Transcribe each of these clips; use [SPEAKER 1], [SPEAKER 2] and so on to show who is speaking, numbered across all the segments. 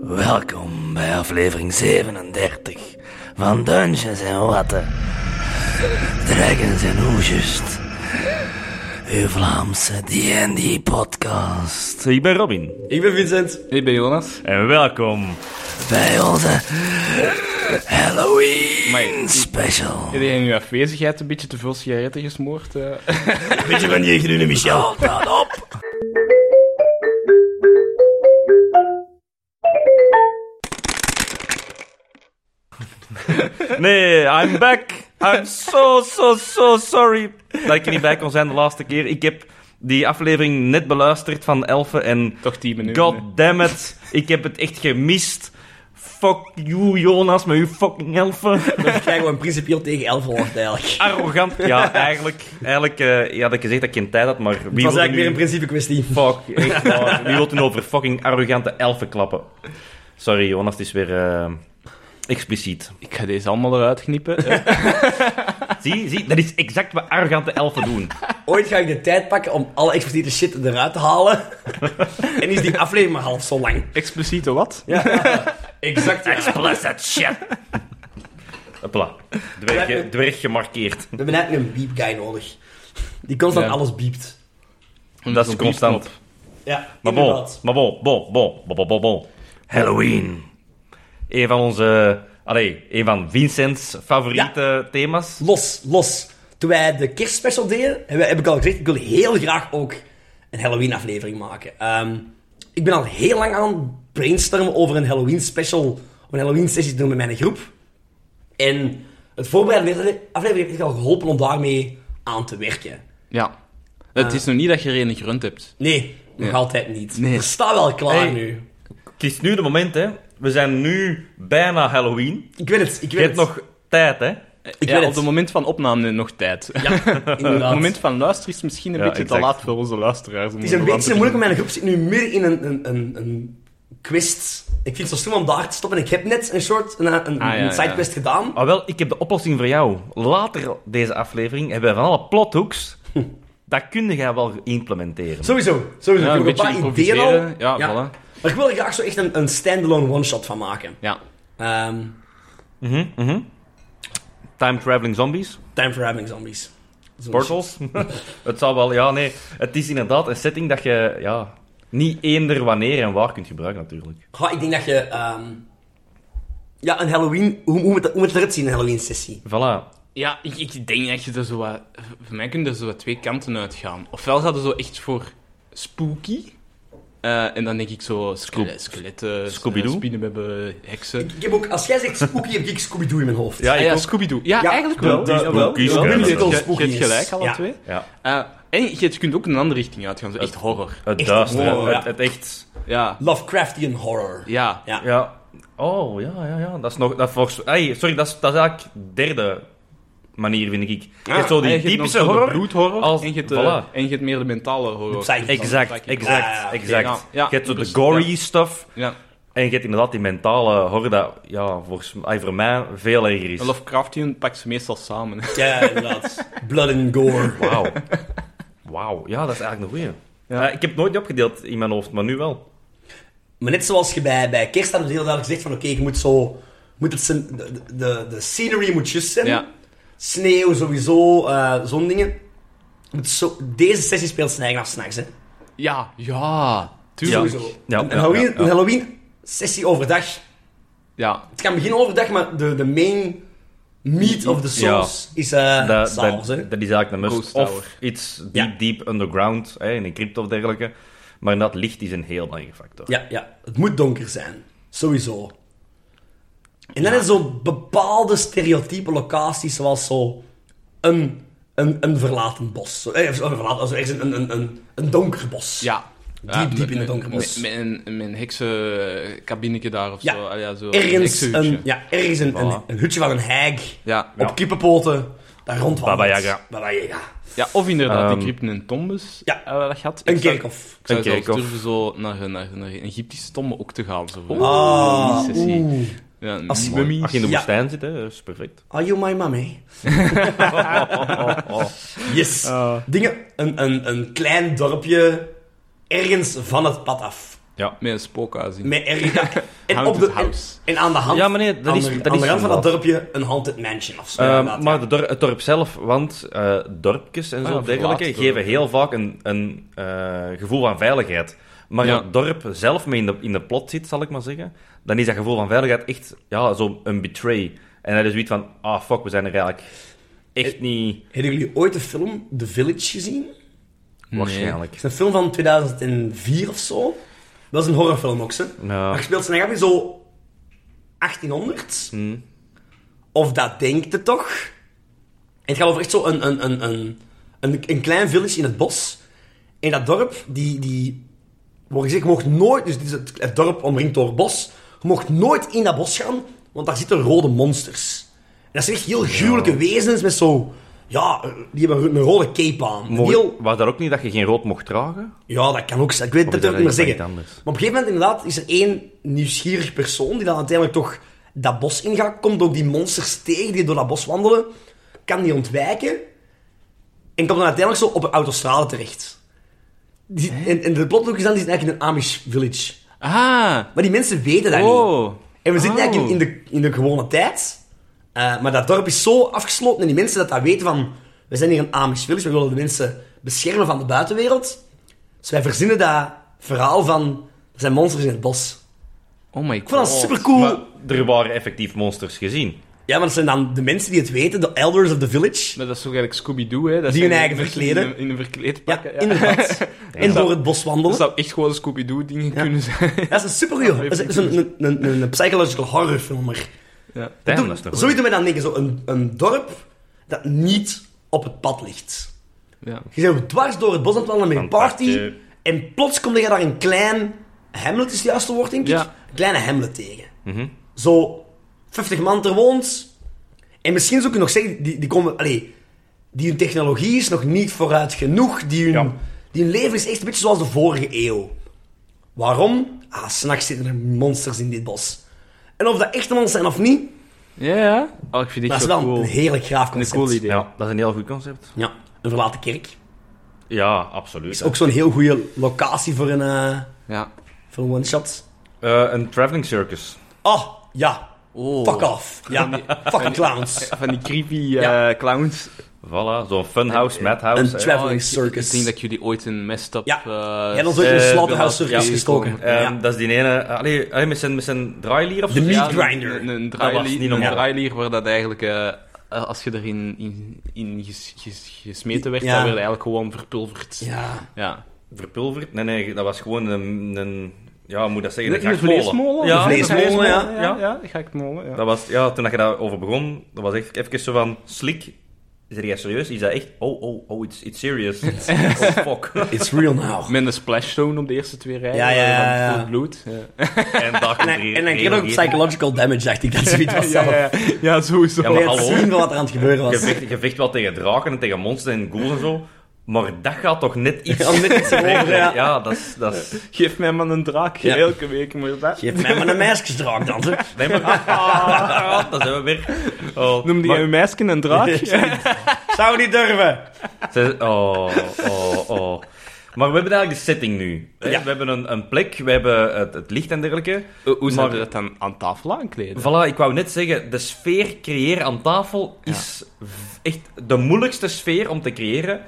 [SPEAKER 1] Welkom bij aflevering 37 van Dungeons en Watten. Dragons en Hoesjes. Uw Vlaamse D&D podcast. Ik ben Robin.
[SPEAKER 2] Ik ben Vincent.
[SPEAKER 3] Ik ben Jonas.
[SPEAKER 4] En Eh, welkom
[SPEAKER 1] Bij onze Halloween
[SPEAKER 3] Maar-
[SPEAKER 1] special.
[SPEAKER 3] Heb jij in uw afwezigheid een beetje te veel sigaretten gesmoord? eh?
[SPEAKER 2] Beetje van die groene Michel.
[SPEAKER 1] Houd dat op.
[SPEAKER 4] Nee, I'm back. I'm so, so, so sorry dat ik er niet bij kon zijn de laatste keer. Ik heb die aflevering net beluisterd van Elfen en
[SPEAKER 3] Toch 10 minuten.
[SPEAKER 4] god damn it, ik heb het echt gemist. Fuck you, Jonas, met uw fucking elfen.
[SPEAKER 2] Ik ga gewoon principieel tegen elf wordt eigenlijk.
[SPEAKER 4] Arrogant. Ja, eigenlijk, eigenlijk eh, had ik gezegd dat ik geen tijd had, maar
[SPEAKER 2] Het
[SPEAKER 4] wie wil
[SPEAKER 2] was
[SPEAKER 4] er
[SPEAKER 2] eigenlijk
[SPEAKER 4] nu...
[SPEAKER 2] weer een principe kwestie.
[SPEAKER 4] Fuck, echt waar. Wie wil er nu over fucking arrogante elfen klappen? Sorry, Jonas, het is weer eh, expliciet.
[SPEAKER 3] Ik ga deze allemaal eruit knippen. Eh,
[SPEAKER 4] Zie, zie, dat is exact wat arrogante elfen doen.
[SPEAKER 2] Ooit ga ik de tijd pakken om alle expliciete shit eruit te halen. en is die aflevering maar half zo lang.
[SPEAKER 3] Expliciet of wat?
[SPEAKER 2] Exact.
[SPEAKER 4] Plus dat shit. Hopla. Dwerg, dwerg gemarkeerd.
[SPEAKER 2] We hebben eigenlijk een beep guy nodig. Die constant
[SPEAKER 3] Ja.
[SPEAKER 2] alles biept.
[SPEAKER 4] Dat is constant.
[SPEAKER 2] Ja,
[SPEAKER 4] Maar bon, maar bon, bon, bon, bon, bon, bon, bon. Halloween. Een van onze... Allee, een van Vincent's favoriete thema's.
[SPEAKER 2] Los, los. Toen wij de kerstspecial deden, heb, heb ik al gezegd, ik wil heel graag ook een Halloween aflevering maken. Ehm, ik ben al heel lang aan het brainstormen over een Halloween special, of een Halloween sessie te doen met mijn groep. En het voorbereiden van deze aflevering heeft al geholpen om daarmee aan te werken.
[SPEAKER 3] Ja. Het is nog niet dat je er een gerund hebt.
[SPEAKER 2] Nee, nog
[SPEAKER 3] Ja.
[SPEAKER 2] altijd niet.
[SPEAKER 3] Nee.
[SPEAKER 2] Er staat wel klaar
[SPEAKER 4] Hey.
[SPEAKER 2] nu.
[SPEAKER 4] Het is nu de moment, hè. We zijn nu bijna Halloween.
[SPEAKER 2] Ik weet het, ik
[SPEAKER 4] Je
[SPEAKER 2] weet
[SPEAKER 4] hebt
[SPEAKER 2] het.
[SPEAKER 4] nog tijd, hè.
[SPEAKER 2] Ik
[SPEAKER 3] ja,
[SPEAKER 2] weet
[SPEAKER 3] op
[SPEAKER 2] het.
[SPEAKER 3] het moment van opname nog tijd.
[SPEAKER 2] Ja,
[SPEAKER 4] eh,
[SPEAKER 3] Op het
[SPEAKER 2] inderdaad.
[SPEAKER 3] moment van luisteren is misschien een
[SPEAKER 4] Ja,
[SPEAKER 3] beetje
[SPEAKER 4] exact.
[SPEAKER 3] te laat voor onze luisteraars.
[SPEAKER 2] Het is een beetje moeilijk, want mijn groep zit nu midden in een, een, een, een quest. Ik vind het zo stom om daar te stoppen. Ik heb net een soort een, een,
[SPEAKER 3] Ah, ja,
[SPEAKER 2] een sidequest gedaan.
[SPEAKER 4] Ah, wel, ik heb de oplossing voor jou. Later deze aflevering hebben we van alle plothooks... Dat kun jij wel implementeren.
[SPEAKER 2] Sowieso, sowieso.
[SPEAKER 3] Ja,
[SPEAKER 2] ik
[SPEAKER 3] een
[SPEAKER 2] heb
[SPEAKER 3] beetje
[SPEAKER 2] nog een paar ideeën al.
[SPEAKER 3] improviseren. Ja, voilà.
[SPEAKER 2] Maar ik wil er graag zo echt een, een standalone one-shot van maken.
[SPEAKER 3] Ja.
[SPEAKER 2] Ehm,
[SPEAKER 4] Mhm, mhm. Time traveling zombies,
[SPEAKER 2] time for having zombies. Zo'n
[SPEAKER 4] portals. het zal wel, ja, nee. Het is inderdaad een setting dat je, ja, niet eender wanneer en waar kunt gebruiken, natuurlijk.
[SPEAKER 2] shit. Goh, ik denk dat je... ehm, ja, een Halloween... Hoe, hoe, moet dat- hoe moet het eruit zien, een Halloween-sessie?
[SPEAKER 4] Voilà.
[SPEAKER 3] Ja, ik, ik denk dat je er zo wat... Voor mij kunnen er zo wat twee kanten uitgaan. Ofwel gaat het zo echt voor spooky. eh, en dan denk ik zo skele- skeletten,
[SPEAKER 4] Scooby-Doo?
[SPEAKER 3] eh, spinnenwebben, heksen.
[SPEAKER 2] Ik heb ook... Als jij zegt spooky, heb ik Scooby Doo in mijn hoofd.
[SPEAKER 4] Ja,
[SPEAKER 3] Ah
[SPEAKER 4] ik
[SPEAKER 3] ja,
[SPEAKER 4] ook.
[SPEAKER 3] Scooby-Doo. Ja,
[SPEAKER 2] Ja,
[SPEAKER 3] eigenlijk wel.
[SPEAKER 2] Scooby-Doo.
[SPEAKER 3] Ja, wel.
[SPEAKER 4] Scooby-Doo.
[SPEAKER 3] Ja, wel.
[SPEAKER 4] Scooby-Doo.
[SPEAKER 3] Je- je- Je
[SPEAKER 2] Spookies.
[SPEAKER 3] hebt gelijk, alle
[SPEAKER 2] Ja.
[SPEAKER 3] twee.
[SPEAKER 4] Ja.
[SPEAKER 3] Eh, en je, je kunt ook een andere richting uitgaan, zo echt horror.
[SPEAKER 4] Het
[SPEAKER 2] Echt
[SPEAKER 4] duister,
[SPEAKER 2] wow,
[SPEAKER 4] het,
[SPEAKER 2] ja.
[SPEAKER 4] het echt...
[SPEAKER 3] Ja,
[SPEAKER 2] Lovecraftian horror.
[SPEAKER 3] ja.
[SPEAKER 2] Ja.
[SPEAKER 4] Ja. Oh, ja, ja, ja. Dat is nog... Dat volgens, ai, sorry, dat is, dat is eigenlijk de derde manier, vind ik. Je hebt zo
[SPEAKER 3] En je
[SPEAKER 4] die
[SPEAKER 3] hebt Ah, nog
[SPEAKER 4] typische
[SPEAKER 3] zo de
[SPEAKER 4] horror.
[SPEAKER 3] bloedhorror
[SPEAKER 4] als-
[SPEAKER 3] en, je hebt, eh,
[SPEAKER 4] voilà.
[SPEAKER 3] en je hebt meer de mentale horror.
[SPEAKER 2] Psychic.
[SPEAKER 4] Exact,
[SPEAKER 2] Ah,
[SPEAKER 4] exact,
[SPEAKER 2] oké,
[SPEAKER 4] exact.
[SPEAKER 3] ja. Ja,
[SPEAKER 4] je hebt zo de
[SPEAKER 3] dus-
[SPEAKER 4] gory
[SPEAKER 3] ja.
[SPEAKER 4] stuff.
[SPEAKER 3] Ja,
[SPEAKER 4] En je hebt inderdaad die mentale horror dat ja, volgens mij, voor mij veel erger
[SPEAKER 3] de
[SPEAKER 4] is.
[SPEAKER 3] Lovecraftian pakt ze meestal samen.
[SPEAKER 2] Ja, inderdaad. Blood and gore.
[SPEAKER 4] Wauw. Wauw. Ja, dat is eigenlijk een goeie. Eh, ik heb het nooit opgedeeld in mijn hoofd, maar nu wel.
[SPEAKER 2] Maar net zoals je bij, bij kerst had het heel duidelijk gezegd van oké, je moet zo... Moet het, scen- de, de, de scenery moet just zijn.
[SPEAKER 3] Ja.
[SPEAKER 2] Sneeuw sowieso, eh, zo'n dingen. Het is zo, deze sessie speelt zijn eigen af s'nachts, hè.
[SPEAKER 3] Ja, ja, tuurlijk.
[SPEAKER 2] Sowieso.
[SPEAKER 3] Ja,
[SPEAKER 4] Ja,
[SPEAKER 2] een
[SPEAKER 4] ja,
[SPEAKER 2] Halloween,
[SPEAKER 4] ja, ja.
[SPEAKER 2] een Halloween-sessie overdag. Het kan beginnen overdag, maar de, de main meat of the sauce is eh
[SPEAKER 4] Dat,
[SPEAKER 2] s'avonds,
[SPEAKER 4] dat-
[SPEAKER 2] hè.
[SPEAKER 4] dat is eigenlijk een must.
[SPEAKER 3] Ghost
[SPEAKER 4] Of
[SPEAKER 3] Tower.
[SPEAKER 4] iets deep,
[SPEAKER 2] Ja.
[SPEAKER 4] deep underground, hè, in een crypto of dergelijke. Maar inderdaad, licht is een heel belangrijke factor.
[SPEAKER 2] Ja, ja. Het moet donker zijn. Sowieso. En dan is zo bepaalde stereotype locaties, zoals zo een, een, een verlaten bos. Zo, eh, een verlaten, also ergens een, een, een, een donker bos.
[SPEAKER 3] ja.
[SPEAKER 2] Diep,
[SPEAKER 3] Ja,
[SPEAKER 2] diep
[SPEAKER 3] met-
[SPEAKER 2] in het donker
[SPEAKER 3] met-
[SPEAKER 2] bos.
[SPEAKER 3] Met een, met een heksenkabinetje daar of
[SPEAKER 2] Ja.
[SPEAKER 3] zo. Ah, ja, zo een
[SPEAKER 2] Ergens,
[SPEAKER 3] heksenhutje.
[SPEAKER 2] een, ja, ergens een, een, een hutje van een heg,
[SPEAKER 3] Ja.
[SPEAKER 2] op kippenpoten, daar rondwandelt.
[SPEAKER 4] Baba Yaga.
[SPEAKER 2] Baba Yaga.
[SPEAKER 3] Ja, of inderdaad,
[SPEAKER 4] Ehm,
[SPEAKER 3] die crypten en tombes.
[SPEAKER 2] ja.
[SPEAKER 3] eh, dat gaat.
[SPEAKER 2] Een
[SPEAKER 3] Ik zou-
[SPEAKER 2] kerkhof.
[SPEAKER 3] Ik zou
[SPEAKER 4] Een
[SPEAKER 3] zelfs
[SPEAKER 4] kerkhof.
[SPEAKER 3] durven zo naar, naar, naar Egyptische tomben ook te gaan. Zo,
[SPEAKER 2] Ah,
[SPEAKER 3] Een sessie.
[SPEAKER 2] oeh.
[SPEAKER 3] Ja, een
[SPEAKER 2] Als-
[SPEAKER 3] mummies.
[SPEAKER 4] Als je in de
[SPEAKER 2] Ja.
[SPEAKER 4] woestijn zit, hè, dat is perfect.
[SPEAKER 2] Are you my mommy?
[SPEAKER 4] Oh, oh.
[SPEAKER 3] Ah.
[SPEAKER 2] Yes. Dingen, een, een, een klein dorpje ergens van het pad af.
[SPEAKER 4] Ja.
[SPEAKER 3] Met een spookhuis in.
[SPEAKER 2] Met erg dak. En, op
[SPEAKER 3] Haunted
[SPEAKER 2] de, en,
[SPEAKER 3] house.
[SPEAKER 2] en aan de hand...
[SPEAKER 4] Ja, maar nee, dat
[SPEAKER 2] aan
[SPEAKER 4] is-
[SPEAKER 2] de-
[SPEAKER 4] dat
[SPEAKER 2] aan
[SPEAKER 4] is
[SPEAKER 2] de rand van dat
[SPEAKER 4] inderdaad.
[SPEAKER 2] dorpje een haunted mansion of zo.
[SPEAKER 4] Eh,
[SPEAKER 2] inderdaad, ja.
[SPEAKER 4] maar de dor- het dorp zelf, want eh, dorpjes en
[SPEAKER 3] Ah,
[SPEAKER 4] zo
[SPEAKER 3] ja,
[SPEAKER 4] dergelijke
[SPEAKER 3] verlaten
[SPEAKER 4] geven
[SPEAKER 3] dorpen.
[SPEAKER 4] heel vaak een, een eh, gevoel van veiligheid. Maar
[SPEAKER 3] Ja.
[SPEAKER 4] als het dorp zelf mee in de, in de plot zit, zal ik maar zeggen, dan is dat gevoel van veiligheid echt ja, zo'n betray. En dat is zoiets van, ah fuck, we zijn er eigenlijk
[SPEAKER 2] Eh,
[SPEAKER 4] echt niet
[SPEAKER 2] Hebben jullie ooit de film The Village gezien?
[SPEAKER 4] waarschijnlijk.
[SPEAKER 2] Het is een film van 2004 of zo. Dat is een horrorfilm ook, ze.
[SPEAKER 4] Ja.
[SPEAKER 2] Maar je speelt ze dan zo 1800. Of dat denkt het toch? En het gaat over echt zo een, een, een, een, een, een klein village in het bos. En dat dorp, die, die wordt gezegd, je mocht nooit... Dus dit is het, het dorp omringd door het bos. Je mocht nooit in dat bos gaan, want daar zitten rode monsters. En dat zijn echt heel gruwelijke wezens met zo... Ja, eh, die hebben een rode cape aan. Een
[SPEAKER 4] Mocht-
[SPEAKER 2] heel
[SPEAKER 4] Was dat ook niet dat je geen rood mocht dragen?
[SPEAKER 2] ja, dat kan ook. zijn. Ik weet
[SPEAKER 4] Of
[SPEAKER 2] dat
[SPEAKER 4] is
[SPEAKER 2] durf ik niet
[SPEAKER 4] dat
[SPEAKER 2] meer zeggen.
[SPEAKER 4] iets
[SPEAKER 2] Maar
[SPEAKER 4] anders?
[SPEAKER 2] op een gegeven moment inderdaad is er één nieuwsgierig persoon die dan uiteindelijk toch dat bos ingaat, komt ook die monsters tegen die door dat bos wandelen, kan die ontwijken en komt dan uiteindelijk zo op een autostrade terecht. Die, en, en de plothoek is dan, die zit eigenlijk in een Amish village.
[SPEAKER 3] Ah!
[SPEAKER 2] Maar die mensen weten dat niet.
[SPEAKER 3] Oh!
[SPEAKER 2] En we zitten
[SPEAKER 3] Oh.
[SPEAKER 2] eigenlijk in, in de, in de gewone tijd. Eh, maar dat dorp is zo afgesloten en die mensen dat dat weten van... We zijn hier een Amish village, we willen de mensen beschermen van de buitenwereld. Dus wij verzinnen dat verhaal van... Er zijn monsters in het bos.
[SPEAKER 3] Oh my god.
[SPEAKER 2] Ik vond dat supercool.
[SPEAKER 4] Maar er waren effectief monsters gezien.
[SPEAKER 2] Ja, maar Oh. dat zijn dan de mensen die het weten, de elders of the village.
[SPEAKER 3] Maar dat is toch eigenlijk Scooby-Doo, hè? Dat
[SPEAKER 2] Die
[SPEAKER 3] zijn
[SPEAKER 2] hun eigen
[SPEAKER 3] mensen
[SPEAKER 2] verkleden.
[SPEAKER 3] In een, in een verkleed
[SPEAKER 2] Ja,
[SPEAKER 3] pakken.
[SPEAKER 2] inderdaad. En door het bos
[SPEAKER 3] Dat
[SPEAKER 2] wandelen.
[SPEAKER 3] zou echt gewoon Scooby-Doo-dingen
[SPEAKER 2] Ja.
[SPEAKER 3] kunnen zijn.
[SPEAKER 2] Dat is een supergoeie... Dat is een, een, een, een psychological horrorfilmer.
[SPEAKER 3] ja.
[SPEAKER 4] Damn,
[SPEAKER 2] Doe-
[SPEAKER 4] dat is toch
[SPEAKER 2] Zoiets doet mij dan denken, zo een, een dorp dat niet op het pad ligt.
[SPEAKER 3] ja.
[SPEAKER 2] Je bent dwars door het bos aan het wandelen met een party.
[SPEAKER 4] Fantastisch.
[SPEAKER 2] En plots kom je daar een klein... Hamlet is het juiste woord, denk ik.
[SPEAKER 3] Ja.
[SPEAKER 2] Een kleine Hamlet tegen.
[SPEAKER 4] Mhm.
[SPEAKER 2] Zo, 50 man er woont. En misschien zou ik nog zeggen, die, die komen... Allee, die hun technologie is nog niet vooruit genoeg. Die hun,
[SPEAKER 4] Ja.
[SPEAKER 2] die hun leven is echt een beetje zoals de vorige eeuw. Waarom? Ah, s'nachts zitten er monsters in dit bos. En of dat echte monsters zijn of niet,
[SPEAKER 3] Ja, ja. Oh, ik vind dit
[SPEAKER 2] dat is
[SPEAKER 3] zo
[SPEAKER 2] wel
[SPEAKER 3] cool.
[SPEAKER 2] een heerlijk graaf
[SPEAKER 3] Een
[SPEAKER 2] concept.
[SPEAKER 3] cool idee.
[SPEAKER 4] Ja, dat is een heel goed concept.
[SPEAKER 2] Ja, een verlaten kerk.
[SPEAKER 4] Ja, absoluut.
[SPEAKER 2] Is ook zo'n heel goede locatie voor een... eh,
[SPEAKER 3] Ja.
[SPEAKER 2] Voor een one-shot.
[SPEAKER 4] Eh, een traveling circus.
[SPEAKER 2] Oh, ja.
[SPEAKER 3] Oh.
[SPEAKER 2] Fuck off. Ja. Fucking clowns.
[SPEAKER 3] Van die creepy
[SPEAKER 2] Ja.
[SPEAKER 3] eh, clowns.
[SPEAKER 4] Voilà, zo'n funhouse, madhouse.
[SPEAKER 2] Een
[SPEAKER 4] hè.
[SPEAKER 2] traveling
[SPEAKER 3] Oh, ik-
[SPEAKER 2] circus.
[SPEAKER 3] Ik denk dat jullie ooit een messed up...
[SPEAKER 2] Ja.
[SPEAKER 3] eh,
[SPEAKER 2] Jij dan zo in een
[SPEAKER 4] eh,
[SPEAKER 2] slaughterhouse
[SPEAKER 3] Bill
[SPEAKER 2] circus
[SPEAKER 3] Gates
[SPEAKER 2] gestoken.
[SPEAKER 3] komen.
[SPEAKER 4] Ehm,
[SPEAKER 2] Ja.
[SPEAKER 4] Dat is die ene... Allee, allee, met zijn, met zijn draailier of
[SPEAKER 2] De
[SPEAKER 4] zo?
[SPEAKER 2] meat
[SPEAKER 3] Ja, een-
[SPEAKER 2] grinder.
[SPEAKER 3] Een, een,
[SPEAKER 4] was
[SPEAKER 3] draailier-
[SPEAKER 4] niet
[SPEAKER 3] een
[SPEAKER 4] normaal.
[SPEAKER 3] draailier waar dat eigenlijk... eh, eh, als je erin in, in ges- ges- gesmeten werd,
[SPEAKER 2] Ja.
[SPEAKER 3] dan werd je eigenlijk gewoon verpulverd.
[SPEAKER 2] Ja.
[SPEAKER 3] Ja.
[SPEAKER 4] Verpulverd? Nee, nee, dat was gewoon een... een ja, hoe moet ik dat zeggen?
[SPEAKER 3] In
[SPEAKER 4] Een grachtmolen.
[SPEAKER 3] Ja,
[SPEAKER 2] De vleesmolen, ja.
[SPEAKER 3] Ja, ja, de grachtmolen, ja.
[SPEAKER 4] Dat was, ja, toen dat je daarover begon, dat was echt even zo van... Slik, zeg jij serieus? Is dat echt... Oh, oh, oh, it's, it's serious. oh, fuck.
[SPEAKER 2] It's real now.
[SPEAKER 3] Met een splashzone op de eerste twee rijen. eh,
[SPEAKER 2] Ja, ja, ja,
[SPEAKER 3] van
[SPEAKER 2] ja.
[SPEAKER 3] veel bloed. Ja,
[SPEAKER 4] en dag
[SPEAKER 2] En, dan- en dan kreeg je ook psychological damage, dacht ik. Dat zoiets was
[SPEAKER 3] ja,
[SPEAKER 2] zelf.
[SPEAKER 3] ja, ja, sowieso.
[SPEAKER 4] Ja, maar
[SPEAKER 2] Bij het
[SPEAKER 4] hallo.
[SPEAKER 2] zien van wat er aan het gebeuren
[SPEAKER 4] Je
[SPEAKER 2] was.
[SPEAKER 4] vecht, je vecht wel tegen draken en tegen monsters en ghouls en zo, maar dat gaat toch net iets...
[SPEAKER 2] Ja, net iets
[SPEAKER 4] verder.
[SPEAKER 2] over, ja.
[SPEAKER 4] ja, dat is... Dat is
[SPEAKER 3] Geef mij maar een draak.
[SPEAKER 2] Ja.
[SPEAKER 3] Elke week moet je dat.
[SPEAKER 2] Geef mij maar een meisjesdraak dan. hè.
[SPEAKER 4] Nee, maar... Ah, dat zijn we weer. Oh,
[SPEAKER 3] Noemde
[SPEAKER 4] maar-
[SPEAKER 3] je een meisje een draak?
[SPEAKER 2] Zou niet durven.
[SPEAKER 4] Ze- Oh, oh, oh. Maar we hebben eigenlijk de setting nu. hè.
[SPEAKER 2] Ja.
[SPEAKER 4] We hebben een, een plek, we hebben het, het licht en dergelijke.
[SPEAKER 3] Hoe zou
[SPEAKER 4] Maar-
[SPEAKER 3] je dat dan aan tafel aankleden?
[SPEAKER 4] Voilà, ik wou net zeggen, de sfeer creëren aan tafel is v- echt de moeilijkste sfeer om te creëren,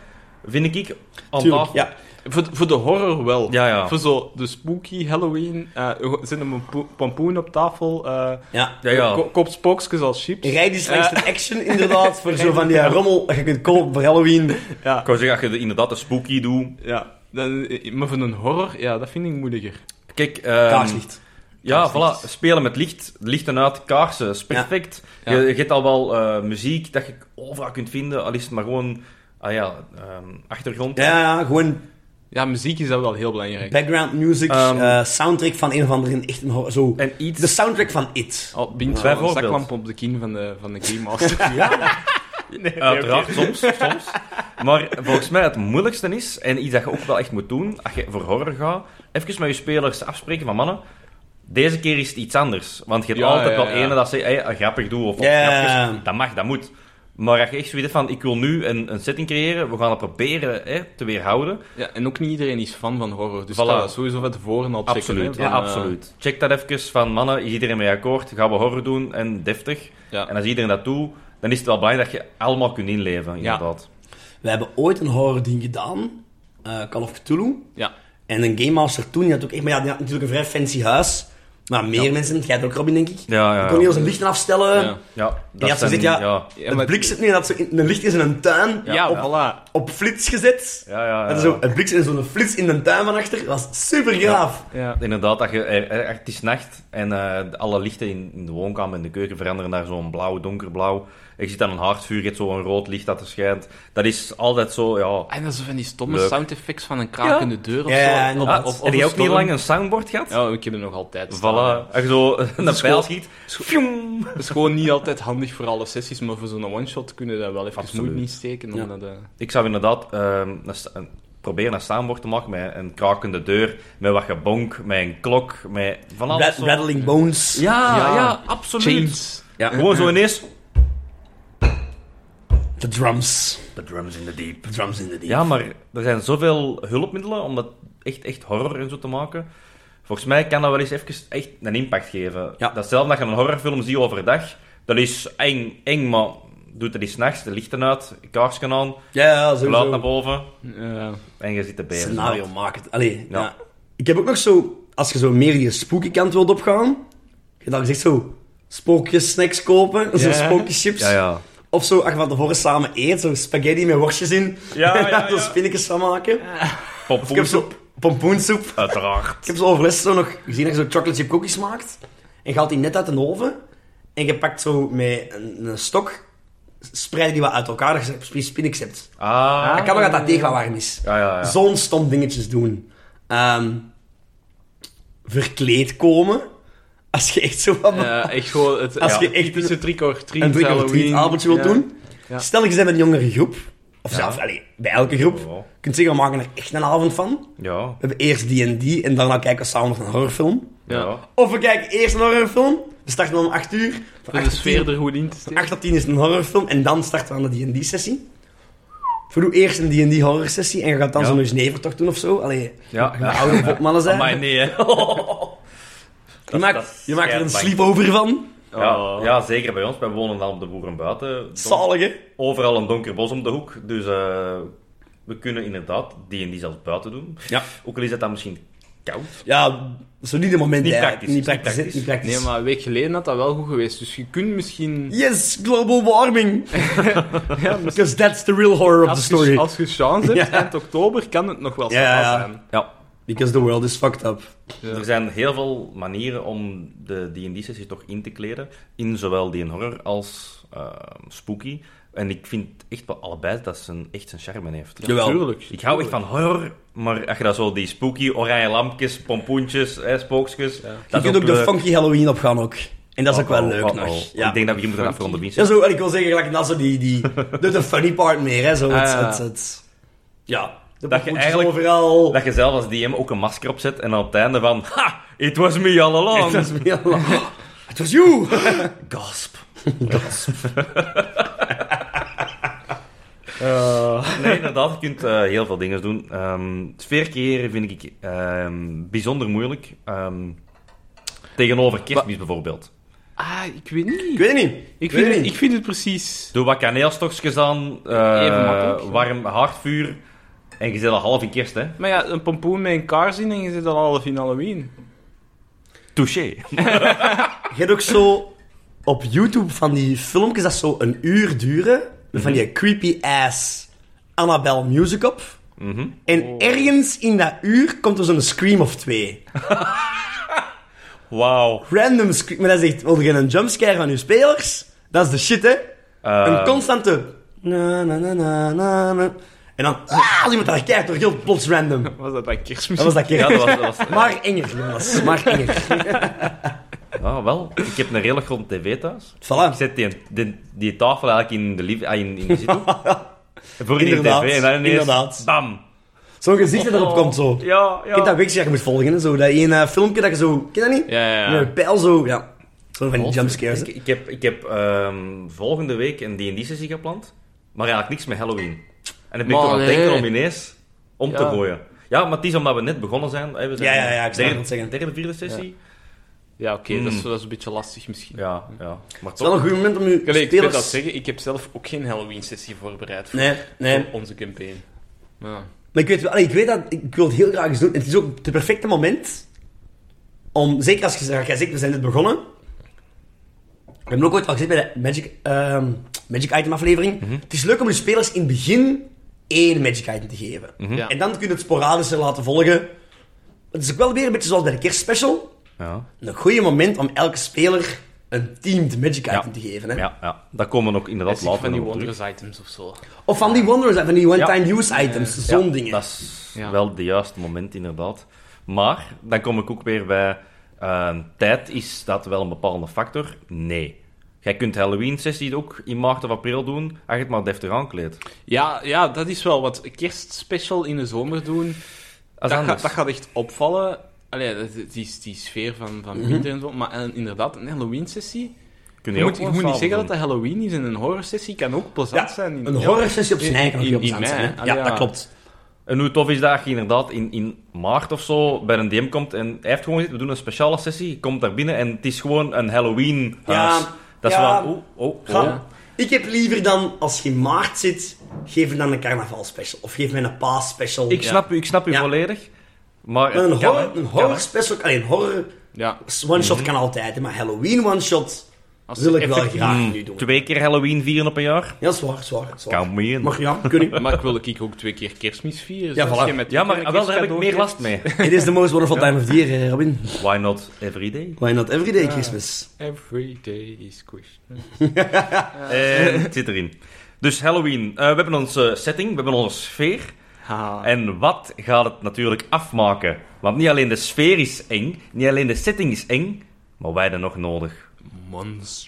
[SPEAKER 4] vind ik, aan
[SPEAKER 2] Tuurlijk,
[SPEAKER 4] tafel.
[SPEAKER 2] ja.
[SPEAKER 3] Voor, voor de horror wel.
[SPEAKER 4] Ja, ja.
[SPEAKER 3] Voor zo de spooky Halloween. eh zit een pompo- pompoen op tafel. eh
[SPEAKER 2] Ja.
[SPEAKER 4] Ja, ja.
[SPEAKER 3] ko- Koop spookjes als chips.
[SPEAKER 2] Rijd die langs de action inderdaad, voor zo van die rommel dat je kunt kopen voor Halloween.
[SPEAKER 4] Ik wou zeggen, als je de- inderdaad de spooky doet...
[SPEAKER 3] Ja. Dan, eh, maar voor een horror, ja, dat vind ik moeilijker.
[SPEAKER 4] Kijk, ehm,
[SPEAKER 2] Kaarslicht.
[SPEAKER 4] Ja,
[SPEAKER 3] Kaarslicht.
[SPEAKER 4] voilà. Spelen met licht. Lichten uit, kaarsen. is perfect.
[SPEAKER 3] Ja.
[SPEAKER 4] Je,
[SPEAKER 3] Ja.
[SPEAKER 4] je hebt al wel eh, muziek dat je overal kunt vinden. Al is het maar gewoon... Ah ja, ehm, achtergrond.
[SPEAKER 2] Ja, ja, gewoon
[SPEAKER 3] Ja, muziek is dat wel heel belangrijk.
[SPEAKER 2] background music,
[SPEAKER 4] Ehm.
[SPEAKER 2] eh, soundtrack van een of andere echt een hor- zo.
[SPEAKER 4] En iets...
[SPEAKER 2] De soundtrack van It.
[SPEAKER 3] Al bindt wel een
[SPEAKER 4] Bijvoorbeeld.
[SPEAKER 3] zaklamp op de kin van de, van de Game Master.
[SPEAKER 4] Uiteraard, soms, soms. Maar volgens mij het moeilijkste is, en iets dat je ook wel echt moet doen, als je voor horror gaat, even met je spelers afspreken van mannen, deze keer is het iets anders. Want je hebt
[SPEAKER 3] Ja,
[SPEAKER 4] altijd
[SPEAKER 3] ja,
[SPEAKER 4] wel
[SPEAKER 3] ja.
[SPEAKER 4] ene dat zegt, hey, grappig doe of of
[SPEAKER 2] Ja.
[SPEAKER 4] grapjes. Dat mag, dat moet. Maar als je echt zoiets hebt van, ik wil nu een, een setting creëren, we gaan het proberen hè, te weerhouden.
[SPEAKER 3] Ja, en ook niet iedereen is fan van horror. Dus
[SPEAKER 4] Voilà.
[SPEAKER 3] voilà. dat sowieso van tevoren al checken.
[SPEAKER 4] Absoluut,
[SPEAKER 3] hè,
[SPEAKER 4] ja,
[SPEAKER 3] van, eh,
[SPEAKER 4] absoluut. Check dat even van, mannen, is iedereen mee akkoord? Gaan we horror doen en deftig?
[SPEAKER 3] Ja.
[SPEAKER 4] En als iedereen dat doet, dan is het wel belangrijk dat je allemaal kunt inleven, inderdaad.
[SPEAKER 2] We hebben ooit een horror ding gedaan. eh Call of Cthulhu.
[SPEAKER 3] ja.
[SPEAKER 2] En een Game Master toen, die had ook echt... Maar ja, die had natuurlijk een vrij fancy huis. Maar meer mensen... Jij had ook, Robin, denk ik.
[SPEAKER 4] Ja, ja, ja.
[SPEAKER 2] kon heel zijn lichten afstellen.
[SPEAKER 3] Ja.
[SPEAKER 4] Ja,
[SPEAKER 2] En je had gezegd, ja,
[SPEAKER 3] Ja,
[SPEAKER 2] het
[SPEAKER 3] maar-
[SPEAKER 2] blik zit nu en dat zo in, een licht is in een tuin.
[SPEAKER 3] Ja,
[SPEAKER 4] Ja,
[SPEAKER 3] oh, voilà.
[SPEAKER 2] Op flits gezet.
[SPEAKER 4] Ja, ja, ja,
[SPEAKER 2] En zo, het blik zit in zo'n flits in de tuin van achter. Dat was super gaaf.
[SPEAKER 3] Ja.
[SPEAKER 4] Inderdaad, dat je, er- er- het is nacht en eh, alle lichten in, in de woonkamer en de keuken veranderen naar zo'n blauw, donkerblauw. Je ziet aan een haardvuur, je hebt zo'n rood licht dat er schijnt. Dat is altijd zo, ja...
[SPEAKER 3] Ah, En dat is zo van die stomme
[SPEAKER 4] Leuk.
[SPEAKER 3] sound effects van een krakende deur of
[SPEAKER 2] Ja, ja,
[SPEAKER 3] zo.
[SPEAKER 2] inderdaad.
[SPEAKER 3] Of- of- of
[SPEAKER 4] heb
[SPEAKER 3] een
[SPEAKER 4] je ook niet
[SPEAKER 3] storm.
[SPEAKER 4] lang een soundboard gehad?
[SPEAKER 3] Ja, ik heb er nog altijd staan.
[SPEAKER 4] Voilà. Als je zo een pijl
[SPEAKER 3] gewoon-
[SPEAKER 4] schiet,
[SPEAKER 3] Dat is gewoon niet altijd handig voor alle sessies, maar voor zo'n one-shot kunnen we dat wel even
[SPEAKER 4] Absoluut.
[SPEAKER 3] moed niet steken.
[SPEAKER 2] Ja.
[SPEAKER 3] Omdat, eh,
[SPEAKER 4] Ik zou inderdaad ehm, een sta- een- proberen een staanbord te maken met een krakende deur, met wat gebonk, met een klok, met van alles.
[SPEAKER 2] Ra-
[SPEAKER 4] zo.
[SPEAKER 2] rattling bones.
[SPEAKER 4] Ja, ja,
[SPEAKER 3] Ja.
[SPEAKER 4] absoluut.
[SPEAKER 3] Chains.
[SPEAKER 4] Ja, gewoon zo ineens.
[SPEAKER 2] De drums.
[SPEAKER 1] The drums in the deep.
[SPEAKER 2] De drums in de diep.
[SPEAKER 4] Ja, maar er zijn zoveel hulpmiddelen om dat echt, echt horror en zo te maken. Volgens mij kan dat wel eens even echt een impact geven.
[SPEAKER 2] Ja.
[SPEAKER 4] Datzelfde dat je een horrorfilm ziet overdag. Dat is eng, eng, maar doet dat eens s'nachts, de lichten uit, kaarsje aan,
[SPEAKER 2] Ja, ja,
[SPEAKER 4] geluid naar
[SPEAKER 2] sowieso.
[SPEAKER 4] boven
[SPEAKER 3] Ja.
[SPEAKER 4] en je zit te bezig.
[SPEAKER 2] Scenario maken. Allee,
[SPEAKER 4] Ja.
[SPEAKER 2] ja. Ik heb ook nog zo... Als je zo meer die spooky kant wilt opgaan... Je dan gezegd zo... Spookjes snacks kopen. Zo spookjes chips.
[SPEAKER 4] Ja, ja.
[SPEAKER 2] Of zo, als je van tevoren samen eet, zo spaghetti met worstjes in.
[SPEAKER 4] Ja, ja, ja.
[SPEAKER 2] Zo spinnetjes van maken. Of ik heb
[SPEAKER 4] Pompoensoep,
[SPEAKER 2] zo pompoensoep.
[SPEAKER 4] uiteraard.
[SPEAKER 2] Ik heb zo overlast zo nog gezien dat je zo chocolate chip cookies maakt. En je haalt die net uit de oven. En je pakt zo met een, een stok, spreid je die wat uit elkaar, dat je precies spinnetjes hebt.
[SPEAKER 4] Ah.
[SPEAKER 2] Dat kan nog dat dat deeg wat warm is.
[SPEAKER 4] Ja, ja, ja.
[SPEAKER 2] Zo'n stom dingetjes doen. Ehm, verkleed komen. Als je echt zo wat...
[SPEAKER 3] Ja, echt gewoon het
[SPEAKER 2] Als je
[SPEAKER 3] ja,
[SPEAKER 2] echt
[SPEAKER 3] typische trick or treat
[SPEAKER 2] een druk of
[SPEAKER 3] Halloween.
[SPEAKER 2] drie avondje wilt
[SPEAKER 3] Ja.
[SPEAKER 2] doen.
[SPEAKER 3] Ja.
[SPEAKER 2] Stel je bent met een jongere groep. Of zelf, allee, bij elke groep.
[SPEAKER 4] Ja.
[SPEAKER 2] Je kunt zeggen, we maken er echt een avond van.
[SPEAKER 4] Ja.
[SPEAKER 2] We hebben eerst die en die. En daarna kijken we samen naar een horrorfilm.
[SPEAKER 4] Ja.
[SPEAKER 2] Of we kijken eerst een horrorfilm. We starten om 8 uur. Van
[SPEAKER 3] Om
[SPEAKER 2] 8
[SPEAKER 3] de
[SPEAKER 2] tot 10
[SPEAKER 3] sfeer er goed in te
[SPEAKER 2] van
[SPEAKER 3] steken.
[SPEAKER 2] 8 tot 10 is een horrorfilm. En dan starten we aan de D&D sessie. Voor doe eerst een D&D horror sessie. En je gaat dan
[SPEAKER 4] Ja.
[SPEAKER 2] zo'n neusnevertocht doen of zo. Allee,
[SPEAKER 4] Ja.
[SPEAKER 2] je oude popmannen zijn.
[SPEAKER 4] Amai, nee, hè.
[SPEAKER 2] je maakt,
[SPEAKER 4] dat
[SPEAKER 2] je maakt er een
[SPEAKER 4] schijnt bang.
[SPEAKER 2] sleepover van.
[SPEAKER 4] Ja, ja, zeker bij ons. Wij wonen dan op de boeren buiten. Don-
[SPEAKER 2] Zalig, hè?
[SPEAKER 4] Overal een donker bos om de hoek. Dus eh, we kunnen inderdaad die en die zelfs buiten doen.
[SPEAKER 2] Ja.
[SPEAKER 4] Ook al is dat dan misschien koud.
[SPEAKER 2] Ja, zo niet de moment.
[SPEAKER 4] Niet
[SPEAKER 2] hè.
[SPEAKER 4] praktisch,
[SPEAKER 2] Niet
[SPEAKER 4] niet
[SPEAKER 2] praktisch. hè.
[SPEAKER 4] praktisch.
[SPEAKER 2] Niet praktisch.
[SPEAKER 3] Nee, maar een week geleden had dat wel goed geweest. Dus je kunt misschien...
[SPEAKER 2] Yes, global warming. Because that's the real horror of the
[SPEAKER 3] Als je,
[SPEAKER 2] story.
[SPEAKER 3] als je chance hebt, eind oktober, kan het nog wel
[SPEAKER 2] Ja,
[SPEAKER 3] saai
[SPEAKER 2] ja.
[SPEAKER 3] zijn.
[SPEAKER 4] Ja.
[SPEAKER 2] Because the world is fucked up.
[SPEAKER 3] Ja.
[SPEAKER 4] Er zijn heel veel manieren om de D&D-sessie toch in te kleden. In zowel die horror als eh, spooky. En ik vind echt wel allebei dat ze een, echt zijn charme heeft.
[SPEAKER 2] Jawel.
[SPEAKER 3] Tuurlijk.
[SPEAKER 4] Ik hou echt van horror, maar als je dat zo die spooky, oranje lampjes, pompoentjes, hè, spookjes...
[SPEAKER 2] Je
[SPEAKER 4] Dat
[SPEAKER 2] kunt ook de funky Halloween op gaan ook. En dat is ook wel
[SPEAKER 4] Oh,
[SPEAKER 2] leuk
[SPEAKER 4] oh,
[SPEAKER 2] nog.
[SPEAKER 4] oh.
[SPEAKER 2] Ja.
[SPEAKER 4] Ik denk dat we hier moeten afronden,
[SPEAKER 2] ja,
[SPEAKER 4] Vincent.
[SPEAKER 2] zo, ik wil zeggen, gelijk, dat zo die, die, de, de funny part meer, hè. Zo, het,
[SPEAKER 3] Ah, ja.
[SPEAKER 2] het, het- ja, de
[SPEAKER 4] Dat je
[SPEAKER 2] pompoentjes
[SPEAKER 4] eigenlijk-
[SPEAKER 2] overal...
[SPEAKER 4] Dat je zelf als DM ook een masker opzet en dan op het einde van... Ha! It was me all along!
[SPEAKER 2] Het was meer dan- Het was you!
[SPEAKER 4] Gasp. Gasp. Nee, inderdaad, je kunt eh, heel veel dingen doen. Ehm sfeer creëren vind ik ehm, bijzonder moeilijk. Ehm, tegenover kerstmis bijvoorbeeld.
[SPEAKER 3] Ah, ik weet niet.
[SPEAKER 2] Ik weet het niet.
[SPEAKER 3] Ik
[SPEAKER 2] weet
[SPEAKER 3] vind,
[SPEAKER 2] het
[SPEAKER 3] het,
[SPEAKER 2] niet.
[SPEAKER 3] ik vind het precies.
[SPEAKER 4] Doe wat kaneelstokjes aan, eh,
[SPEAKER 3] Even makkelijk, ja.
[SPEAKER 4] warm haardvuur. En je zit al half in kerst, hè?
[SPEAKER 3] Maar ja, een pompoen met een kaars in en je zit al half in Halloween.
[SPEAKER 4] Touché.
[SPEAKER 2] Je hebt ook zo op YouTube van die filmpjes dat zo een uur duren. Van
[SPEAKER 4] Mhm.
[SPEAKER 2] die creepy ass Annabelle music op.
[SPEAKER 4] Mhm.
[SPEAKER 2] En ergens in dat uur komt er zo'n scream of twee.
[SPEAKER 4] Wauw.
[SPEAKER 2] Random scream. Maar dat zegt, wil je een jumpscare van je spelers? Dat is de shit, hè?
[SPEAKER 4] Eh.
[SPEAKER 2] een constante... Na, na, na, na, na, na. En dan... Ah, iemand daar kijkt door heel plots random.
[SPEAKER 3] Was dat bij kerstmis?
[SPEAKER 2] Dat was dat keer.
[SPEAKER 4] Ja, dat was, dat was-
[SPEAKER 2] Maar enger, jongens. Maar enger.
[SPEAKER 4] ja, wel. Ik heb een hele grond tv thuis. Ik
[SPEAKER 2] Voilà.
[SPEAKER 4] zet die, die, die tafel eigenlijk in de, lief, ah, in, in de zithoek. Voor in de
[SPEAKER 2] Inderdaad,
[SPEAKER 4] tv. En dan ineens...
[SPEAKER 2] inderdaad.
[SPEAKER 4] Bam.
[SPEAKER 2] Zo'n gezicht dat
[SPEAKER 3] Oh.
[SPEAKER 2] erop komt, zo.
[SPEAKER 4] Ja, ja.
[SPEAKER 2] Ik heb dat weekje dat je moet volgen, hè, zo. Dat één eh, filmpje dat je zo... Ken je dat niet?
[SPEAKER 3] Ja, ja, ja.
[SPEAKER 2] Met een pijl zo, ja. Zo van die jumpscares.
[SPEAKER 4] Ik, ik heb, ik heb ehm, volgende week een D&D-sessie gepland, maar eigenlijk niks met Halloween. En dan ben ik
[SPEAKER 3] Maar
[SPEAKER 4] toch aan het
[SPEAKER 3] nee.
[SPEAKER 4] denken om ineens om te
[SPEAKER 3] Ja.
[SPEAKER 4] gooien. Ja, maar het is omdat we net begonnen zijn. hè, We zijn
[SPEAKER 2] Ja, ja, ja, ik snap
[SPEAKER 4] derde,
[SPEAKER 2] wat je zeggen.
[SPEAKER 4] derde, vierde sessie.
[SPEAKER 3] Ja, oké,
[SPEAKER 4] Hmm.
[SPEAKER 3] dat, is, dat is een beetje lastig misschien.
[SPEAKER 4] Ja, ja. Maar
[SPEAKER 2] Het is wel
[SPEAKER 4] toch.
[SPEAKER 2] een goed moment om je
[SPEAKER 3] Allee, ik wil dat
[SPEAKER 2] spelers...
[SPEAKER 3] zeggen, ik heb zelf ook geen Halloween-sessie voorbereid voor,
[SPEAKER 2] nee, nee.
[SPEAKER 3] voor onze campaign. Ja.
[SPEAKER 2] Maar ik weet, wel- allee, ik weet dat... Ik wil het heel graag eens doen. En het is ook het perfecte moment om... Zeker als je zegt, jij zegt, we zijn net begonnen. We hebben ook ooit al gezegd bij de Magic, ehm, Magic Item aflevering.
[SPEAKER 3] Mhm.
[SPEAKER 2] Het is leuk om je spelers in het begin één Magic Item te geven.
[SPEAKER 3] Ja.
[SPEAKER 2] En dan kun je het sporadischer laten volgen. Het is ook wel weer een beetje zoals bij de kerstspecial.
[SPEAKER 4] Ja.
[SPEAKER 2] Een goede moment om elke speler een teamed Magic
[SPEAKER 4] Ja.
[SPEAKER 2] Item te geven. Hè?
[SPEAKER 4] Ja, ja, daar komen we nog inderdaad
[SPEAKER 3] Dat
[SPEAKER 4] later
[SPEAKER 3] van die
[SPEAKER 4] nog op terug.
[SPEAKER 3] wondrous items of zo.
[SPEAKER 2] Of van die Wanderers, van die one-time use items, zo'n
[SPEAKER 4] Ja,
[SPEAKER 2] dingen.
[SPEAKER 4] Dat is
[SPEAKER 3] Ja.
[SPEAKER 4] wel het juiste moment, inderdaad. Maar, dan kom ik ook weer bij... ehm, tijd is dat wel een bepalende factor? Nee. Jij kunt Halloween-sessie ook in maart of april doen, als je het maar deftig aankleedt.
[SPEAKER 3] Ja, ja, dat is wel wat. Kerstspecial in de zomer doen,
[SPEAKER 4] Dat, is
[SPEAKER 3] dat, gaat-
[SPEAKER 4] anders.
[SPEAKER 3] dat gaat echt opvallen. Allee, dat- die, die, die sfeer van, van winter en zo. Maar eh, inderdaad, een Halloween-sessie...
[SPEAKER 4] Kun
[SPEAKER 3] Je moet,
[SPEAKER 4] ook
[SPEAKER 3] je
[SPEAKER 4] wel
[SPEAKER 3] moet niet
[SPEAKER 4] s'avonds
[SPEAKER 3] zeggen dat
[SPEAKER 4] doen.
[SPEAKER 3] dat Halloween is en een horror-sessie kan ook plezant
[SPEAKER 2] Ja,
[SPEAKER 3] zijn. in-
[SPEAKER 2] een
[SPEAKER 3] ja.
[SPEAKER 2] horror-sessie op zijn
[SPEAKER 3] In-
[SPEAKER 2] eigen kan ook
[SPEAKER 3] in-
[SPEAKER 2] heel
[SPEAKER 3] in
[SPEAKER 2] plezant
[SPEAKER 3] mei,
[SPEAKER 2] zijn. hè.
[SPEAKER 3] ah,
[SPEAKER 2] Ja,
[SPEAKER 3] ja.
[SPEAKER 2] dat klopt.
[SPEAKER 4] En hoe tof is dat je inderdaad in, in maart of zo bij een DM komt en hij heeft gewoon gezegd, we doen een speciale sessie, je komt daar binnen en het is gewoon een Halloween-huis.
[SPEAKER 2] Ja,
[SPEAKER 4] dat is
[SPEAKER 2] ja.
[SPEAKER 4] wel... Oh, oh,
[SPEAKER 2] Ga-
[SPEAKER 4] oh.
[SPEAKER 2] Ik heb liever dan, als je in maart zit, geef me dan een carnavalspecial. Of geef me een paasspecial.
[SPEAKER 4] Ik snap u, ik snap u
[SPEAKER 2] Ja.
[SPEAKER 4] volledig. Maar
[SPEAKER 2] Maar
[SPEAKER 4] het
[SPEAKER 2] een
[SPEAKER 4] kan, hè.
[SPEAKER 2] horror, een horror special, allee, een horror
[SPEAKER 3] Ja,
[SPEAKER 2] one-shot kan altijd, hè, maar Halloween one-shot
[SPEAKER 3] als
[SPEAKER 2] wil ik
[SPEAKER 3] effect-
[SPEAKER 2] wel graag nu
[SPEAKER 4] Mm,
[SPEAKER 2] doen.
[SPEAKER 4] Twee keer Halloween vieren op een jaar?
[SPEAKER 2] Ja, zwaar, zwaar, zwaar.
[SPEAKER 4] Kan me in.
[SPEAKER 2] Maar ja, kun je.
[SPEAKER 3] Maar ik wil ik ook twee keer kerstmis vieren.
[SPEAKER 2] Ja,
[SPEAKER 3] zoals
[SPEAKER 2] voilà.
[SPEAKER 3] je met
[SPEAKER 4] Ja, maar wel,
[SPEAKER 3] een
[SPEAKER 4] daar heb ik
[SPEAKER 3] kerstcadeau
[SPEAKER 4] meer
[SPEAKER 3] geeft.
[SPEAKER 4] last mee.
[SPEAKER 2] It is the most wonderful time of the year, eh, Robin.
[SPEAKER 4] Why not every day?
[SPEAKER 2] Why not everyday Christmas?
[SPEAKER 3] Every day is Christmas.
[SPEAKER 4] Eh, het zit erin. Dus Halloween. Eh, we hebben onze setting, we hebben onze sfeer.
[SPEAKER 3] Ha.
[SPEAKER 4] En wat gaat het natuurlijk afmaken? Want niet alleen de sfeer is eng, niet alleen de setting is eng, maar wij hebben nog nodig.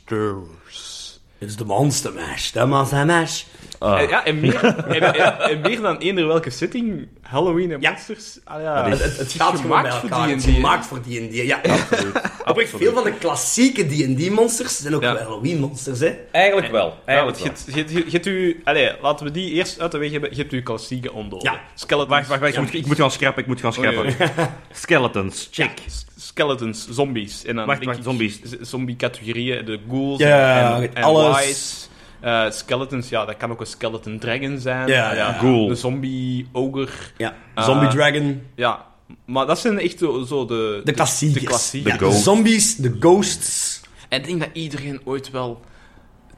[SPEAKER 3] Monsters.
[SPEAKER 2] It's the monster mash, the monster mash.
[SPEAKER 4] Ah,
[SPEAKER 3] Eh, Ja, en meer, en, en- en meer dan eender welke setting, Halloween en
[SPEAKER 2] Ja.
[SPEAKER 3] monsters. Ah, ja.
[SPEAKER 4] Dat
[SPEAKER 2] Het,
[SPEAKER 4] is-
[SPEAKER 2] het, het
[SPEAKER 3] is
[SPEAKER 2] gaat gewoon bij
[SPEAKER 3] gemaakt voor
[SPEAKER 2] elkaar. Het is
[SPEAKER 3] D&D, hè?
[SPEAKER 2] gemaakt voor D&D. Ja, oprecht veel van de klassieke D&D-monsters zijn ook
[SPEAKER 3] Ja.
[SPEAKER 2] wel Halloween-monsters, hè.
[SPEAKER 4] Eigenlijk wel.
[SPEAKER 3] Ja, want
[SPEAKER 4] Eigenlijk
[SPEAKER 3] je
[SPEAKER 4] wel.
[SPEAKER 3] hebt- je hebt- je hebt- je hebt u... Allee, laten we die eerst uit de weg hebben. Je hebt uw klassieke ondoden.
[SPEAKER 2] Ja.
[SPEAKER 3] Skeletons.
[SPEAKER 4] Wacht, wacht, wacht. Ik, moet, ik moet gaan schrappen, ik moet gaan schrappen.
[SPEAKER 3] Oei,
[SPEAKER 4] Skeletons, check.
[SPEAKER 3] Ja, s- skeletons, zombies. En dan
[SPEAKER 4] Wacht,
[SPEAKER 3] denk
[SPEAKER 4] wacht,
[SPEAKER 3] ik
[SPEAKER 4] zombies.
[SPEAKER 3] z- Zombie-categorieën, de ghouls
[SPEAKER 2] Ja,
[SPEAKER 3] en, en
[SPEAKER 2] alles.
[SPEAKER 3] wise. Eh, skeletons, ja, dat kan ook een skeleton dragon zijn.
[SPEAKER 2] Ja,
[SPEAKER 3] Ah,
[SPEAKER 2] ja.
[SPEAKER 4] Ghoul.
[SPEAKER 3] Een zombie-ogre.
[SPEAKER 2] Ja.
[SPEAKER 3] Ah.
[SPEAKER 2] Zombie Dragon,
[SPEAKER 3] Ja, maar dat zijn echt zo zo de...
[SPEAKER 2] de klassiekers.
[SPEAKER 3] De klassiekers.
[SPEAKER 2] Ja,
[SPEAKER 4] De ghosts.
[SPEAKER 2] zombies, de ghosts.
[SPEAKER 3] En ik denk dat iedereen ooit wel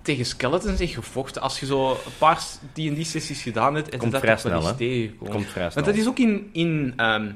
[SPEAKER 3] tegen skeletons heeft gevochten. Als je zo een paar D&D-sessies gedaan hebt... En
[SPEAKER 4] Komt
[SPEAKER 3] dat
[SPEAKER 4] vrij
[SPEAKER 3] toch wel
[SPEAKER 4] snel,
[SPEAKER 3] eens
[SPEAKER 4] hè?
[SPEAKER 3] tegengekomen.
[SPEAKER 4] Komt vrij snel.
[SPEAKER 3] Want dat is ook in, in ehm,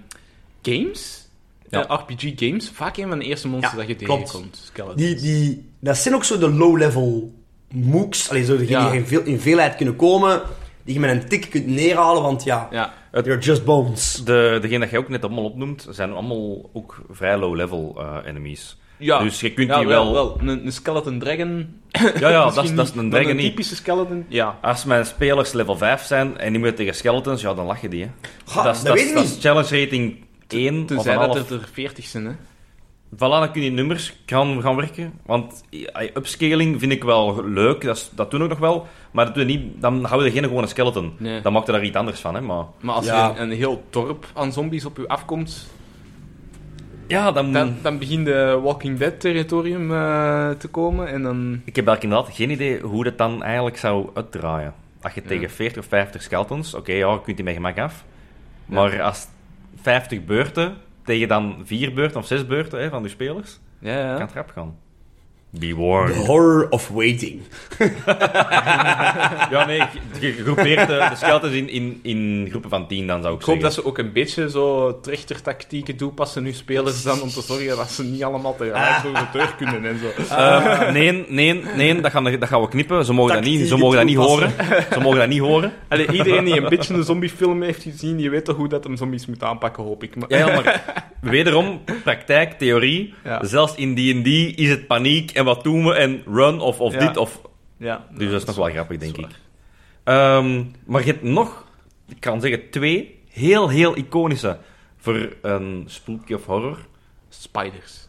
[SPEAKER 3] games...
[SPEAKER 4] Ja.
[SPEAKER 3] eh, RPG-games, vaak een van de eerste monsters
[SPEAKER 2] Ja,
[SPEAKER 3] dat je
[SPEAKER 2] klopt.
[SPEAKER 3] tegenkomt. Skeletons.
[SPEAKER 2] Die, die, dat zijn ook zo de low-level mooks. Allee, zo degenen
[SPEAKER 3] Ja.
[SPEAKER 2] die in, veel, in veelheid kunnen komen, die je met een tik kunt neerhalen, want ja,
[SPEAKER 3] Ja,
[SPEAKER 2] you're just bones.
[SPEAKER 4] De, degene dat jij ook net allemaal opnoemt, zijn allemaal ook vrij low-level eh, enemies.
[SPEAKER 3] Ja.
[SPEAKER 4] Dus je kunt
[SPEAKER 3] Ja,
[SPEAKER 4] die
[SPEAKER 3] wel,
[SPEAKER 4] wel...
[SPEAKER 3] wel. Een, een skeleton dragon.
[SPEAKER 4] Ja, ja, dat is,
[SPEAKER 3] Misschien
[SPEAKER 4] dat is een
[SPEAKER 3] niet,
[SPEAKER 4] dragon
[SPEAKER 3] maar Een
[SPEAKER 4] niet.
[SPEAKER 3] typische skeleton. Ja.
[SPEAKER 4] Als mijn spelers level 5 zijn en die moeten tegen skeletons, ja, dan lach je die, hè.
[SPEAKER 2] Ha,
[SPEAKER 4] is-
[SPEAKER 2] dat
[SPEAKER 4] is-
[SPEAKER 2] weet ik
[SPEAKER 4] is
[SPEAKER 2] niet.
[SPEAKER 4] challenge rating 1 of een
[SPEAKER 3] Tenzij dat
[SPEAKER 4] half.
[SPEAKER 3] het er 40 zijn, hè.
[SPEAKER 4] Voilà, dan kun je nummers gaan, gaan werken. Want eh, upscaling vind ik wel leuk, dat, is- dat doen we nog wel. Maar dat doen we niet, dan houden we geen gewone skeleton.
[SPEAKER 3] Nee.
[SPEAKER 4] Dan maakt er daar iets anders van, hè. Maar...
[SPEAKER 3] Maar als
[SPEAKER 2] Ja.
[SPEAKER 3] er een, een heel dorp aan zombies op u afkomt,
[SPEAKER 4] Ja, dan...
[SPEAKER 3] dan, dan begint de Walking Dead-territorium eh, te komen. En dan...
[SPEAKER 4] Ik heb eigenlijk inderdaad geen idee hoe dat dan eigenlijk zou uitdraaien. Als je tegen 40 of 50 skeletons, oké, ja, je kunt die met gemak af. Maar als 50 beurten tegen dan 4 beurten of 6 beurten hè, van de spelers,
[SPEAKER 3] Ja, ja.
[SPEAKER 4] kan het rap gaan. Be
[SPEAKER 2] The
[SPEAKER 4] warned.
[SPEAKER 2] horror of waiting.
[SPEAKER 4] Ja, nee, ge- ge- gegroepeerd eh, de skeletons in, in, in groepen van 10, dan zou ik,
[SPEAKER 3] Ik hoop dat
[SPEAKER 4] zeggen.
[SPEAKER 3] ze ook een beetje zo trechtertactieken toepassen nu spelers dan, om te zorgen dat ze niet allemaal tegelijk door de deur kunnen en zo.
[SPEAKER 4] Eh, nee, nee, nee, dat gaan, dat gaan we knippen. Ze mogen, dat niet, ze
[SPEAKER 2] Tactieken
[SPEAKER 4] mogen dat niet horen.
[SPEAKER 2] toepassen.
[SPEAKER 4] Ze mogen dat niet horen.
[SPEAKER 3] Allee, iedereen die een beetje een zombiefilm heeft gezien, die weet toch hoe dat hem zombies moet aanpakken, hoop ik. Maar...
[SPEAKER 4] Ja, ja, maar wederom, praktijk, theorie.
[SPEAKER 3] Ja.
[SPEAKER 4] Zelfs in D&D is het paniek en wat doen we en run of, of
[SPEAKER 3] Ja.
[SPEAKER 4] dit of...
[SPEAKER 3] Ja,
[SPEAKER 4] Dus dat is nog wel grappig, denk
[SPEAKER 3] dat
[SPEAKER 4] ik.
[SPEAKER 3] is
[SPEAKER 4] Ehm, maar je hebt nog, ik kan zeggen, twee heel, heel iconische voor een spooky of horror.
[SPEAKER 3] Spiders.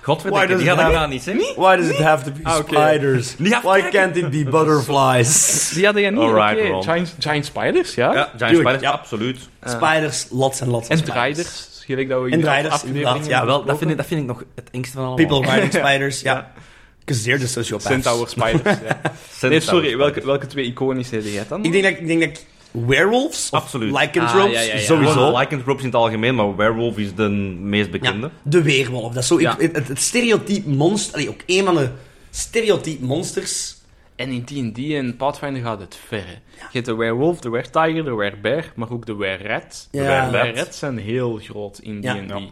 [SPEAKER 4] Godverdikke,
[SPEAKER 2] Why
[SPEAKER 4] die
[SPEAKER 2] does
[SPEAKER 4] had
[SPEAKER 2] it
[SPEAKER 4] ik
[SPEAKER 2] have-
[SPEAKER 4] daar niet, hè?
[SPEAKER 2] Why does it have to be
[SPEAKER 3] Ah, oké.
[SPEAKER 2] spiders?
[SPEAKER 4] Ja,
[SPEAKER 2] Why
[SPEAKER 4] kijk.
[SPEAKER 2] can't it be butterflies?
[SPEAKER 3] Die hadden jij niet,
[SPEAKER 4] Alright,
[SPEAKER 3] oké.
[SPEAKER 4] Ron.
[SPEAKER 3] Giant, giant spiders, ja.
[SPEAKER 4] Ja, Giant
[SPEAKER 2] Tuurlijk,
[SPEAKER 4] Spiders,
[SPEAKER 2] ja.
[SPEAKER 4] absoluut.
[SPEAKER 2] spiders, lots en lots
[SPEAKER 3] En
[SPEAKER 2] van spiders.
[SPEAKER 3] draiders. Gelijk dat we
[SPEAKER 2] En
[SPEAKER 3] hier
[SPEAKER 2] draiders,
[SPEAKER 3] afleveringen
[SPEAKER 2] inderdaad, ja,
[SPEAKER 4] Wel, dat
[SPEAKER 3] besproken.
[SPEAKER 4] vind, ik, dat vind ik nog het engste van allemaal.
[SPEAKER 2] People riding spiders, ja. Because they're the sociopaths.
[SPEAKER 3] Centaur spiders, ja.
[SPEAKER 4] Centaur
[SPEAKER 3] Nee, sorry,
[SPEAKER 4] Spiders.
[SPEAKER 3] welke, welke twee iconische heb jij dan?
[SPEAKER 2] Ik denk dat ik, denk dat ik werewolves, of
[SPEAKER 4] Absoluut.
[SPEAKER 2] lycanthropes,
[SPEAKER 3] Ah, ja, ja, ja.
[SPEAKER 2] sowieso.
[SPEAKER 4] Gewoon lycanthropes in het algemeen, maar werewolf is de meest bekende.
[SPEAKER 2] Ja, de weerwolf. Dat is zo, ik-
[SPEAKER 3] Ja.
[SPEAKER 2] het, het stereotype monster, allee, ook een van de stereotype monsters.
[SPEAKER 3] En in D&D en Pathfinder gaat het verre. Je hebt de werewolf, de weretiger, de werebear, maar ook de wereret.
[SPEAKER 2] Ja.
[SPEAKER 3] De wererats zijn heel groot in D&D.
[SPEAKER 2] Ja.
[SPEAKER 3] Eh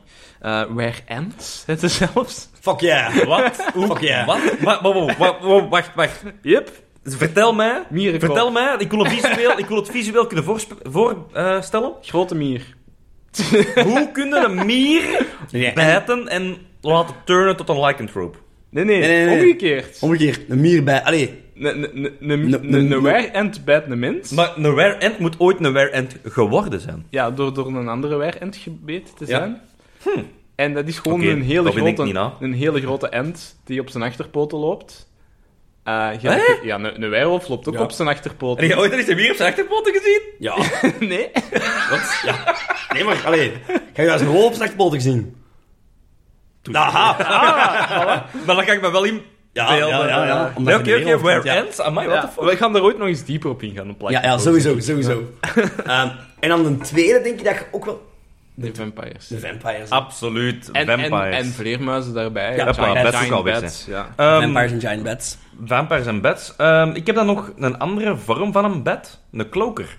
[SPEAKER 3] werent, het is zelfs.
[SPEAKER 2] Fuck yeah.
[SPEAKER 4] Wat? Oeh,
[SPEAKER 2] Fuck yeah.
[SPEAKER 4] Wat? Wa- wa- wa- wa- wa- Wacht, wacht.
[SPEAKER 3] Yep.
[SPEAKER 4] Dus Vertel mij.
[SPEAKER 3] Mierenkop.
[SPEAKER 4] Vertel mij. Ik wil het visueel, ik wil het visueel kunnen voorstellen. Voor, eh, stellen.
[SPEAKER 3] Grote mier.
[SPEAKER 4] Hoe kunnen een mier
[SPEAKER 2] Eh,
[SPEAKER 4] bijten en laten turnen tot een lycanthrope?
[SPEAKER 3] Nee, nee,
[SPEAKER 2] Nee, nee, nee.
[SPEAKER 3] omgekeerd.
[SPEAKER 2] Omgekeerd, een mier bij. Allee,
[SPEAKER 3] Ne- ne- ne- ne-
[SPEAKER 2] Ne- ne-
[SPEAKER 3] ne-
[SPEAKER 2] ne-
[SPEAKER 3] Een werent bijt een mens.
[SPEAKER 4] Maar een werend moet ooit een werend geworden zijn.
[SPEAKER 3] Ja, door, door een andere werent gebeten te
[SPEAKER 4] Ja.
[SPEAKER 3] zijn. En Hm. dat is gewoon
[SPEAKER 4] Oké,
[SPEAKER 3] een, hele
[SPEAKER 4] dat vind ik
[SPEAKER 3] grote,
[SPEAKER 4] niet, na.
[SPEAKER 3] een hele grote ent die op zijn achterpoten loopt. Eh, ja, ja, een, een werwolf loopt ook
[SPEAKER 2] Ja.
[SPEAKER 3] op zijn achterpoten.
[SPEAKER 4] Heb je ooit al eens een mier op zijn achterpoten gezien?
[SPEAKER 2] ja.
[SPEAKER 3] nee.
[SPEAKER 2] Wat? Ja. Nee, maar allee. Ga je daar zijn wolf straks botig zien? Aha.
[SPEAKER 4] Maar dan kan ik me wel in
[SPEAKER 2] Ja, ja, ja. ja,
[SPEAKER 4] ja.
[SPEAKER 2] Omdat
[SPEAKER 4] Nee,
[SPEAKER 2] je
[SPEAKER 4] oké,
[SPEAKER 2] een
[SPEAKER 4] oké,
[SPEAKER 2] wereld bent, ja.
[SPEAKER 4] werend. Amai, what the
[SPEAKER 3] Ja,
[SPEAKER 4] fuck?
[SPEAKER 3] we gaan daar ooit nog eens dieper op ingaan. Op
[SPEAKER 2] Ja,
[SPEAKER 4] Oh,
[SPEAKER 2] ja, sowieso, sowieso. Ehm, en dan een tweede denk ik dat je ook wel...
[SPEAKER 3] De vampires.
[SPEAKER 2] De vampires.
[SPEAKER 4] Ah, Absoluut,
[SPEAKER 3] En, en,
[SPEAKER 4] vampires.
[SPEAKER 3] en vleermuizen daarbij.
[SPEAKER 2] Ja,
[SPEAKER 3] Giant-
[SPEAKER 2] maar
[SPEAKER 3] giant
[SPEAKER 4] bats ook al weg
[SPEAKER 3] bats, ja.
[SPEAKER 4] Ehm,
[SPEAKER 2] vampires en giant bats.
[SPEAKER 4] Vampires en beds. Ehm, ik heb dan nog een andere vorm van een bed. Een kloker.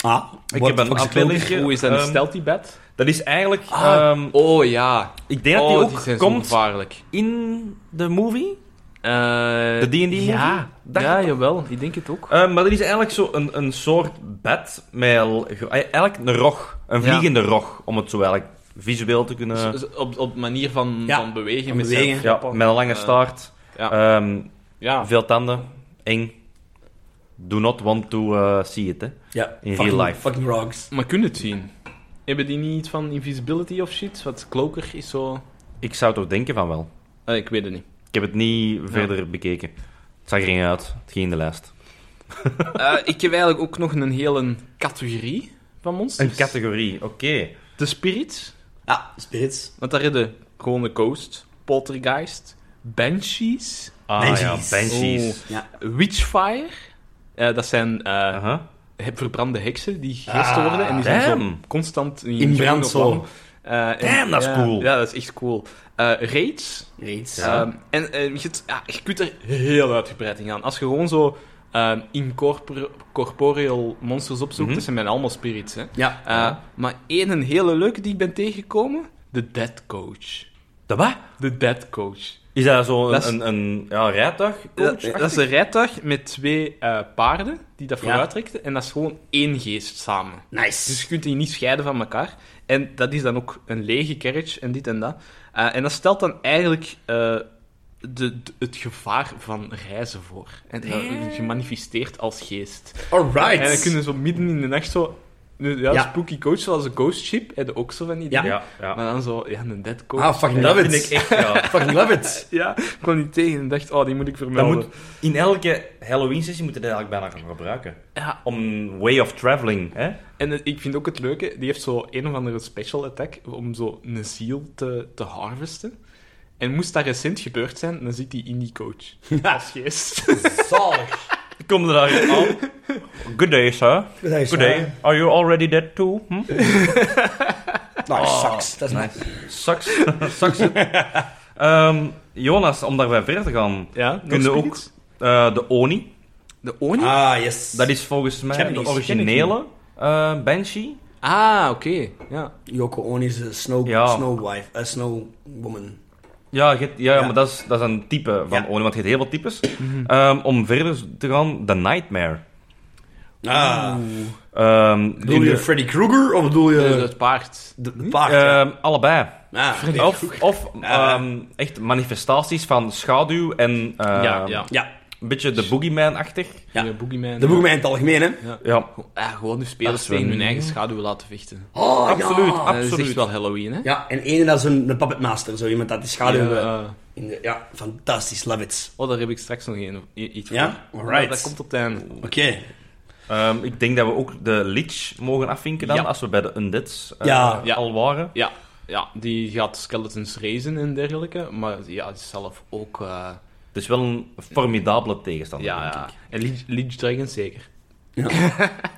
[SPEAKER 2] Ah,
[SPEAKER 4] Ik
[SPEAKER 2] what
[SPEAKER 4] heb
[SPEAKER 2] the
[SPEAKER 4] een
[SPEAKER 2] fuck is
[SPEAKER 4] appel-
[SPEAKER 2] cloaking?
[SPEAKER 4] Ja,
[SPEAKER 3] Hoe is dat? Een
[SPEAKER 4] ehm,
[SPEAKER 3] stealthy bat?
[SPEAKER 4] Dat is eigenlijk...
[SPEAKER 2] Ah.
[SPEAKER 4] ehm,
[SPEAKER 3] Oh ja.
[SPEAKER 4] ik denk dat
[SPEAKER 3] oh,
[SPEAKER 4] die
[SPEAKER 3] die
[SPEAKER 4] ook
[SPEAKER 3] zijn
[SPEAKER 4] komt
[SPEAKER 3] zo gevaarlijk.
[SPEAKER 4] in de movie.
[SPEAKER 3] De
[SPEAKER 4] De D&D
[SPEAKER 3] Ja,
[SPEAKER 4] movie? Dacht
[SPEAKER 3] ja
[SPEAKER 4] ik.
[SPEAKER 3] jawel. Ik denk het ook.
[SPEAKER 4] Ehm, maar dat is eigenlijk zo een, een soort bed met... l- ge- eh, Eigenlijk een rog. Een
[SPEAKER 3] Ja.
[SPEAKER 4] vliegende rog. Om het zo eigenlijk visueel te kunnen...
[SPEAKER 3] Z- z- op, op manier van,
[SPEAKER 2] Ja,
[SPEAKER 3] van bewegen.
[SPEAKER 2] van
[SPEAKER 3] met zijn
[SPEAKER 2] bewegen.
[SPEAKER 4] ja,
[SPEAKER 3] grappen.
[SPEAKER 4] met een lange
[SPEAKER 3] Eh,
[SPEAKER 4] staart.
[SPEAKER 3] ja. Ah.
[SPEAKER 4] Ehm,
[SPEAKER 3] ja.
[SPEAKER 4] Veel tanden. Eng. Do not want to eh, see it, hè.
[SPEAKER 2] Ja,
[SPEAKER 4] In
[SPEAKER 2] fucking-
[SPEAKER 4] real life.
[SPEAKER 2] Fucking rocks.
[SPEAKER 3] Maar kun je het zien? Hebben die niet iets van invisibility of shit? Wat kloker is zo...
[SPEAKER 4] Ik zou toch denken van wel.
[SPEAKER 3] Eh, ik weet het niet.
[SPEAKER 4] Ik heb het niet verder bekeken. Het zag er niet uit. Het ging in de lijst.
[SPEAKER 3] Eh, ik heb eigenlijk ook nog een hele categorie van monsters.
[SPEAKER 4] Een categorie, oké.
[SPEAKER 3] De spirits.
[SPEAKER 2] Ja, spirits.
[SPEAKER 3] Want daar hebben gewoon de ghost, poltergeist, banshees,
[SPEAKER 4] Ah
[SPEAKER 2] Banshees.
[SPEAKER 4] ja, Banshees.
[SPEAKER 3] witchfire. Eh, dat zijn eh,
[SPEAKER 4] Aha.
[SPEAKER 3] heb- verbrande heksen die geesten
[SPEAKER 2] Ah,
[SPEAKER 3] worden. En die zijn zo
[SPEAKER 4] damn.
[SPEAKER 3] constant in,
[SPEAKER 2] In
[SPEAKER 3] groen
[SPEAKER 2] brand
[SPEAKER 3] of
[SPEAKER 2] zo.
[SPEAKER 3] blauw. Eh, en-
[SPEAKER 4] Damn, dat is
[SPEAKER 3] ja,
[SPEAKER 4] cool.
[SPEAKER 3] Ja, dat is echt cool. Eh, raids.
[SPEAKER 2] Reeds.
[SPEAKER 4] Ja.
[SPEAKER 3] Ehm, en eh, je, hebt- ja, je kunt er heel uitgebreid in gaan. Als je gewoon zo ehm incorpore- corporeal monsters opzoekt,
[SPEAKER 4] Mhm.
[SPEAKER 3] dat zijn bijna allemaal spirits. Hè.
[SPEAKER 2] Ja.
[SPEAKER 3] Eh, Maar één een hele leuke die ik ben tegengekomen, de Dead Coach.
[SPEAKER 4] Dat wat?
[SPEAKER 3] De Dead Coach.
[SPEAKER 4] Is dat zo'n
[SPEAKER 3] Dat is-
[SPEAKER 4] een, een ja, rijtuig?
[SPEAKER 3] Dat, dat is een rijtuig met twee eh, paarden die dat
[SPEAKER 2] Ja.
[SPEAKER 3] vooruit trekken. En dat is gewoon één geest samen. Dus
[SPEAKER 2] Nice.
[SPEAKER 3] je kunt die niet scheiden van elkaar. En dat is dan ook een lege carriage en dit en dat. Eh, en dat stelt dan eigenlijk eh, de, de- het gevaar van reizen voor. En dat wordt gemanifesteerd als geest. En dan
[SPEAKER 2] Alright.
[SPEAKER 3] kunnen zo midden in de nacht zo... Ja,
[SPEAKER 2] Ja.
[SPEAKER 3] spooky coach, zoals een ghost ship. En ook zo van die
[SPEAKER 2] Ja.
[SPEAKER 3] dingen.
[SPEAKER 4] Ja, ja.
[SPEAKER 3] Maar dan zo, ja, een dead coach.
[SPEAKER 2] Ah, fucking
[SPEAKER 4] dat
[SPEAKER 2] love
[SPEAKER 4] vind ik
[SPEAKER 2] it.
[SPEAKER 4] echt, ja.
[SPEAKER 2] Fucking love it.
[SPEAKER 3] Ja, ik kwam die tegen en dacht, oh, die moet ik
[SPEAKER 4] Dat
[SPEAKER 3] vermelden.
[SPEAKER 4] moet, in elke Halloween-sessie moeten we dat eigenlijk bijna gaan gebruiken.
[SPEAKER 3] Ja.
[SPEAKER 4] Om way of traveling, hè?
[SPEAKER 3] En het- ik vind ook het leuke, die heeft zo een of andere special attack om zo een ziel te, te harvesten. En moest dat recent gebeurd zijn, dan zit die in die coach. Als geest.
[SPEAKER 2] Zalig.
[SPEAKER 4] Kom er daar aan. Good day, sir.
[SPEAKER 2] day,
[SPEAKER 4] Good
[SPEAKER 2] sir.
[SPEAKER 4] day. Are you already dead too? Hm?
[SPEAKER 2] Nou,
[SPEAKER 4] Oh.
[SPEAKER 2] sucks. Dat is nice.
[SPEAKER 4] Sucks. Sucks. Ehm, Jonas, om daarbij verder te gaan.
[SPEAKER 3] Ja, nog
[SPEAKER 4] Kunnen ook
[SPEAKER 3] spirits?
[SPEAKER 4] eh, de Oni.
[SPEAKER 3] De Oni?
[SPEAKER 2] Ah, yes.
[SPEAKER 4] Dat is volgens mij
[SPEAKER 2] Ken ik niet,
[SPEAKER 4] de originele eh Banshee.
[SPEAKER 3] Ah, oké. Ja.
[SPEAKER 2] Yoko Ono is een snow,
[SPEAKER 4] Ja.
[SPEAKER 2] snow wife, eh, snow woman.
[SPEAKER 4] Ja, je hebt- ja,
[SPEAKER 2] Ja.
[SPEAKER 4] maar dat is, dat is een type van
[SPEAKER 2] Ja.
[SPEAKER 4] Oni, want je hebt heel veel types. Ehm, om verder te gaan, The Nightmare.
[SPEAKER 2] Ah.
[SPEAKER 4] Ehm, in
[SPEAKER 2] Bedoel je
[SPEAKER 4] de-
[SPEAKER 2] Freddy Krueger of bedoel
[SPEAKER 3] Dus
[SPEAKER 2] je
[SPEAKER 3] het paard.
[SPEAKER 2] de, de paard? ja?
[SPEAKER 4] ehm, allebei.
[SPEAKER 2] ah, Freddy
[SPEAKER 4] Of, of
[SPEAKER 2] Ja.
[SPEAKER 4] ehm, echt manifestaties van schaduw en eh,
[SPEAKER 3] Ja, ja.
[SPEAKER 2] Ja.
[SPEAKER 4] Een beetje de boogeyman-achtig.
[SPEAKER 2] Ja.
[SPEAKER 3] Ja, Boogeyman.
[SPEAKER 2] De boegmein in het algemeen, hè?
[SPEAKER 4] Ja,
[SPEAKER 3] Ja, gewoon de spelers
[SPEAKER 4] Dat is wel-
[SPEAKER 3] tegen hun eigen schaduw laten vechten.
[SPEAKER 2] Oh,
[SPEAKER 4] absoluut,
[SPEAKER 2] Ja,
[SPEAKER 3] Dat is echt
[SPEAKER 4] absoluut.
[SPEAKER 3] wel Halloween, hè?
[SPEAKER 2] ja en ene dat is een, een puppetmaster, zo iemand dat die schaduw...
[SPEAKER 3] Ja,
[SPEAKER 2] eh,
[SPEAKER 3] eh,
[SPEAKER 2] in de, ja, fantastisch, love it.
[SPEAKER 3] oh, daar heb ik straks nog een, i- iets voor.
[SPEAKER 2] Ja?
[SPEAKER 3] Maar
[SPEAKER 2] Alright.
[SPEAKER 3] dat komt op het einde.
[SPEAKER 2] Oké.
[SPEAKER 4] Ehm, ik denk dat we ook de Lich mogen afvinken dan,
[SPEAKER 3] Ja.
[SPEAKER 4] als we bij de Undeads eh,
[SPEAKER 2] Ja.
[SPEAKER 3] Ja.
[SPEAKER 4] al waren.
[SPEAKER 3] Ja, ja, die gaat skeletons razen en dergelijke, maar ja, zelf ook... eh,
[SPEAKER 4] Het is wel een formidabele tegenstander,
[SPEAKER 3] ja,
[SPEAKER 4] denk
[SPEAKER 3] ja.
[SPEAKER 4] ik.
[SPEAKER 3] En Leech, Leech Dragon zeker.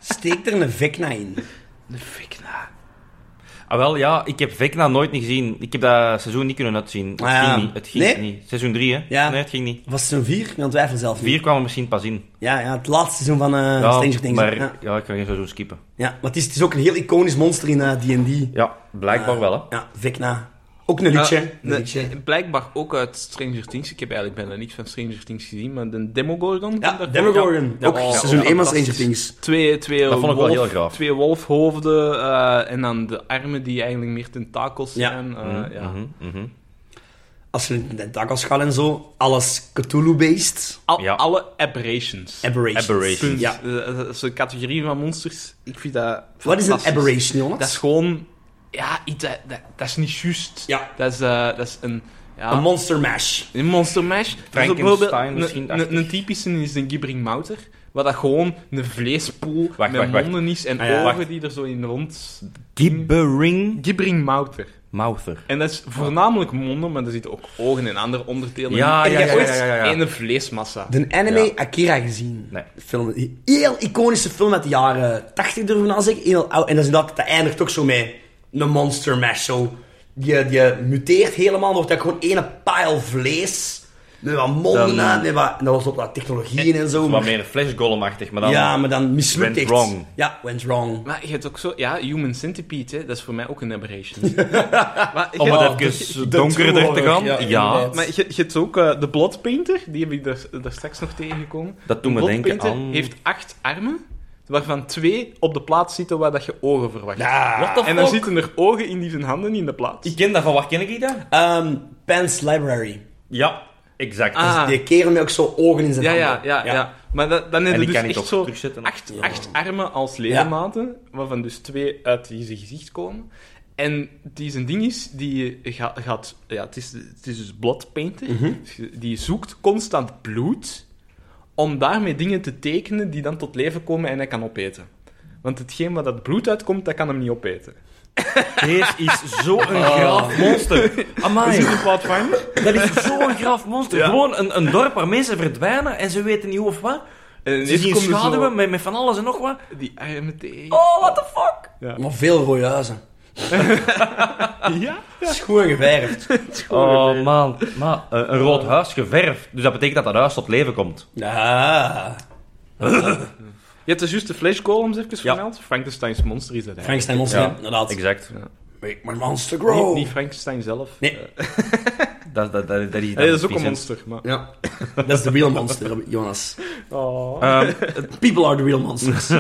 [SPEAKER 2] Steek er een Vecna in.
[SPEAKER 3] De
[SPEAKER 4] nou.
[SPEAKER 3] Vikna.
[SPEAKER 4] Ah, wel, ja, ik heb Vecna nooit niet gezien. Ik heb dat seizoen niet kunnen uitzien. Het
[SPEAKER 2] Ah, ja.
[SPEAKER 4] ging niet. Het ging
[SPEAKER 2] Nee?
[SPEAKER 4] niet. Seizoen 3, hè?
[SPEAKER 2] Ja.
[SPEAKER 4] Nee, het ging niet.
[SPEAKER 2] Was het zo'n vier? Ik twijfel zelf niet.
[SPEAKER 4] Vier kwam er misschien pas in.
[SPEAKER 2] Ja, ja, het laatste seizoen van eh
[SPEAKER 4] Ja,
[SPEAKER 2] Stranger Things.
[SPEAKER 4] maar
[SPEAKER 2] Ja,
[SPEAKER 4] ja. ik kan geen seizoen skippen.
[SPEAKER 2] ja. Maar het is, het is ook een heel iconisch monster in eh, D&D.
[SPEAKER 4] Ja,
[SPEAKER 2] Ah.
[SPEAKER 4] blijkbaar wel, hè.
[SPEAKER 2] Ja, Vecna. Ook een liedje. een liedje.
[SPEAKER 3] Ah, blijkbaar ook uit Stranger Things. Ik heb eigenlijk bijna niks van Stranger Things gezien, maar de Demogorgon... komt
[SPEAKER 2] ja,
[SPEAKER 3] daarvoor.
[SPEAKER 2] Demogorgon.
[SPEAKER 3] Ja.
[SPEAKER 2] ook
[SPEAKER 3] Oh,
[SPEAKER 2] seizoen
[SPEAKER 3] ja,
[SPEAKER 2] 1 van
[SPEAKER 3] fantastisch.
[SPEAKER 2] Stranger Things.
[SPEAKER 3] Twee, twee,
[SPEAKER 4] Dat vond ik wel
[SPEAKER 3] wolf,
[SPEAKER 4] heel graaf.
[SPEAKER 3] twee wolfhoofden eh, en dan de armen die eigenlijk meer tentakels
[SPEAKER 2] Ja.
[SPEAKER 3] zijn. eh, ja.
[SPEAKER 4] Mhm, mhm.
[SPEAKER 2] Als je in tentakel gaat en zo, alles Cthulhu-based.
[SPEAKER 3] Al-
[SPEAKER 4] Ja.
[SPEAKER 3] Alle aberrations.
[SPEAKER 2] Aberrations.
[SPEAKER 4] Aberration.
[SPEAKER 3] Punt.
[SPEAKER 2] Ja.
[SPEAKER 3] Eh, Dat is een categorie van monsters. Ik vind dat
[SPEAKER 2] Wat is een
[SPEAKER 3] fantastisch.
[SPEAKER 2] aberration,
[SPEAKER 3] Dat is
[SPEAKER 2] jongens?
[SPEAKER 3] gewoon... Ja, iets dat, dat, dat is niet juist.
[SPEAKER 2] Ja.
[SPEAKER 3] Dat is, eh, dat is een... Ja,
[SPEAKER 2] Een monster mash.
[SPEAKER 3] een monster mash.
[SPEAKER 4] Frankenstein
[SPEAKER 3] Dus bijvoorbeeld
[SPEAKER 4] misschien,
[SPEAKER 3] een- Een, een typische is een gibbering mouter. Wat dat gewoon een vleespoel
[SPEAKER 4] Wacht,
[SPEAKER 3] met
[SPEAKER 4] wacht, wacht.
[SPEAKER 3] monden is en
[SPEAKER 2] Ah, ja.
[SPEAKER 3] ogen die er zo in rond...
[SPEAKER 4] Gibbering
[SPEAKER 3] Gibbering mouter.
[SPEAKER 4] Mouther.
[SPEAKER 3] En dat is voornamelijk monden, maar er zitten ook ogen en andere onderdelen
[SPEAKER 4] Ja,
[SPEAKER 3] in.
[SPEAKER 2] ja,
[SPEAKER 3] En je hebt
[SPEAKER 2] ja,
[SPEAKER 3] ooit
[SPEAKER 4] ja, ja, ja.
[SPEAKER 3] ene vleesmassa.
[SPEAKER 2] De anime
[SPEAKER 4] Ja.
[SPEAKER 2] Akira gezien.
[SPEAKER 4] Nee.
[SPEAKER 2] Film, een heel iconische film uit de jaren 80, durf ik nou te zeggen. Heel oud. En dat, is inderdaad, dat eindigt ook zo met een monster mash. Zo. Die, die muteert helemaal, wordt dat gewoon ene pile vlees. Met wat monden
[SPEAKER 4] Dan-
[SPEAKER 2] aan, met wat... En dat was op dat technologieën en zo.
[SPEAKER 4] Wat
[SPEAKER 2] maar-
[SPEAKER 4] meer Flash Golem-achtig, maar dan...
[SPEAKER 2] ja, maar dan mislukt
[SPEAKER 4] went
[SPEAKER 2] echt.
[SPEAKER 4] wrong.
[SPEAKER 2] Ja, went wrong.
[SPEAKER 3] Maar je hebt ook zo... Ja, Human Centipede, hè, dat is voor mij ook een aberration. maar, je
[SPEAKER 4] Om
[SPEAKER 3] hebt-
[SPEAKER 4] het even donkerder te gaan. Ja,
[SPEAKER 2] Ja, inderdaad.
[SPEAKER 3] maar je, je hebt ook eh, de Bloodpainter, die heb ik daar, daar straks nog tegengekomen.
[SPEAKER 4] Dat doet
[SPEAKER 3] De
[SPEAKER 4] me denken
[SPEAKER 3] Bloodpainter
[SPEAKER 4] aan-
[SPEAKER 3] heeft acht armen, waarvan twee op de plaats zitten waar dat je ogen verwacht.
[SPEAKER 2] Ja.
[SPEAKER 4] What the
[SPEAKER 3] En dan
[SPEAKER 4] fuck?
[SPEAKER 3] zitten er ogen in die zijn handen niet in de plaats.
[SPEAKER 4] Ik ken dat, van waar ken ik die dan?
[SPEAKER 2] Ehm, Pan's Library. Dus
[SPEAKER 4] Ja, exact.
[SPEAKER 3] Ah.
[SPEAKER 2] Die kerel met ook zo ogen in zijn
[SPEAKER 3] Ja, ja,
[SPEAKER 2] handen.
[SPEAKER 3] ja, ja. Maar dat, dan heb
[SPEAKER 4] En die
[SPEAKER 3] je dus
[SPEAKER 4] kan niet
[SPEAKER 3] echt
[SPEAKER 4] ook
[SPEAKER 3] zo
[SPEAKER 4] terugzetten.
[SPEAKER 3] acht, acht armen als ledematen, waarvan dus twee uit je gezicht komen. En die zijn ding is, die ga- gaat... Ja, het is, het is dus bloodpainter.
[SPEAKER 4] Mhm.
[SPEAKER 3] Die zoekt constant bloed om daarmee dingen te tekenen die dan tot leven komen en hij kan opeten. Want hetgeen waar dat bloed uitkomt, dat kan hem niet opeten.
[SPEAKER 4] Deze Dus is zo'n graaf monster.
[SPEAKER 3] Is
[SPEAKER 4] Amai,
[SPEAKER 3] het een Pathfinder?
[SPEAKER 4] dat is zo'n graaf monster.
[SPEAKER 3] Ja.
[SPEAKER 4] Gewoon een, een dorp waar mensen verdwijnen en ze weten niet hoe of wat.
[SPEAKER 3] En
[SPEAKER 4] Ze
[SPEAKER 3] ineens
[SPEAKER 4] zien
[SPEAKER 3] komen zo
[SPEAKER 4] schaduwen met, met van alles en nog wat.
[SPEAKER 3] Die armen tegen.
[SPEAKER 4] Oh, what the fuck?
[SPEAKER 2] Maar veel rode huizen.
[SPEAKER 3] Ja?
[SPEAKER 2] Schoon geverfd.
[SPEAKER 4] Oh man, maar een, een rood huis geverfd. Dus dat betekent dat dat huis tot leven komt.
[SPEAKER 2] Ja.
[SPEAKER 3] Je hebt dus juist de Flash Golems even vermeld. Frankenstein's monster is dat eigenlijk.
[SPEAKER 2] Frankenstein monster,
[SPEAKER 4] Ja.
[SPEAKER 2] inderdaad.
[SPEAKER 4] Exact.
[SPEAKER 2] Make my monster
[SPEAKER 3] Niet,
[SPEAKER 2] grow.
[SPEAKER 3] niet Frankenstein zelf.
[SPEAKER 2] Nee.
[SPEAKER 3] Eh,
[SPEAKER 4] Dat, dat, dat, dat is,
[SPEAKER 3] nee, dat is ook een
[SPEAKER 4] Vincent.
[SPEAKER 3] monster. Maar...
[SPEAKER 2] Ja. Dat is de real monster, Jonas.
[SPEAKER 3] Oh.
[SPEAKER 4] Ehm,
[SPEAKER 2] People are the real monsters.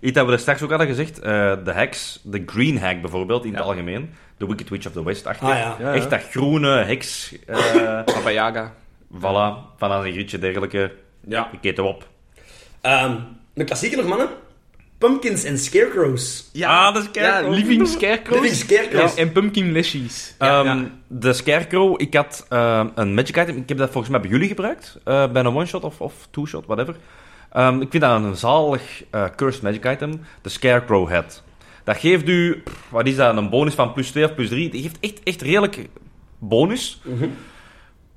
[SPEAKER 4] iets dat we er straks ook hadden gezegd. eh, de heks, de green hag bijvoorbeeld, in het algemeen. De Wicked Witch of the West, achter.
[SPEAKER 2] Ah ja.
[SPEAKER 3] Ja, ja.
[SPEAKER 4] Echt dat groene heks. eh
[SPEAKER 3] Baba Yaga.
[SPEAKER 4] voilà, van een grietje dergelijke.
[SPEAKER 3] Ja.
[SPEAKER 4] Ik eet hem op.
[SPEAKER 2] Ehm, een klassieker nog, mannen. Pumpkins en scarecrows.
[SPEAKER 4] Ja, dat is Scarecrow.
[SPEAKER 3] Ja, Living Scarecrows.
[SPEAKER 2] Living scarecrows.
[SPEAKER 3] Ja, En Pumpkin Leshies.
[SPEAKER 4] Ehm, De Scarecrow, ik had ehm, een magic item. Ik heb dat volgens mij bij jullie gebruikt. eh, bij een one-shot of, of two-shot, whatever. Ehm, ik vind dat een zalig eh, cursed magic item. De Scarecrow Head. Dat geeft u, pff, wat is dat, een bonus van plus 2 of plus 3. Die geeft echt, echt redelijk bonus.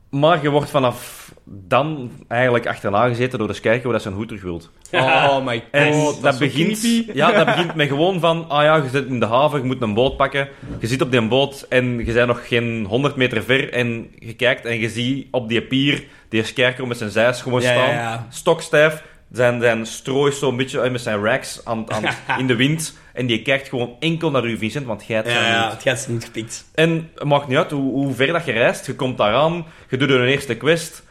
[SPEAKER 4] Maar je wordt vanaf dan eigenlijk achterna gezeten door de Scarecrow dat zijn hoed terug wilt.
[SPEAKER 3] Oh my god.
[SPEAKER 4] En dat,
[SPEAKER 3] is zo
[SPEAKER 4] begint,
[SPEAKER 3] creepy.
[SPEAKER 4] ja, dat begint met gewoon van, ah ja, je zit in de haven, je moet een boot pakken. Je zit op die boot en je bent nog geen 100 meter ver en je kijkt en je ziet op die pier die scarecrow met zijn zijs gewoon
[SPEAKER 2] Ja, ja,
[SPEAKER 4] staan,
[SPEAKER 2] ja.
[SPEAKER 4] stokstijf. Zijn, zijn strooi zo'n beetje eh, met zijn racks aan, aan, in de wind. En die kijkt gewoon enkel naar u, Vincent, want jij hebt zijn
[SPEAKER 2] Ja, ja,
[SPEAKER 4] niet.
[SPEAKER 2] het gaat ze niet gepikt.
[SPEAKER 4] En het maakt niet uit hoe, hoe ver dat je reist. Je komt daaraan, je doet een eerste quest.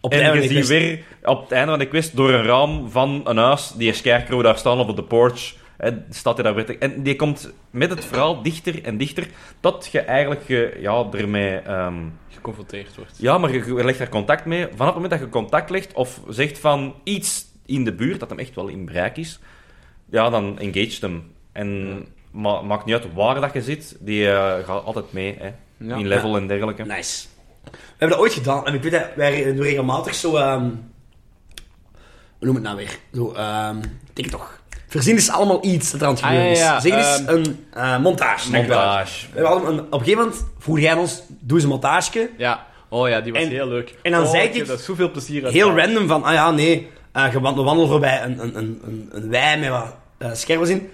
[SPEAKER 2] Op het
[SPEAKER 4] en
[SPEAKER 2] einde
[SPEAKER 4] je
[SPEAKER 2] van
[SPEAKER 4] ziet
[SPEAKER 2] de quest.
[SPEAKER 4] weer op het einde van de quest door een raam van een huis die een scarecrow daar staan op de porch. En staat hij daar weer te- En die komt met het verhaal dichter en dichter, tot je eigenlijk eh, ja, ermee... ehm,
[SPEAKER 3] geconfronteerd wordt.
[SPEAKER 4] ja, maar je je legt daar contact mee. Vanaf het moment dat je contact legt of zegt van iets in de buurt, dat hem echt wel in bereik is, ja, dan engage hem. En ma- maakt niet uit waar dat je zit, die eh, gaat altijd mee, hè.
[SPEAKER 3] Ja.
[SPEAKER 4] In level en dergelijke.
[SPEAKER 2] Nice. We hebben dat ooit gedaan. En ik weet dat wij doen regelmatig zo... ehm, hoe noem het nou weer? Zo, ehm TikTok. Verzin is allemaal iets dat er aan het
[SPEAKER 3] Ah,
[SPEAKER 2] gebeuren is.
[SPEAKER 3] ja, ja,
[SPEAKER 2] Zeg eens
[SPEAKER 3] ehm,
[SPEAKER 2] een eh, montage. Dankjewel.
[SPEAKER 4] Montage.
[SPEAKER 2] We hebben allemaal een, op een gegeven moment vroeg jij aan ons, doe eens een montage.
[SPEAKER 3] Ja. Oh ja, die was
[SPEAKER 2] En-
[SPEAKER 3] heel leuk.
[SPEAKER 2] en dan
[SPEAKER 3] Oh,
[SPEAKER 2] zei ik-
[SPEAKER 3] heb daar zoveel plezier uit.
[SPEAKER 2] Heel
[SPEAKER 3] gehad.
[SPEAKER 2] random van, ah ja, nee, eh, je wand- we wandelen voorbij een, een, een, een, een wei met wat eh, schermen in.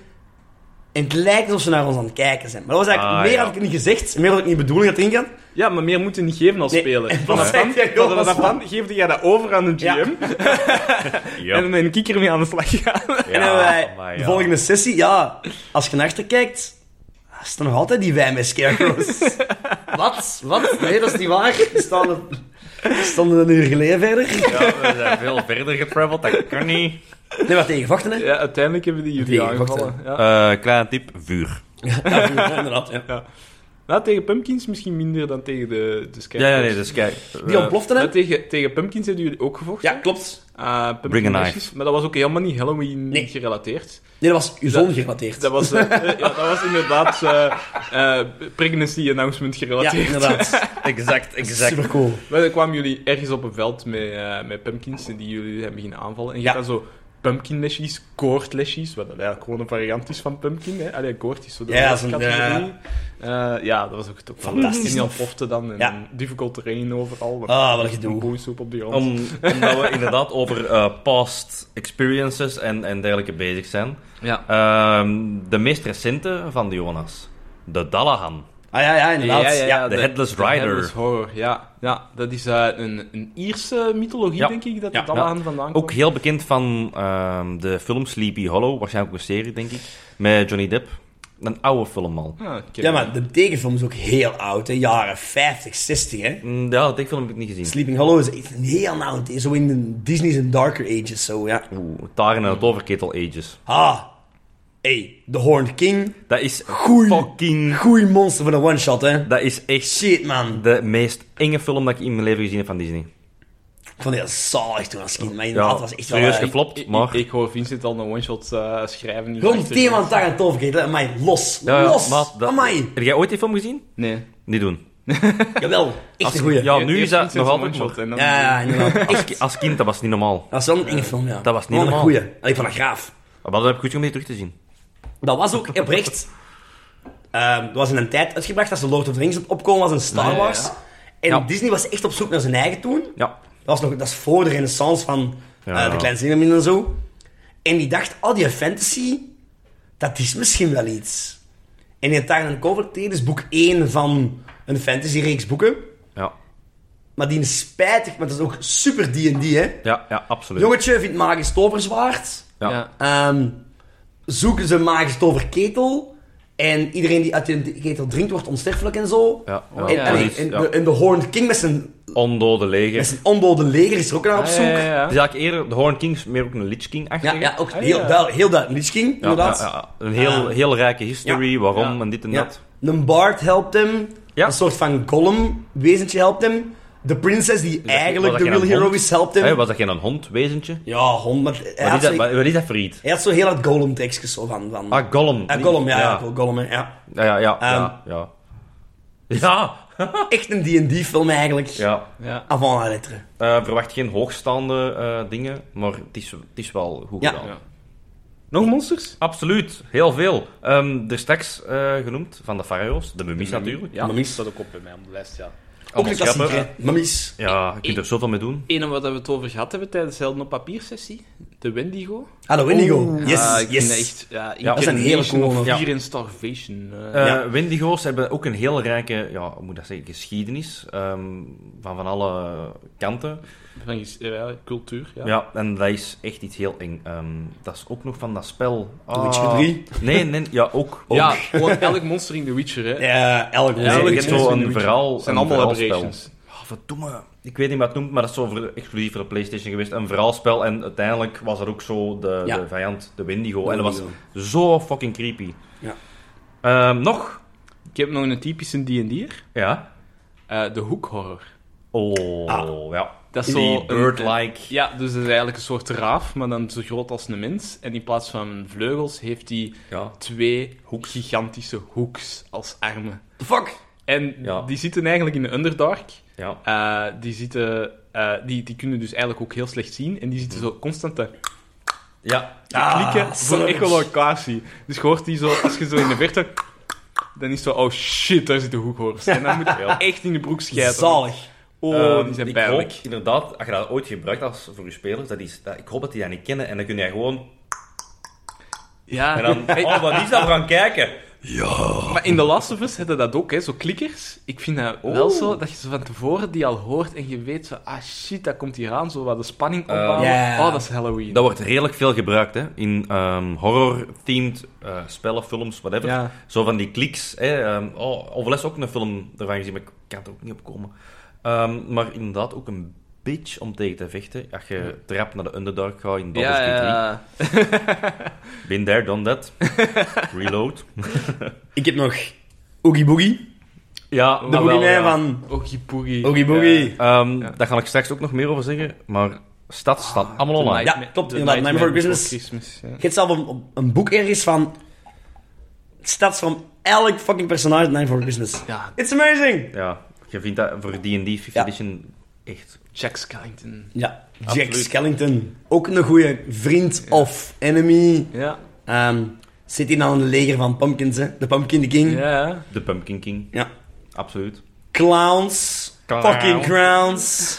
[SPEAKER 2] En het lijkt alsof ze naar ons aan het kijken zijn. Maar dat was eigenlijk
[SPEAKER 4] Ah,
[SPEAKER 2] meer
[SPEAKER 4] ja.
[SPEAKER 2] had ik niet gezegd, meer had ik niet bedoeld dat ingaan.
[SPEAKER 3] Ja, maar meer moeten niet geven als
[SPEAKER 2] Nee,
[SPEAKER 3] speler.
[SPEAKER 2] en
[SPEAKER 3] Vanaf
[SPEAKER 2] wat
[SPEAKER 3] dan,
[SPEAKER 2] zei jij,
[SPEAKER 3] vanaf
[SPEAKER 2] Jonas?
[SPEAKER 3] dan geefde jij dat over aan een GM
[SPEAKER 2] Ja.
[SPEAKER 4] Ja.
[SPEAKER 3] en met een kikker mee aan de slag gaan.
[SPEAKER 4] Ja,
[SPEAKER 2] en hebben wij
[SPEAKER 4] amai,
[SPEAKER 2] de
[SPEAKER 4] ja.
[SPEAKER 2] volgende sessie, ja, als je naar achter kijkt, is er nog altijd die wijn met scarecrows. wat? Wat? Nee, dat is niet waar. We staan er- we stonden een uur geleden verder.
[SPEAKER 4] Ja, we zijn veel verder getraveld, dat kan niet.
[SPEAKER 2] Nee, maar tegenvochten, hè?
[SPEAKER 3] Ja, uiteindelijk hebben die jullie
[SPEAKER 2] Die
[SPEAKER 3] aangevallen.
[SPEAKER 2] gevochten.
[SPEAKER 3] Ja.
[SPEAKER 4] Eh kleine tip, vuur.
[SPEAKER 2] Ja, inderdaad. Ja.
[SPEAKER 3] Nou, tegen pumpkins misschien minder dan tegen de, de Skype.
[SPEAKER 4] Ja, ja, nee, dus kijk.
[SPEAKER 2] Die ontplofte
[SPEAKER 3] Maar
[SPEAKER 2] hem.
[SPEAKER 3] tegen, tegen pumpkins hebben jullie ook gevochten.
[SPEAKER 2] Ja, klopt.
[SPEAKER 3] Eh, pumpkin
[SPEAKER 4] Bring a
[SPEAKER 3] mashes,
[SPEAKER 4] knife.
[SPEAKER 3] Maar dat was ook helemaal niet Halloween
[SPEAKER 2] Nee.
[SPEAKER 3] gerelateerd.
[SPEAKER 2] Nee, dat was uw zon
[SPEAKER 3] Dat-
[SPEAKER 2] gerelateerd.
[SPEAKER 3] Dat was, eh, eh, ja, dat was inderdaad eh, eh, pregnancy announcement
[SPEAKER 2] ja,
[SPEAKER 3] gerelateerd.
[SPEAKER 2] inderdaad.
[SPEAKER 4] Exact, exact.
[SPEAKER 2] Super cool.
[SPEAKER 3] Maar dan kwamen jullie ergens op een veld met, eh, met pumpkins en die jullie hebben beginnen aanvallen. En je
[SPEAKER 2] Ja.
[SPEAKER 3] hebt dan zo pumpkin lesjes, koord lesjes, wat dat eigenlijk gewoon een variant is van pumpkin. Hè? Allee, koord is zo de
[SPEAKER 2] Ja,
[SPEAKER 3] hoogste
[SPEAKER 2] zo'n- ja.
[SPEAKER 3] categorie. Eh, ja, dat was ook toch
[SPEAKER 2] Fantastisch.
[SPEAKER 3] En die ontplofte dan en
[SPEAKER 2] Ja.
[SPEAKER 3] difficult terrain overal. want
[SPEAKER 2] Ah, wat een
[SPEAKER 3] Een
[SPEAKER 2] gedoe.
[SPEAKER 3] boeisoep op de grond.
[SPEAKER 4] Om, omdat we inderdaad over eh, past experiences en, en dergelijke bezig zijn.
[SPEAKER 3] ja.
[SPEAKER 4] Ehm, de meest recente van de Jonas. De Dallahan.
[SPEAKER 2] Ah ja, ja, inderdaad. Ja,
[SPEAKER 4] de Headless
[SPEAKER 3] de
[SPEAKER 4] Rider.
[SPEAKER 3] Headless Horror, ja. ja. Dat is eh, een, een Ierse mythologie,
[SPEAKER 4] Ja.
[SPEAKER 3] denk ik, dat
[SPEAKER 2] Ja.
[SPEAKER 3] het allemaal vandaan komt.
[SPEAKER 4] Ook heel bekend van ehm, de film Sleepy Hollow. Waarschijnlijk ook een serie, denk ik. Met Johnny Depp. Een oude film al.
[SPEAKER 3] Ah, ik ken
[SPEAKER 2] Ja,
[SPEAKER 3] hem.
[SPEAKER 2] maar de tekenfilm is ook heel oud, hè. Jaren 50, 60, hè.
[SPEAKER 4] Mm, Ja, die film heb ik niet gezien.
[SPEAKER 2] Sleeping Hollow is echt een heel oud. Zo in de Disney's en Darker Ages, zo, ja.
[SPEAKER 4] Oeh, Taren en het Overketel Ages.
[SPEAKER 2] Ah. Hey, The Horned King.
[SPEAKER 4] Dat is
[SPEAKER 2] Goeie-
[SPEAKER 4] fucking...
[SPEAKER 2] Goeie monster van een one-shot, hè.
[SPEAKER 4] Dat is echt
[SPEAKER 2] Shit, man.
[SPEAKER 4] de meest enge film dat ik in mijn leven gezien heb van Disney.
[SPEAKER 2] Ik vond die heel zalig toen als kind. Maar inderdaad, was echt wel...
[SPEAKER 4] serieus
[SPEAKER 2] eh,
[SPEAKER 4] geflopt,
[SPEAKER 3] Ik,
[SPEAKER 4] maar...
[SPEAKER 3] ik, ik hoor Vincent al een one-shot eh, schrijven. nu
[SPEAKER 2] Rond
[SPEAKER 3] achter-
[SPEAKER 2] thema Tarantino vergeten. hè. Amai, los.
[SPEAKER 4] Ja, ja,
[SPEAKER 2] los.
[SPEAKER 4] maat, dat-
[SPEAKER 2] Amai.
[SPEAKER 4] Heb jij ooit die film gezien?
[SPEAKER 3] Nee. E-
[SPEAKER 4] Niet doen.
[SPEAKER 2] Jawel. Echt
[SPEAKER 4] Als-
[SPEAKER 2] een goeie. Ja,
[SPEAKER 4] ja. nu
[SPEAKER 3] Eerst
[SPEAKER 4] is dat
[SPEAKER 3] Vincent
[SPEAKER 4] nog
[SPEAKER 3] een
[SPEAKER 4] altijd
[SPEAKER 3] one-shot en dan-
[SPEAKER 2] ja, inderdaad.
[SPEAKER 4] Als,
[SPEAKER 2] Echt.
[SPEAKER 4] ki- als kind, dat was niet normaal.
[SPEAKER 2] Dat was wel een enge film, ja.
[SPEAKER 4] Dat was niet
[SPEAKER 2] Wel een
[SPEAKER 4] normaal.
[SPEAKER 2] goeie. Allee, Ik vond dat graaf.
[SPEAKER 4] Maar dat heb ik goed om die terug te zien.
[SPEAKER 2] Dat was ook oprecht. ehm, dat was in een tijd uitgebracht als de Lord of the Rings opkomen was in Star
[SPEAKER 3] ja,
[SPEAKER 2] Wars.
[SPEAKER 3] ja.
[SPEAKER 2] En
[SPEAKER 4] Ja.
[SPEAKER 2] Disney was echt op zoek naar zijn eigen toen.
[SPEAKER 4] Ja.
[SPEAKER 2] Dat, was nog, dat is voor de renaissance van eh,
[SPEAKER 4] Ja.
[SPEAKER 2] de Kleine Zeemermin en zo. En die dacht, al die fantasy, dat is misschien wel iets. En in Tarn Converteerd is boek 1 van een fantasyreeks boeken.
[SPEAKER 4] Ja.
[SPEAKER 2] Maar die is spijtig, maar dat is ook super D&D, hè.
[SPEAKER 4] Ja, ja absoluut.
[SPEAKER 2] Jongetje vindt magisch toverzwaard.
[SPEAKER 4] Ja.
[SPEAKER 3] Ja.
[SPEAKER 2] Ehm, zoeken ze een magisch toverketel. En iedereen die uit die ketel drinkt wordt onsterfelijk en zo.
[SPEAKER 4] Ja, ja.
[SPEAKER 2] en,
[SPEAKER 3] Ja,
[SPEAKER 2] allee,
[SPEAKER 4] precies,
[SPEAKER 2] en
[SPEAKER 4] ja.
[SPEAKER 2] de, en de Horned King met zijn,
[SPEAKER 4] Ondode leger.
[SPEAKER 2] met zijn ondode leger is er ook naar op
[SPEAKER 3] Ah,
[SPEAKER 2] zoek.
[SPEAKER 3] ja,
[SPEAKER 2] Ja,
[SPEAKER 3] ja,
[SPEAKER 2] ja,
[SPEAKER 4] Het is eigenlijk eerder de Horn Kings, meer ook een Lich King-achtige.
[SPEAKER 2] ook
[SPEAKER 3] Ah,
[SPEAKER 2] heel,
[SPEAKER 3] ja.
[SPEAKER 2] duidelijk- heel duidelijk Lich King,
[SPEAKER 4] Ja,
[SPEAKER 2] inderdaad.
[SPEAKER 4] ja, ja. Een heel, heel rijke history, waarom
[SPEAKER 3] Ja.
[SPEAKER 4] en dit en
[SPEAKER 2] Ja.
[SPEAKER 4] dat.
[SPEAKER 2] Een bard helpt hem.
[SPEAKER 4] Ja.
[SPEAKER 2] Een soort van golem-wezentje helpt hem. De prinses die
[SPEAKER 4] dat- was
[SPEAKER 2] eigenlijk de
[SPEAKER 4] dat
[SPEAKER 2] real
[SPEAKER 4] geen
[SPEAKER 2] hero
[SPEAKER 4] hond?
[SPEAKER 2] is, helpt hem.
[SPEAKER 4] Hé, was dat geen een hond, wezentje?
[SPEAKER 2] Ja, hond. Maar hij,
[SPEAKER 4] Wat
[SPEAKER 2] had
[SPEAKER 4] is dat,
[SPEAKER 2] zo,
[SPEAKER 4] wat, wat is dat voor iets?
[SPEAKER 2] hij had zo heel dat golem-tekstjes zo van... van
[SPEAKER 4] Ah, Gollum.
[SPEAKER 2] Ah, golem, ja, Ehm. ja.
[SPEAKER 4] Ja,
[SPEAKER 2] golem, hè, ja.
[SPEAKER 4] ja, ja. Ja, ja. ja. ja.
[SPEAKER 2] Echt een D&D-film eigenlijk.
[SPEAKER 4] ja.
[SPEAKER 3] Ja.
[SPEAKER 2] Avant la lettre.
[SPEAKER 4] Eh, verwacht geen hoogstaande eh, dingen, maar het is, het is wel goed
[SPEAKER 2] Ja.
[SPEAKER 4] gedaan.
[SPEAKER 3] Ja. Nog monsters?
[SPEAKER 4] Absoluut, heel veel. Ehm er straks eh, genoemd, van de farao's, de mummies natuurlijk.
[SPEAKER 3] Ja,
[SPEAKER 2] Mummies.
[SPEAKER 3] dat staat ook op bij mij op de lijst, ja.
[SPEAKER 2] Ook een
[SPEAKER 4] Allemaal schappen.
[SPEAKER 2] klassieker, hè. Mummies.
[SPEAKER 4] Ja, je kunt er zoveel mee doen.
[SPEAKER 3] Eén waar we het over gehad hebben tijdens de Helden op Papier sessie, de Wendigo.
[SPEAKER 2] Hallo, Indigo. Yes,
[SPEAKER 3] Ah, ik
[SPEAKER 2] yes.
[SPEAKER 3] vind dat echt... Ja,
[SPEAKER 4] dat
[SPEAKER 2] is een hele
[SPEAKER 3] Incarnation
[SPEAKER 2] coole.
[SPEAKER 3] of
[SPEAKER 4] Ja.
[SPEAKER 3] Fear and Starvation. eh.
[SPEAKER 4] Eh,
[SPEAKER 2] Ja.
[SPEAKER 4] Wendigo's hebben ook een heel rijke, ja, hoe moet dat zeggen, geschiedenis. ehm, van van alle kanten.
[SPEAKER 3] Van ges- ja, cultuur, ja.
[SPEAKER 4] Ja. en dat is echt iets heel eng. Ehm, dat is ook nog van dat spel. Ah.
[SPEAKER 2] Witcher 3.
[SPEAKER 4] Nee, nee, ja, ook. ook.
[SPEAKER 3] Ja, gewoon elk monster in The Witcher, hè.
[SPEAKER 2] Ja, elk
[SPEAKER 4] Nee,
[SPEAKER 3] elk
[SPEAKER 4] je
[SPEAKER 2] monster.
[SPEAKER 4] hebt
[SPEAKER 3] monster in
[SPEAKER 4] zo
[SPEAKER 3] The
[SPEAKER 4] een
[SPEAKER 3] Witcher.
[SPEAKER 4] verhaal.
[SPEAKER 3] Het zijn
[SPEAKER 4] een
[SPEAKER 3] allemaal
[SPEAKER 4] verhaalspel.
[SPEAKER 3] aberrations.
[SPEAKER 4] Ah, Godverdomme. Ik weet niet wat het noemt, maar dat is zo voor, exclusief voor de PlayStation geweest. Een verhaalspel. En uiteindelijk was dat ook zo de,
[SPEAKER 2] Ja.
[SPEAKER 4] de vijand, de Wendigo.
[SPEAKER 2] De
[SPEAKER 4] En dat
[SPEAKER 2] Wendigo.
[SPEAKER 4] was zo fucking creepy.
[SPEAKER 2] Ja.
[SPEAKER 4] Ehm, nog?
[SPEAKER 3] Ik heb nog een typische D&D'er.
[SPEAKER 4] Ja.
[SPEAKER 3] Eh, de hoekhorror.
[SPEAKER 4] Oh,
[SPEAKER 2] Ah.
[SPEAKER 4] ja.
[SPEAKER 3] Dat is
[SPEAKER 4] Die
[SPEAKER 3] zo een-
[SPEAKER 4] bird-like.
[SPEAKER 3] Ja, dus het is eigenlijk een soort raaf, maar dan zo groot als een mens. En in plaats van vleugels heeft hij
[SPEAKER 4] Ja.
[SPEAKER 3] twee gigantische hoeks als armen.
[SPEAKER 2] The fuck?
[SPEAKER 3] En
[SPEAKER 4] Ja.
[SPEAKER 3] die zitten eigenlijk in de Underdark.
[SPEAKER 4] Ja.
[SPEAKER 3] Eh, die, zitten, eh, die, die kunnen dus eigenlijk ook heel slecht zien. En die zitten
[SPEAKER 4] Mhm.
[SPEAKER 3] zo constant te
[SPEAKER 4] Ja.
[SPEAKER 3] te
[SPEAKER 2] Ah,
[SPEAKER 3] klikken voor
[SPEAKER 2] slurps.
[SPEAKER 3] echolocatie. Dus je hoort die zo, als je zo in de verte... Dan is het zo, oh shit, daar zit de hoekhorst. En dan moet je echt in de broek schijten.
[SPEAKER 2] Zalig.
[SPEAKER 3] Oh,
[SPEAKER 4] Ehm,
[SPEAKER 3] die zijn
[SPEAKER 4] ik
[SPEAKER 3] pijnlijk.
[SPEAKER 4] hoop inderdaad, als je dat ooit gebruikt als voor je spelers, dat is, dat, ik hoop dat die dat niet kennen. En dan kun je gewoon...
[SPEAKER 3] Ja,
[SPEAKER 4] En dan, oh, wat is dat? We gaan kijken.
[SPEAKER 3] Maar in The Last of Us hadden dat ook, hè, zo klikkers. Ik vind dat wel zo, dat je ze van tevoren die al hoort en je weet zo, ah shit, dat komt hier aan, zo wat de spanning opbouwen.
[SPEAKER 2] ja.
[SPEAKER 3] Oh, dat is Halloween.
[SPEAKER 4] Dat wordt redelijk veel gebruikt hè? in ehm, horror-themed eh, spellen, films, whatever.
[SPEAKER 3] Ja.
[SPEAKER 4] Zo van die kliks. Hè? ehm oh, Overles ook een film ervan gezien, maar ik kan er ook niet op komen. Ehm, maar inderdaad ook een bitch om tegen te vechten. Als je trap naar de Underdark gaat in Baldur's
[SPEAKER 3] ja,
[SPEAKER 4] Gate 3.
[SPEAKER 3] ja.
[SPEAKER 4] Been there, done that. Reload.
[SPEAKER 2] Ik heb nog Oogie Boogie.
[SPEAKER 4] ja,
[SPEAKER 2] De
[SPEAKER 3] Nou,
[SPEAKER 4] maar wel,
[SPEAKER 2] boogeyman
[SPEAKER 4] ja.
[SPEAKER 2] van
[SPEAKER 3] Oogie Boogie.
[SPEAKER 2] Oogie Boogie.
[SPEAKER 4] Ehm, Daar ga ik straks ook nog meer over zeggen. Maar stad staat allemaal online.
[SPEAKER 2] Ja, klopt, inderdaad, Nightmare Before
[SPEAKER 3] ja.
[SPEAKER 2] Je hebt zelf een, een boek ergens van... Stats van elk fucking personage in Nine for Christmas.
[SPEAKER 3] Ja,
[SPEAKER 2] It's amazing!
[SPEAKER 4] Ja, je vindt dat voor D&D 5th
[SPEAKER 2] Ja.
[SPEAKER 4] Edition echt...
[SPEAKER 3] Jack Skellington.
[SPEAKER 2] Ja, Jack
[SPEAKER 3] Absoluut.
[SPEAKER 2] Skellington. Ook een goede vriend of enemy.
[SPEAKER 3] Ja,
[SPEAKER 2] Ehm, zit in aan een leger van pumpkins, hè. De Pumpkin the
[SPEAKER 3] Mm.
[SPEAKER 2] King.
[SPEAKER 3] ja.
[SPEAKER 4] De Pumpkin King,
[SPEAKER 2] Ja.
[SPEAKER 4] absoluut.
[SPEAKER 2] Clowns.
[SPEAKER 4] Clown.
[SPEAKER 2] Fucking clowns.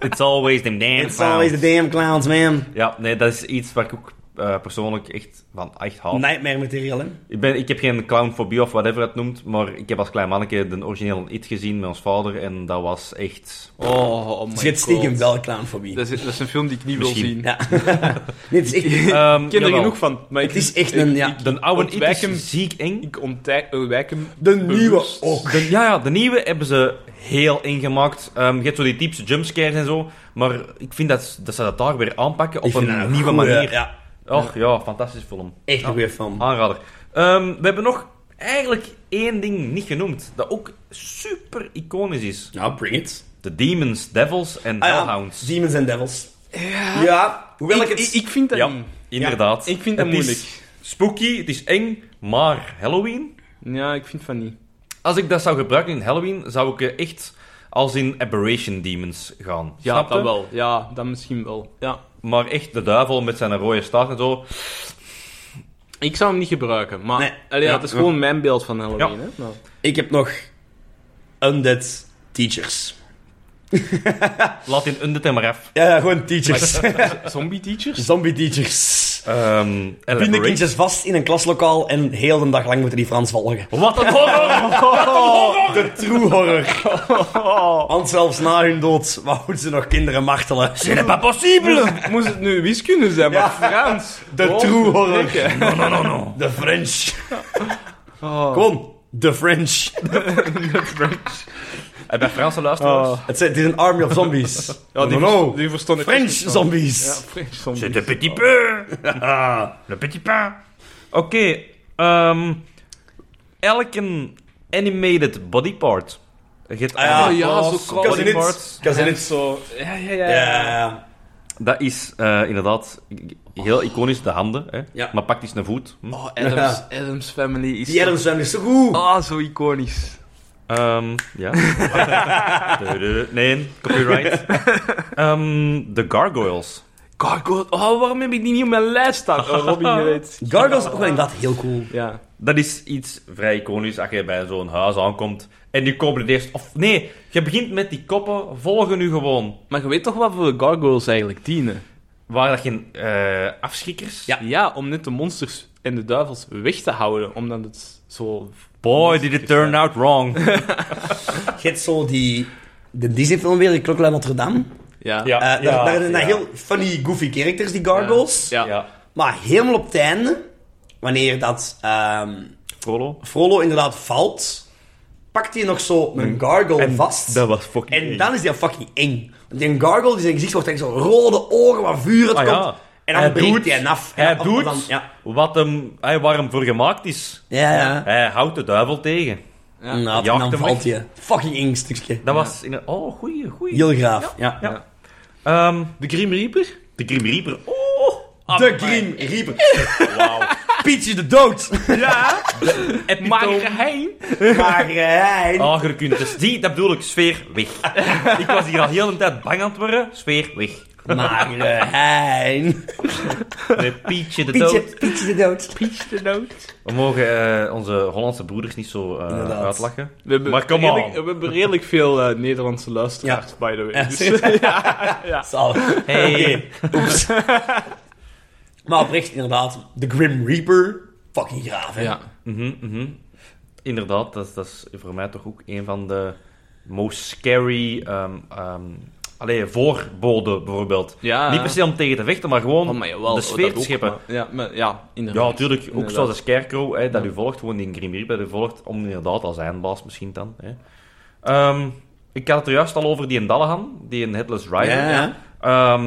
[SPEAKER 4] It's always them damn
[SPEAKER 2] It's always the damn clowns, man.
[SPEAKER 4] Ja, nee, dat is iets waar ik ook eh, persoonlijk echt van echt
[SPEAKER 3] Oh.
[SPEAKER 4] haal.
[SPEAKER 2] Nightmare material, hè.
[SPEAKER 4] Ik, ben, ik heb geen clownfobie of whatever het noemt, maar ik heb als klein manneke de originele It gezien met ons vader en dat was echt...
[SPEAKER 3] Oh, oh my
[SPEAKER 2] Dus je hebt stiekem
[SPEAKER 3] God. Dus-
[SPEAKER 2] wel clownfobie.
[SPEAKER 3] Dat is, dat is een film die ik niet wil
[SPEAKER 4] Misschien.
[SPEAKER 3] zien.
[SPEAKER 2] Ja. nee, het is echt...
[SPEAKER 4] Ehm,
[SPEAKER 3] Ik ken er
[SPEAKER 4] jawel.
[SPEAKER 3] genoeg van. Maar
[SPEAKER 2] Het is echt een, ja.
[SPEAKER 4] De oude It
[SPEAKER 3] Ontwijk
[SPEAKER 4] is
[SPEAKER 3] hem.
[SPEAKER 4] ziek eng.
[SPEAKER 3] Ik ontwijk, ontwijk hem.
[SPEAKER 2] De nieuwe oh,
[SPEAKER 3] bewust.
[SPEAKER 2] ook.
[SPEAKER 4] De, ja, ja, de nieuwe hebben ze heel ingemaakt. Ehm je hebt zo die typische jumpscares en zo, maar ik vind dat, dat ze dat daar weer aanpakken op
[SPEAKER 2] Ik vind
[SPEAKER 4] een,
[SPEAKER 2] dat
[SPEAKER 4] nieuwe
[SPEAKER 2] goeie-
[SPEAKER 4] manier.
[SPEAKER 2] Ja,
[SPEAKER 4] Och ja, fantastisch film.
[SPEAKER 2] echt een
[SPEAKER 4] Ja.
[SPEAKER 2] goede film.
[SPEAKER 4] Aanrader. Ehm, we hebben nog eigenlijk één ding niet genoemd, dat ook super iconisch is.
[SPEAKER 2] Nou, bring it.
[SPEAKER 4] The Demons, Devils en
[SPEAKER 2] Ah, ja.
[SPEAKER 4] Hellhounds.
[SPEAKER 2] Demons and Devils. Ja. ja hoewel ik,
[SPEAKER 3] Ik,
[SPEAKER 2] het...
[SPEAKER 3] ik, ik vind dat
[SPEAKER 4] Ja,
[SPEAKER 3] niet.
[SPEAKER 4] inderdaad.
[SPEAKER 3] Ik vind dat
[SPEAKER 4] Het is
[SPEAKER 3] moeilijk.
[SPEAKER 4] spooky, het is eng, maar Halloween?
[SPEAKER 3] Ja, ik vind van niet.
[SPEAKER 4] Als ik dat zou gebruiken in Halloween, zou ik eh, echt als in Aberration Demons gaan.
[SPEAKER 3] Ja,
[SPEAKER 4] Snap je?
[SPEAKER 3] dat wel. Ja, dat misschien wel. Ja.
[SPEAKER 4] Maar echt de duivel met zijn rode staart en zo.
[SPEAKER 3] Ik zou hem niet gebruiken, maar...
[SPEAKER 2] Nee.
[SPEAKER 3] Allee, ja,
[SPEAKER 2] Ja,
[SPEAKER 3] het is
[SPEAKER 2] ja.
[SPEAKER 3] gewoon mijn beeld van Halloween, hè. maar-
[SPEAKER 2] ik heb nog Undead Teachers.
[SPEAKER 4] Laat in Undead en maar af.
[SPEAKER 2] Ja, ja, gewoon teachers.
[SPEAKER 3] Zombie teachers?
[SPEAKER 2] Zombie teachers.
[SPEAKER 4] Ehm,
[SPEAKER 2] Binden
[SPEAKER 4] Elaborate.
[SPEAKER 2] kindjes vast in een klaslokaal en heel de dag lang moeten die Frans volgen.
[SPEAKER 4] Wat een horror!
[SPEAKER 2] Oh, De true horror. Want zelfs na hun dood wouden ze nog kinderen martelen.
[SPEAKER 4] C'est pas possible!
[SPEAKER 3] Moest het nu wiskunde zijn, maar Frans.
[SPEAKER 2] De
[SPEAKER 3] Oh,
[SPEAKER 2] true horror. Oh.
[SPEAKER 3] verdikke.
[SPEAKER 4] No, no, no, no.
[SPEAKER 2] De French. Kom, de French.
[SPEAKER 4] En bij Franse luisteraars...
[SPEAKER 2] Het zijn- het is een army of zombies.
[SPEAKER 3] Ja, die,
[SPEAKER 2] no, no, no.
[SPEAKER 3] vers- die verstond ik
[SPEAKER 2] French
[SPEAKER 3] echt niet.
[SPEAKER 2] zombies.
[SPEAKER 3] Ja, French zombies.
[SPEAKER 4] C'est le petit peu! le petit pain! Oké, ehm elke animated body part. Je hebt
[SPEAKER 2] Ah ja,
[SPEAKER 4] animated
[SPEAKER 3] ja,
[SPEAKER 4] parts,
[SPEAKER 3] zo kan
[SPEAKER 4] body
[SPEAKER 2] het niet.
[SPEAKER 4] parts.
[SPEAKER 2] Kan ze
[SPEAKER 3] En
[SPEAKER 2] niet-
[SPEAKER 3] zo... Ja, ja, ja.
[SPEAKER 2] Ja.
[SPEAKER 4] Dat is eh, inderdaad heel iconisch, de handen. Hè.
[SPEAKER 2] Ja.
[SPEAKER 4] Maar pak eens een voet. Hm.
[SPEAKER 3] Oh, Adams, Adams Family is...
[SPEAKER 2] Die Adams zijn is zo goed.
[SPEAKER 3] Ah, zo iconisch.
[SPEAKER 4] Ehm, ja. Tudu. nee, copyright. Ehm de gargoyles.
[SPEAKER 3] Gargoyle. Oh, waarom heb ik die niet op mijn lijst staan? Oh, Robin, je weet.
[SPEAKER 2] Gargoyles ook wel inderdaad heel cool.
[SPEAKER 3] Ja.
[SPEAKER 4] Dat is iets vrij iconisch als je bij zo'n huis aankomt. En die koppen eerst... Of nee, je begint met die koppen, volgen nu gewoon.
[SPEAKER 3] Maar je weet toch wat voor gargoyles eigenlijk dienen?
[SPEAKER 4] Waren dat geen eh, afschrikkers?
[SPEAKER 2] Ja.
[SPEAKER 3] Ja, om net de monsters en de duivels weg te houden, omdat het zo...
[SPEAKER 4] Boy, did it turn out
[SPEAKER 2] Eh,
[SPEAKER 4] wrong.
[SPEAKER 2] Je hebt zo die... De Disney-film weer, de Klokkenluid Notre-Dame.
[SPEAKER 3] Ja.
[SPEAKER 4] Ja.
[SPEAKER 2] Eh, daar daar zijn
[SPEAKER 4] ja.
[SPEAKER 2] heel funny, goofy characters, die gargoyles.
[SPEAKER 3] Ja.
[SPEAKER 2] Maar helemaal op het einde, wanneer dat ehm,
[SPEAKER 4] Frollo.
[SPEAKER 2] Frollo inderdaad valt, pakt hij nog zo een gargoyle vast.
[SPEAKER 4] Dat was fucking
[SPEAKER 2] En
[SPEAKER 4] eng.
[SPEAKER 2] dan is die fucking eng. Want die gargoyle, die zijn gezicht wordt echt zo rode ogen waar vuur het
[SPEAKER 4] Ah,
[SPEAKER 2] komt.
[SPEAKER 4] ja.
[SPEAKER 2] En dan
[SPEAKER 4] Hij
[SPEAKER 2] breekt
[SPEAKER 4] doet-
[SPEAKER 2] hij hen af.
[SPEAKER 4] Hij
[SPEAKER 2] Ja, of-
[SPEAKER 4] doet
[SPEAKER 2] dan- ja.
[SPEAKER 4] wat hem, hij, waar hem voor gemaakt is.
[SPEAKER 2] Ja, ja.
[SPEAKER 4] Hij houdt de duivel tegen.
[SPEAKER 3] Ja.
[SPEAKER 2] Nou, en
[SPEAKER 4] jaagt
[SPEAKER 2] dan
[SPEAKER 4] hem weg.
[SPEAKER 2] valt je. Fucking eng stukje.
[SPEAKER 4] Dat was... In een, oh, goeie, goeie.
[SPEAKER 2] Heel graaf. Ja.
[SPEAKER 4] Ja. Ehm,
[SPEAKER 3] De Grim Reaper?
[SPEAKER 4] de Grim Reaper. Oh!
[SPEAKER 2] De Grim Reaper.
[SPEAKER 4] Wauw.
[SPEAKER 2] Pietje de dood.
[SPEAKER 3] Ja! Magere hein?
[SPEAKER 2] Maar eh, hij...
[SPEAKER 4] Lager kunt. Dus die, dat bedoel ik, sfeer weg. ik was hier al heel een tijd bang aan het worden. Sfeer weg.
[SPEAKER 2] Magere eh, Hein.
[SPEAKER 4] De Pietje de
[SPEAKER 2] Pietje,
[SPEAKER 4] dood.
[SPEAKER 2] Pietje de dood.
[SPEAKER 3] Peach de Nood.
[SPEAKER 4] We mogen eh, onze Hollandse broeders niet zo eh,
[SPEAKER 2] Inderdaad.
[SPEAKER 4] uitlachen.
[SPEAKER 3] We hebben,
[SPEAKER 4] Maar come on.
[SPEAKER 3] redelijk, we hebben redelijk veel eh, Nederlandse luisteraars, by the way.
[SPEAKER 2] Ja,
[SPEAKER 3] Dus-
[SPEAKER 2] serieus?
[SPEAKER 3] ja, ja.
[SPEAKER 2] Zalig.
[SPEAKER 4] Hey.
[SPEAKER 2] Oké. Oeps. maar oprecht, inderdaad. De Grim Reaper. Fucking graaf, hè.
[SPEAKER 3] ja.
[SPEAKER 4] Mhm, mhm. Inderdaad, dat, is- dat is voor mij toch ook een van de most scary... ehm ehm, allee, voorboden bijvoorbeeld.
[SPEAKER 3] Ja.
[SPEAKER 4] Niet per se om tegen te vechten, maar gewoon
[SPEAKER 3] Oh, maar jawel,
[SPEAKER 4] de sfeer
[SPEAKER 3] dat
[SPEAKER 4] te
[SPEAKER 3] ook,
[SPEAKER 4] scheppen.
[SPEAKER 3] maar- Ja, maar, ja, inderdaad.
[SPEAKER 4] Ja, natuurlijk. Ook
[SPEAKER 3] Inderdaad.
[SPEAKER 4] zoals de Scarecrow, hè, dat u volgt, gewoon die Grim Reaper, dat u volgt om inderdaad als eindbaas misschien dan. Hè. Ehm, ik had het er juist al over die in Dallahan, die in Headless Rider.
[SPEAKER 2] Ja, ja.
[SPEAKER 4] Ehm,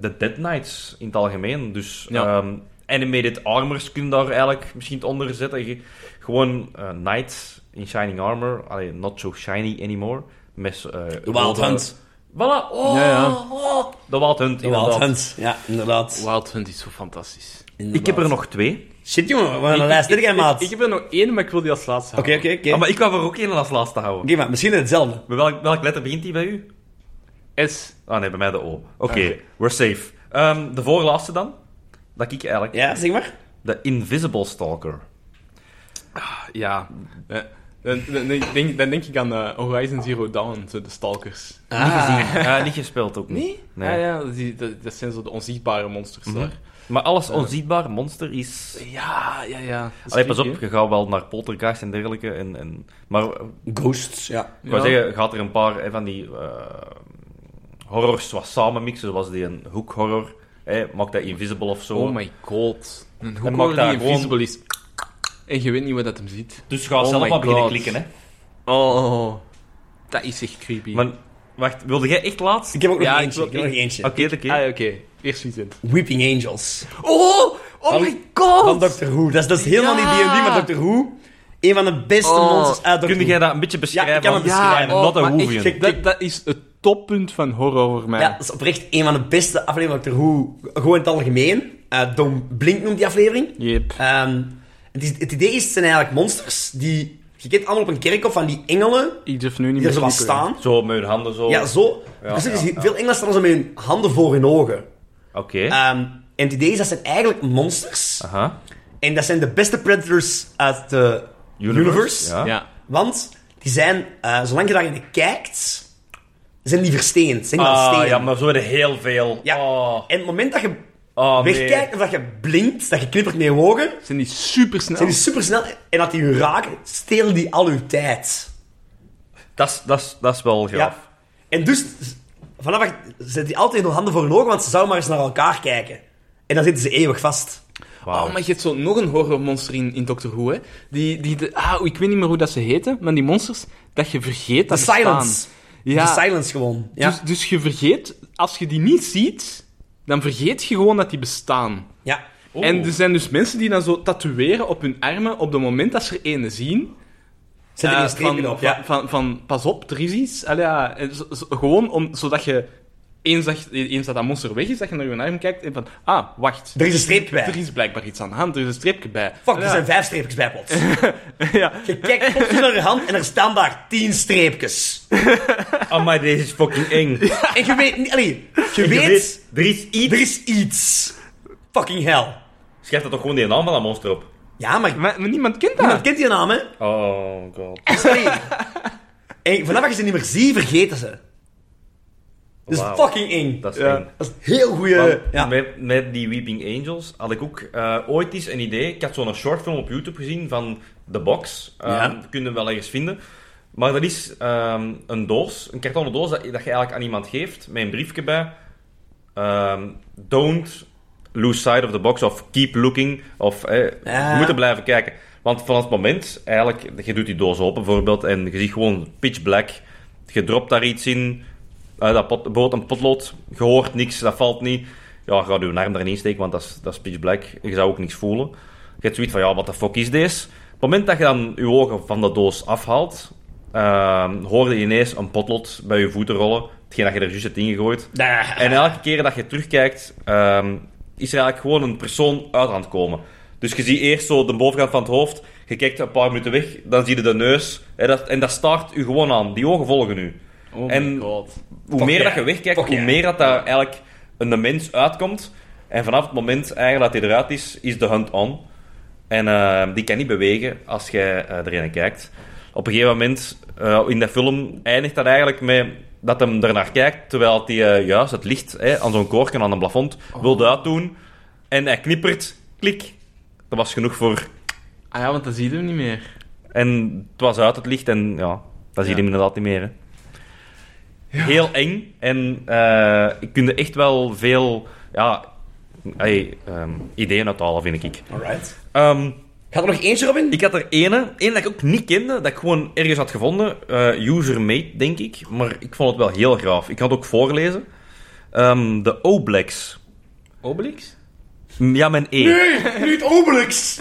[SPEAKER 4] de Dead Knights in het algemeen. Dus
[SPEAKER 3] Ja.
[SPEAKER 4] ehm, animated armors kun je daar eigenlijk misschien het onder zetten. Je- gewoon eh, knights in shining armor. Allee, not so shiny anymore. Met, eh,
[SPEAKER 2] De Wild
[SPEAKER 4] rode-
[SPEAKER 2] Hunt.
[SPEAKER 4] Voilà. Oh,
[SPEAKER 3] Ja, ja.
[SPEAKER 4] oh. De Wild Hunt,
[SPEAKER 2] De Wild
[SPEAKER 4] inderdaad.
[SPEAKER 2] Hunt. Ja, inderdaad.
[SPEAKER 3] Wild Hunt is zo fantastisch.
[SPEAKER 4] Ik heb er nog twee.
[SPEAKER 2] Shit, jongen. Wat een lijst. Dit jij, maat.
[SPEAKER 3] Ik, ik heb er nog één, maar ik wil die als laatste
[SPEAKER 2] Oké,
[SPEAKER 3] houden.
[SPEAKER 2] oké, oké.
[SPEAKER 4] Ah,
[SPEAKER 2] Oké,
[SPEAKER 4] maar ik wou er ook één als laatste houden.
[SPEAKER 2] maar misschien hetzelfde.
[SPEAKER 4] Bij welk, welk letter begint die bij u?
[SPEAKER 3] S.
[SPEAKER 4] Ah nee, bij mij de O. Oké,
[SPEAKER 3] Oké.
[SPEAKER 4] we're safe. Ehm, de voorlaatste dan? Dat ik eigenlijk.
[SPEAKER 2] Ja, zeg maar.
[SPEAKER 4] De Invisible Stalker.
[SPEAKER 3] Ja. Eh, Dan, dan, dan denk, dan denk ik aan eh, Horizon Zero Dawn, zo de stalkers.
[SPEAKER 4] Niet gezien. Eh, niet gespeeld ook niet. Nee.
[SPEAKER 3] Ja, ja, die, dat, dat zijn zo de onzichtbare monsters daar.
[SPEAKER 4] Maar alles onzichtbaar, monster is...
[SPEAKER 3] Ja, ja, ja. Dat
[SPEAKER 4] Eh.
[SPEAKER 3] is
[SPEAKER 4] Allee, pas
[SPEAKER 3] creepy,
[SPEAKER 4] op, je gaat wel naar poltergeist en dergelijke. En, en... Maar eh,
[SPEAKER 2] Ghosts, ja.
[SPEAKER 4] ik wou
[SPEAKER 3] Ja.
[SPEAKER 4] zeggen, gaat er een paar eh, van die eh, horrors wat samen mixen, zoals die een hoek horror. Eh, maakt dat invisible of
[SPEAKER 3] hè.
[SPEAKER 4] zo.
[SPEAKER 3] Oh my god. Een
[SPEAKER 4] maakt
[SPEAKER 3] hoekhoorn die
[SPEAKER 4] daar
[SPEAKER 3] invisible
[SPEAKER 4] gewoon-
[SPEAKER 3] is. En je weet niet wat dat hem ziet.
[SPEAKER 4] dus ga
[SPEAKER 3] Oh
[SPEAKER 4] zelf
[SPEAKER 3] my
[SPEAKER 4] maar beginnen
[SPEAKER 3] God.
[SPEAKER 4] klikken. Hè.
[SPEAKER 3] Oh, dat is echt creepy.
[SPEAKER 4] Maar wacht, wilde jij echt laatst?
[SPEAKER 2] Ik heb ook nog
[SPEAKER 3] Ja, ik
[SPEAKER 2] eentje.
[SPEAKER 3] wil-
[SPEAKER 2] Ik heb nog eentje.
[SPEAKER 4] Oké, oké.
[SPEAKER 3] Ah, oké. Eerst Vincent.
[SPEAKER 2] Weeping Angels.
[SPEAKER 3] Oh, oh
[SPEAKER 2] my
[SPEAKER 3] god.
[SPEAKER 2] Van Doctor Who. Dat is, dat is helemaal
[SPEAKER 3] Ja.
[SPEAKER 2] niet D&D, maar Doctor Who. Een van de beste
[SPEAKER 3] Oh.
[SPEAKER 2] monsters uit Doctor
[SPEAKER 4] Kun
[SPEAKER 2] Who.
[SPEAKER 4] jij dat een beetje beschrijven?
[SPEAKER 2] Ja, ik kan het
[SPEAKER 4] Want-
[SPEAKER 2] beschrijven. Oh,
[SPEAKER 4] I'm not a
[SPEAKER 3] maar echt,
[SPEAKER 4] Whovian.
[SPEAKER 3] gek, dat, dat is het toppunt van horror voor mij.
[SPEAKER 2] Ja, dat is oprecht een van de beste afleveringen van Doctor Who. Gewoon in het algemeen. Eh Dom Blink noemt die aflevering.
[SPEAKER 3] Yep.
[SPEAKER 2] Ehm, het, is, het idee is, het zijn eigenlijk monsters die... Je kent allemaal op een kerkhof van die engelen
[SPEAKER 3] Ik durf nu niet
[SPEAKER 2] die
[SPEAKER 3] meer
[SPEAKER 2] er zo wat
[SPEAKER 3] zoeken.
[SPEAKER 2] staan.
[SPEAKER 4] Zo met hun handen zo.
[SPEAKER 2] Ja, zo.
[SPEAKER 4] Ja,
[SPEAKER 2] dus er is
[SPEAKER 4] ja,
[SPEAKER 2] Veel engelen staan zo met hun handen voor hun ogen.
[SPEAKER 4] Oké.
[SPEAKER 2] Ehm, en het idee is, dat zijn eigenlijk monsters.
[SPEAKER 4] Aha.
[SPEAKER 2] En dat zijn de beste predators uit de universe.
[SPEAKER 4] Ja.
[SPEAKER 3] Ja.
[SPEAKER 2] Want die zijn, eh, zolang je daarin kijkt, zijn die versteend. Zijn die van
[SPEAKER 4] Ah,
[SPEAKER 2] steen.
[SPEAKER 4] ja, maar zo werden heel veel.
[SPEAKER 2] Ja.
[SPEAKER 4] Oh.
[SPEAKER 2] En het moment dat je
[SPEAKER 4] Oh, nee.
[SPEAKER 2] wegkijkt of dat je blinkt, dat je knippert met je ogen,
[SPEAKER 3] Zijn die supersnel?
[SPEAKER 2] zijn die supersnel. En dat die je raken, stelen die al je tijd.
[SPEAKER 4] Dat is- dat is- dat is wel
[SPEAKER 2] Ja.
[SPEAKER 4] graaf.
[SPEAKER 2] En dus, vanaf dat- zet die altijd hun handen voor hun ogen, want ze zouden maar eens naar elkaar kijken. En dan zitten ze eeuwig vast.
[SPEAKER 4] Wauw.
[SPEAKER 3] Oh, maar je hebt zo nog een horrormonster in, in Doctor Who, hè. Die, die, de- ah, ik weet niet meer hoe dat ze heten, maar die monsters, dat je vergeet
[SPEAKER 2] De
[SPEAKER 3] dat ze
[SPEAKER 2] silence.
[SPEAKER 3] staan. Ja,
[SPEAKER 2] De silence gewoon. Ja.
[SPEAKER 3] Dus, dus je vergeet, als je die niet ziet, dan vergeet je gewoon dat die bestaan.
[SPEAKER 2] ja.
[SPEAKER 4] Oeh.
[SPEAKER 3] En er zijn dus mensen die dan zo tatoeëren op hun armen op het moment dat ze er ene zien.
[SPEAKER 2] Zet er
[SPEAKER 3] Eh,
[SPEAKER 2] een streepje
[SPEAKER 3] van,
[SPEAKER 2] op. Ja.
[SPEAKER 3] Van, van, van, pas op, er is iets. Allee, ja, en zo- zo- gewoon om, zodat je, eens dat, je- eens dat dat monster weg is, dat je naar je arm kijkt en van, ah, wacht.
[SPEAKER 2] Er is een streep bij.
[SPEAKER 3] Er is blijkbaar iets aan de hand, er is een streepje bij.
[SPEAKER 2] Fuck, er
[SPEAKER 3] Allee,
[SPEAKER 2] zijn vijf streepjes bij plots.
[SPEAKER 3] ja.
[SPEAKER 2] Je kijkt plots naar je hand en er staan daar tien streepjes.
[SPEAKER 4] Amai, Oh, deze is fucking eng.
[SPEAKER 2] En je weet niet... Allee, je,
[SPEAKER 4] Je
[SPEAKER 2] weet,
[SPEAKER 4] weet, er is iets.
[SPEAKER 2] Er is iets. Fucking hell.
[SPEAKER 4] Schrijf dat toch gewoon die naam van dat monster op.
[SPEAKER 2] Ja, maar...
[SPEAKER 3] Maar, maar niemand kent dat.
[SPEAKER 2] Niemand kent die naam, hè?
[SPEAKER 4] Oh god.
[SPEAKER 2] Sorry. en vanaf dat je ze niet meer ziet, vergeten ze. Dat is
[SPEAKER 4] Wauw.
[SPEAKER 2] fucking eng.
[SPEAKER 4] Dat is
[SPEAKER 3] Ja.
[SPEAKER 4] eng.
[SPEAKER 2] Dat is heel goeie...
[SPEAKER 4] Want
[SPEAKER 2] ja.
[SPEAKER 4] met, met die Weeping Angels had ik ook eh, ooit eens een idee. Ik had zo'n shortfilm op YouTube gezien van The Box. Ehm
[SPEAKER 2] Ja.
[SPEAKER 4] Dat kun je wel ergens vinden. Maar dat is ehm, een doos, een kartonnen doos, dat, dat je eigenlijk aan iemand geeft, met een briefje bij. Ehm, don't lose sight of the box of keep looking. Of eh,
[SPEAKER 2] Ja.
[SPEAKER 4] we moeten blijven kijken. Want van het moment, eigenlijk, je doet die doos open bijvoorbeeld en je ziet gewoon pitch black. Je dropt daar iets in, uit dat pot, bijvoorbeeld een potlood, je hoort niks, dat valt niet. Ja, ga je arm erin steken, want dat is, dat is pitch black. Je zou ook niks voelen. Je hebt zoiets van, ja, wat de fuck is deze? Op het moment dat je dan je ogen van de doos afhaalt, ehm, hoorde je ineens een potlood bij je voeten rollen. Hetgeen dat je er juist hebt ingegooid.
[SPEAKER 2] Daar.
[SPEAKER 4] En elke keer dat je terugkijkt, ehm, is er eigenlijk gewoon een persoon uit aan het komen. Dus je ziet eerst zo de bovenkant van het hoofd, je kijkt een paar minuten weg, dan zie je de neus. En dat, en dat staart u gewoon aan. Die ogen volgen u.
[SPEAKER 3] Oh
[SPEAKER 4] En-
[SPEAKER 3] my god.
[SPEAKER 4] Hoe
[SPEAKER 2] Fuck
[SPEAKER 4] meer
[SPEAKER 2] yeah.
[SPEAKER 4] dat je wegkijkt,
[SPEAKER 2] Fuck
[SPEAKER 4] hoe
[SPEAKER 2] yeah.
[SPEAKER 4] meer dat daar eigenlijk een mens uitkomt. En vanaf het moment eigenlijk dat hij eruit is, is de hunt on. En eh, die kan niet bewegen als je eh, erin kijkt. Op een gegeven moment eh, in de film eindigt dat eigenlijk met dat hem ernaar kijkt, terwijl hij eh, juist het licht hè, aan zo'n koorken aan een plafond
[SPEAKER 2] Oh.
[SPEAKER 4] wilde uitdoen. En hij knippert, klik. Dat was genoeg voor.
[SPEAKER 3] Ah ja, want dat zien we niet meer.
[SPEAKER 4] En het was uit het licht en ja, dat zie je
[SPEAKER 3] Ja.
[SPEAKER 4] hem inderdaad niet meer. Hè. Heel eng en eh ik kunde echt wel veel ja, ey, ehm, ideeën uithalen, vind ik.
[SPEAKER 2] Alright.
[SPEAKER 4] Ehm,
[SPEAKER 2] Gaat er nog eentje, Robin?
[SPEAKER 4] ik had er ene, één dat ik ook niet kende, dat ik gewoon ergens had gevonden. eh User-made, denk ik. Maar ik vond het wel heel graaf. Ik had ook voorlezen. Ehm, de Oblex.
[SPEAKER 3] Obelix?
[SPEAKER 4] Ja, mijn E.
[SPEAKER 2] Nu het Obelix!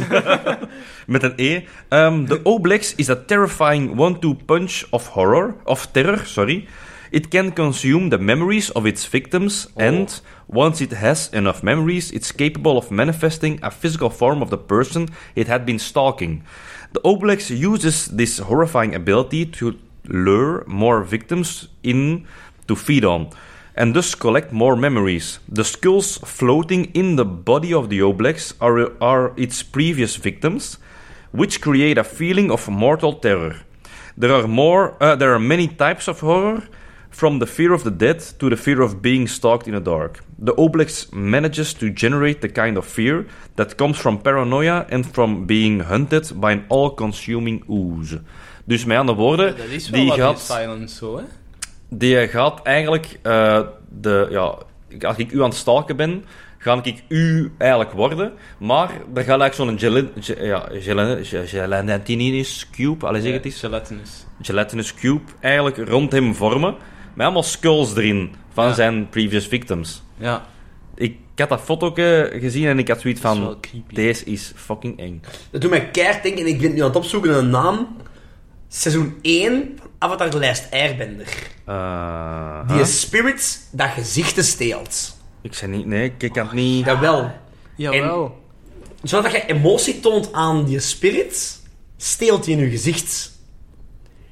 [SPEAKER 4] Met een E. Ehm, de Oblex is a terrifying one-two punch of horror, of terror, sorry. It can consume the memories of its victims and, once it has enough memories, it's capable of manifesting a physical form of the person it had been stalking. The Oblex uses this horrifying ability to lure more victims in to feed on, and thus collect more memories. The skulls floating in the body of the Oblex are, are its previous victims, which create a feeling of mortal terror. There are more. Uh, there are many types of horror, from the fear of the dead to the fear of being stalked in the dark. The Oblex manages to generate the kind of fear that comes from paranoia and from being hunted by an all-consuming ooze. Dus met andere woorden,
[SPEAKER 3] Dat is wel
[SPEAKER 4] die
[SPEAKER 3] wat
[SPEAKER 4] gaat
[SPEAKER 3] in Silent zo, hè?
[SPEAKER 4] die gaat eigenlijk eh, de, ja, als ik u aan het stalken ben, ga ik u eigenlijk worden, maar er gaat eigenlijk zo'n gele- ge- ja, gele- ge- gelatinous cube, allee zeg het eens,
[SPEAKER 3] Gelatinous.
[SPEAKER 4] gelatinous cube, eigenlijk rond hem vormen, met allemaal skulls erin van
[SPEAKER 3] Ja.
[SPEAKER 4] zijn previous victims.
[SPEAKER 3] Ja.
[SPEAKER 4] Ik had dat foto gezien en ik had zoiets
[SPEAKER 3] Dat is wel
[SPEAKER 4] van,
[SPEAKER 3] creepy.
[SPEAKER 4] deze is fucking eng.
[SPEAKER 2] Dat doet mij keihard denken, en ik ben nu aan het opzoeken naar een naam. Seizoen 1 van Avatar de Lijst Airbender.
[SPEAKER 4] Eh,
[SPEAKER 2] Die
[SPEAKER 4] huh?
[SPEAKER 2] is Spirit dat gezichten steelt.
[SPEAKER 4] Ik zei niet, nee, ik kan het niet...
[SPEAKER 2] Jawel.
[SPEAKER 3] Jawel.
[SPEAKER 2] Zodat je emotie toont aan die spirit, steelt die in je gezicht.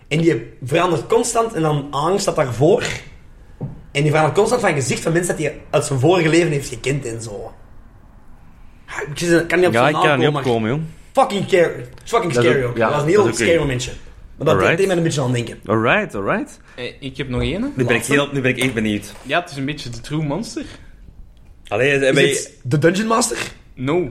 [SPEAKER 2] En die verandert constant en dan angst dat daarvoor. En die verandert constant van gezicht van mensen dat hij uit zijn vorige leven heeft gekend en zo. Ha, Ik zit- kan niet op
[SPEAKER 4] Ja,
[SPEAKER 2] zijn
[SPEAKER 4] ik
[SPEAKER 2] naam
[SPEAKER 4] kan er niet
[SPEAKER 2] maar
[SPEAKER 4] opkomen, joh.
[SPEAKER 2] Fucking, care, fucking
[SPEAKER 4] Dat is
[SPEAKER 2] scary
[SPEAKER 4] ook-
[SPEAKER 2] ook.
[SPEAKER 4] ja,
[SPEAKER 2] dat was een
[SPEAKER 4] dat
[SPEAKER 2] heel
[SPEAKER 4] is ook
[SPEAKER 2] scary
[SPEAKER 4] een-
[SPEAKER 2] momentje. Maar dat
[SPEAKER 4] Alright.
[SPEAKER 2] deed mij een beetje aan denken.
[SPEAKER 4] Alright, alright.
[SPEAKER 3] Eh, Ik heb nog één.
[SPEAKER 4] Nu ben, ik
[SPEAKER 2] Laatste.
[SPEAKER 4] heel, nu ben ik echt benieuwd.
[SPEAKER 3] Ja, het is een beetje de True Monster.
[SPEAKER 4] Allee, eh, ben je-
[SPEAKER 2] Is het de Dungeon Master?
[SPEAKER 3] No.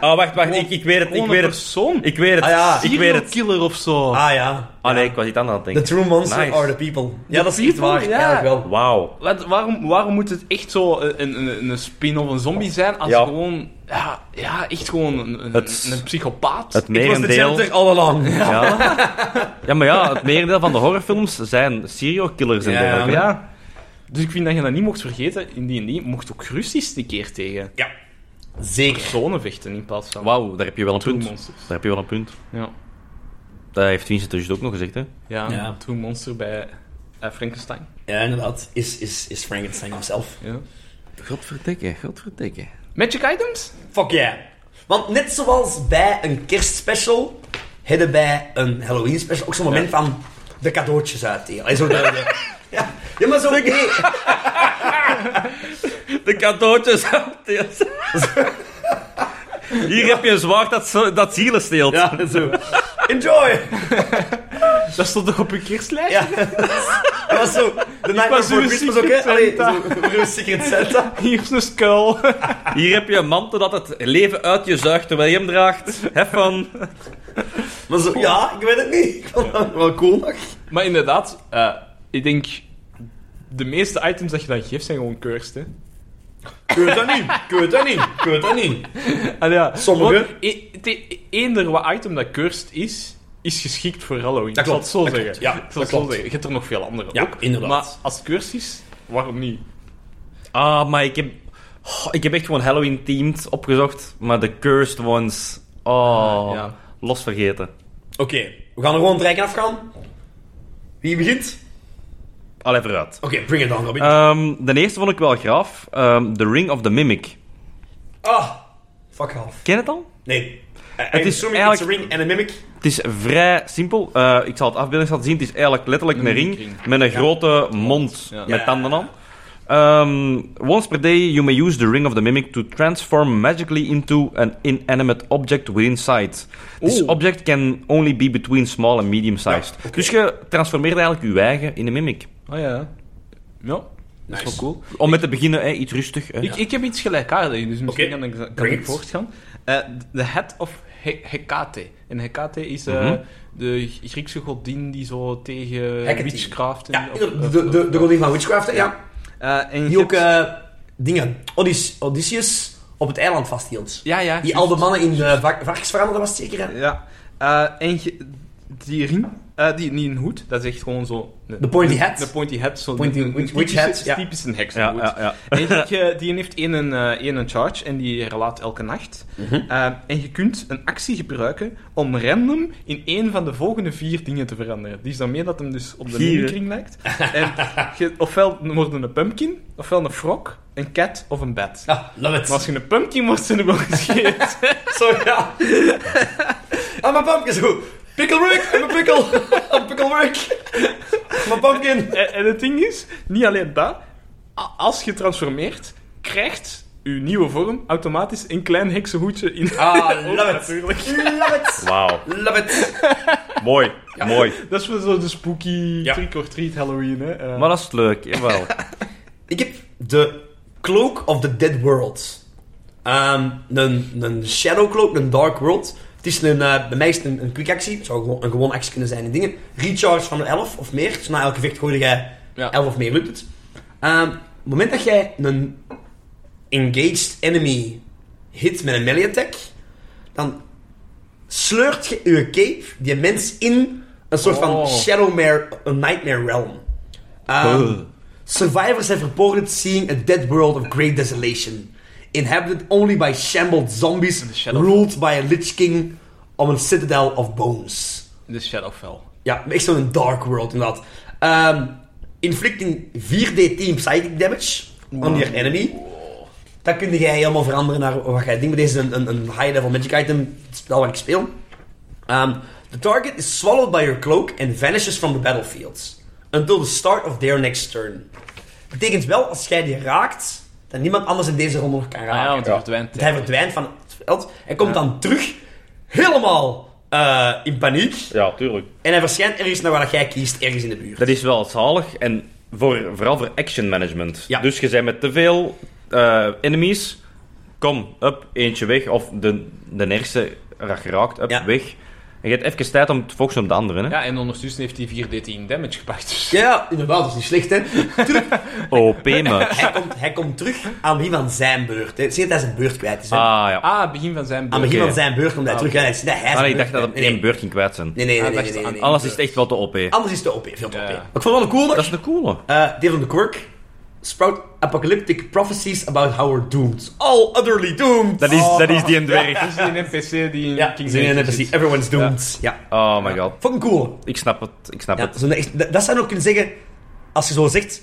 [SPEAKER 4] Oh, wacht, wacht. Ik, ik weet het, ik
[SPEAKER 3] Gewoon
[SPEAKER 4] weet
[SPEAKER 3] een
[SPEAKER 4] het.
[SPEAKER 3] persoon.
[SPEAKER 4] Ik weet het,
[SPEAKER 2] Ah, ja.
[SPEAKER 4] ik weet het.
[SPEAKER 3] killer of zo.
[SPEAKER 2] Ah ja.
[SPEAKER 4] Ah nee, ik was iets anders aan het
[SPEAKER 2] The
[SPEAKER 4] denken.
[SPEAKER 2] true monster
[SPEAKER 4] Nice.
[SPEAKER 2] are the people. Ja, dat is echt
[SPEAKER 3] people,
[SPEAKER 2] waar.
[SPEAKER 3] ja.
[SPEAKER 2] Eigenlijk wel.
[SPEAKER 4] Wauw.
[SPEAKER 3] Wat, waarom, waarom moet het echt zo eh, een, een, een spin-off, een zombie zijn, als
[SPEAKER 4] Ja.
[SPEAKER 3] gewoon... Ja, ja, echt gewoon een, een,
[SPEAKER 4] Het-
[SPEAKER 3] een psychopaat.
[SPEAKER 4] Het
[SPEAKER 2] Ik was de
[SPEAKER 4] merendeel...
[SPEAKER 2] janitor all along.
[SPEAKER 4] Ja. ja, maar ja, het merendeel van de horrorfilms zijn serial killers en
[SPEAKER 2] Ja,
[SPEAKER 4] dergelijke.
[SPEAKER 2] maar-
[SPEAKER 3] Ja. Dus ik vind dat je dat niet mocht vergeten. In die en mocht ook gerust eens een keer tegen
[SPEAKER 2] Ja. Zeker.
[SPEAKER 3] personen vechten in plaats van...
[SPEAKER 4] Wauw, daar heb je wel een
[SPEAKER 3] True
[SPEAKER 4] punt.
[SPEAKER 3] monsters.
[SPEAKER 4] Daar heb je wel een punt.
[SPEAKER 3] Ja.
[SPEAKER 4] Dat heeft Vincent er juist ook nog gezegd, hè.
[SPEAKER 3] Ja,
[SPEAKER 2] Ja.
[SPEAKER 3] True Monster bij eh, Frankenstein.
[SPEAKER 2] Ja, inderdaad. Is, is, is Frankenstein himself.
[SPEAKER 3] Ja.
[SPEAKER 4] Godverdikke, godverdikke.
[SPEAKER 3] Magic items?
[SPEAKER 2] Fuck yeah. Want net zoals bij een kerstspecial, hebben bij een Halloween special ook zo'n moment van de cadeautjes uitdelen. En zo de, de- ja. ja, maar zo... Nee.
[SPEAKER 4] De cadeautjes Hier heb je een zwaard dat, zo- dat zielen steelt.
[SPEAKER 2] Ja, zo. Enjoy!
[SPEAKER 3] Dat stond toch op je kerstlijst?
[SPEAKER 2] Ja. Dat was zo... De Nightmare
[SPEAKER 3] was
[SPEAKER 2] Before
[SPEAKER 3] uw
[SPEAKER 2] Christmas ook, hè?
[SPEAKER 3] Secret
[SPEAKER 2] Allee,
[SPEAKER 3] Santa.
[SPEAKER 2] zo, voor uw Secret Santa.
[SPEAKER 3] Hier is een skull.
[SPEAKER 4] Hier heb je een mantel dat het leven uit je zuigt terwijl je hem draagt. Hef van.
[SPEAKER 2] Maar zo, ja, ik weet het niet. Ik vond dat wel cool nog.
[SPEAKER 3] maar inderdaad, eh, ik denk... De meeste items dat je dan geeft zijn gewoon cursed, hè.
[SPEAKER 2] Ik weet dat niet, ik weet dat niet, ik weet dat niet.
[SPEAKER 3] Ah, ja.
[SPEAKER 2] Sommige.
[SPEAKER 3] Want e- te- Eender wat item dat cursed is, is geschikt voor Halloween.
[SPEAKER 2] Dat
[SPEAKER 3] ik zal
[SPEAKER 2] klopt,
[SPEAKER 3] het zo
[SPEAKER 2] dat
[SPEAKER 3] zeggen.
[SPEAKER 2] klopt, ja,
[SPEAKER 3] ik zal
[SPEAKER 2] dat
[SPEAKER 3] het zo
[SPEAKER 2] klopt.
[SPEAKER 3] zeggen. Je hebt er nog veel andere
[SPEAKER 2] Ja,
[SPEAKER 3] ook.
[SPEAKER 2] inderdaad.
[SPEAKER 3] Maar als het cursed is, waarom niet?
[SPEAKER 4] Ah, maar ik heb... oh, ik heb echt gewoon Halloween-themed opgezocht, maar de cursed ones... Oh,
[SPEAKER 3] Ah, ja.
[SPEAKER 4] los vergeten.
[SPEAKER 2] Oké, we gaan er gewoon direct afgaan. Wie begint?
[SPEAKER 4] Allee, vooruit.
[SPEAKER 2] Oké, bring it on, Robin.
[SPEAKER 4] Ehm, de eerste vond ik wel graaf. Ehm, the Ring of the Mimic.
[SPEAKER 2] ah, fuck half.
[SPEAKER 4] Ken je het al?
[SPEAKER 2] Nee.
[SPEAKER 4] is
[SPEAKER 2] het is assuming
[SPEAKER 4] eigenlijk-
[SPEAKER 2] it's a ring en een mimic.
[SPEAKER 4] Het is vrij simpel. Eh, ik zal het afbeelding laten zien. Het is eigenlijk letterlijk een,
[SPEAKER 3] Een
[SPEAKER 4] ring,
[SPEAKER 3] ring.
[SPEAKER 4] met een grote mond
[SPEAKER 3] Ja.
[SPEAKER 4] met
[SPEAKER 2] Ja.
[SPEAKER 4] tanden aan. Ehm, once per day you may use the ring of the mimic to transform magically into an inanimate object within sight. This
[SPEAKER 3] Oeh.
[SPEAKER 4] object can only be between small and medium sized. Dus je transformeert eigenlijk je eigen in een mimic.
[SPEAKER 3] Oh ja. Ja, dat
[SPEAKER 2] Nice.
[SPEAKER 3] is wel cool.
[SPEAKER 4] Om met te beginnen, hè, iets rustig. hè.
[SPEAKER 3] Ik, ik heb iets gelijkaardigs, dus misschien
[SPEAKER 2] Oké,
[SPEAKER 3] kan ik, kan
[SPEAKER 2] bring
[SPEAKER 3] ik
[SPEAKER 2] it.
[SPEAKER 3] voortgaan. Eh, de head of He- Hecate. En Hecate is eh,
[SPEAKER 4] Mhm.
[SPEAKER 3] de Griekse godin die zo tegen
[SPEAKER 2] Hecate.
[SPEAKER 3] witchcraft... en-
[SPEAKER 2] Ja,
[SPEAKER 3] of-
[SPEAKER 2] inderdaad,
[SPEAKER 3] of-
[SPEAKER 2] de, de, de godin van witchcraft, hè, ja.
[SPEAKER 3] Eh, en je
[SPEAKER 2] Die ook
[SPEAKER 3] hebt-
[SPEAKER 2] eh, dingen, Odys, Odysseus, op het eiland vasthield.
[SPEAKER 3] ja, ja,
[SPEAKER 2] Die
[SPEAKER 3] juist.
[SPEAKER 2] al de mannen in de va- varkens veranderde was het zeker, hè?
[SPEAKER 3] Ja. Eh, en je- die ring, eh, die, niet een hoed, dat is echt gewoon zo...
[SPEAKER 2] De pointy hat.
[SPEAKER 3] De pointy hat. Zo
[SPEAKER 2] Pointy
[SPEAKER 3] een- een
[SPEAKER 2] witch-
[SPEAKER 3] typische-
[SPEAKER 2] witch hat, ja.
[SPEAKER 3] typisch een
[SPEAKER 4] ja,
[SPEAKER 3] heksenhoed.
[SPEAKER 4] ja, ja.
[SPEAKER 3] En je- je- die heeft één, eh, één een charge en die herlaat elke nacht.
[SPEAKER 2] Mhm.
[SPEAKER 3] Eh, en je kunt een actie gebruiken om random in één van de volgende vier dingen te veranderen. Die is dan meer dat hem dus op de
[SPEAKER 4] Gieren.
[SPEAKER 3] mimikring lijkt. En je, ofwel wordt het een pumpkin, ofwel een frog, een cat of een bat.
[SPEAKER 2] Ah, love it.
[SPEAKER 3] Maar als je een pumpkin wordt, zijn er wel gescheerd.
[SPEAKER 2] Zo, ja. Aan mijn pumpkin, zo. Pickle Rick, I'm a pickle. I'm pickle Rick. Mijn pumpkin.
[SPEAKER 3] en, en het ding is, niet alleen dat, a- als je transformeert, krijgt je nieuwe vorm automatisch een klein heksenhoedje in.
[SPEAKER 2] Ah,
[SPEAKER 3] Ook
[SPEAKER 2] love it.
[SPEAKER 3] natuurlijk.
[SPEAKER 2] Love it.
[SPEAKER 4] Wauw.
[SPEAKER 2] Love it.
[SPEAKER 4] Mooi, mooi.
[SPEAKER 3] Dat is wel zo de spooky
[SPEAKER 2] Ja.
[SPEAKER 3] trick or treat Halloween, hè? Eh,
[SPEAKER 4] Maar dat is leuk, jawel.
[SPEAKER 2] Ik heb de Cloak of the Dead World. Ehm, een, een Shadow Cloak, een Dark World. Het is een, eh, bij mij is het een, een quick actie. Het zou gewoon, een gewone actie kunnen zijn in dingen. Recharge van een 11 of meer. Dus na elke vecht gooi jij
[SPEAKER 3] Ja.
[SPEAKER 2] 11 of meer lukt het. Ehm, op het moment dat jij een engaged enemy hit met een melee attack, dan sleurt je je cape, die mens, in een soort van
[SPEAKER 3] Oh.
[SPEAKER 2] Shadowmare, een Nightmare Realm. Ehm,
[SPEAKER 4] Ugh.
[SPEAKER 2] Survivors have reported seeing a dead world of great desolation, inhabited only by shambled zombies
[SPEAKER 3] The Shadow.
[SPEAKER 2] ruled by a Lich King on a citadel of bones.
[SPEAKER 3] De Shadowfell.
[SPEAKER 2] Ja, echt zo'n dark world inderdaad. Ehm inflicting 4d10 psychic damage on your enemy. Dat kun jij helemaal veranderen naar wat jij denkt. Maar deze is een, een, een high-level magic item, het spel waar ik speel. Ehm, the target is swallowed by your cloak and vanishes from the battlefield. Until the start of their next turn. Betekent wel, als jij die raakt, dat niemand anders in deze ronde nog kan raken.
[SPEAKER 3] ja, Ah, want hij verdwijnt.
[SPEAKER 2] Want hij verdwijnt van het veld. Hij komt dan terug, helemaal eh, in paniek.
[SPEAKER 4] Ja, tuurlijk.
[SPEAKER 2] En hij verschijnt ergens naar waar dat jij kiest, ergens in de buurt.
[SPEAKER 4] Dat is wel zalig en voor, vooral voor action management.
[SPEAKER 2] Ja.
[SPEAKER 4] Dus je bent met te veel eh, enemies. Kom, up, eentje weg. Of de, de eerste raak geraakt, up,
[SPEAKER 2] Ja.
[SPEAKER 4] weg. En je hebt even tijd om te focussen op de andere. Hè?
[SPEAKER 3] Ja, en ondertussen heeft hij 4d10 damage gepakt. Dus.
[SPEAKER 2] Ja, ja, inderdaad, dat is niet slecht, hè.
[SPEAKER 4] OP, me.
[SPEAKER 2] Hij komt, hij komt terug aan wie van zijn beurt. hè. Het is niet dat hij zijn beurt kwijt is, hè.
[SPEAKER 4] Ah, ja.
[SPEAKER 3] Ah, begin van zijn
[SPEAKER 2] aan het
[SPEAKER 3] beurt.
[SPEAKER 2] begin
[SPEAKER 4] oké.
[SPEAKER 2] van zijn beurt komt hij
[SPEAKER 3] Ah,
[SPEAKER 2] terug. hè. Het is niet dat hij
[SPEAKER 4] Ah,
[SPEAKER 2] zijn
[SPEAKER 4] ik dacht dat
[SPEAKER 2] beurt
[SPEAKER 4] het op
[SPEAKER 2] kwijt- nee,
[SPEAKER 4] één beurt ging kwijt zijn.
[SPEAKER 2] Nee, nee, nee.
[SPEAKER 3] Ah,
[SPEAKER 2] nee,
[SPEAKER 3] dacht
[SPEAKER 2] nee,
[SPEAKER 3] aan
[SPEAKER 2] nee, nee.
[SPEAKER 4] Alles is het echt wel te OP.
[SPEAKER 2] Anders is de OP, veel te
[SPEAKER 3] Ja.
[SPEAKER 2] OP. Maar ik vond wel een cool.
[SPEAKER 4] Dat is de coole.
[SPEAKER 2] Eh, deel van de quirk. Sprout apocalyptic prophecies about how we're doomed. All utterly doomed.
[SPEAKER 4] Dat is, dat is die een dwerg.
[SPEAKER 3] Dat is die NPC die in
[SPEAKER 2] Ja,
[SPEAKER 3] King
[SPEAKER 2] zin in
[SPEAKER 3] Nathan
[SPEAKER 2] NPC.
[SPEAKER 3] zit.
[SPEAKER 2] Everyone's doomed. Ja.
[SPEAKER 4] Oh my god.
[SPEAKER 2] Vond ik een cool.
[SPEAKER 4] Ik snap het, ik snap
[SPEAKER 2] Ja,
[SPEAKER 4] het.
[SPEAKER 2] zo'n echt- dat, dat zou je ook kunnen zeggen, als je zo zegt,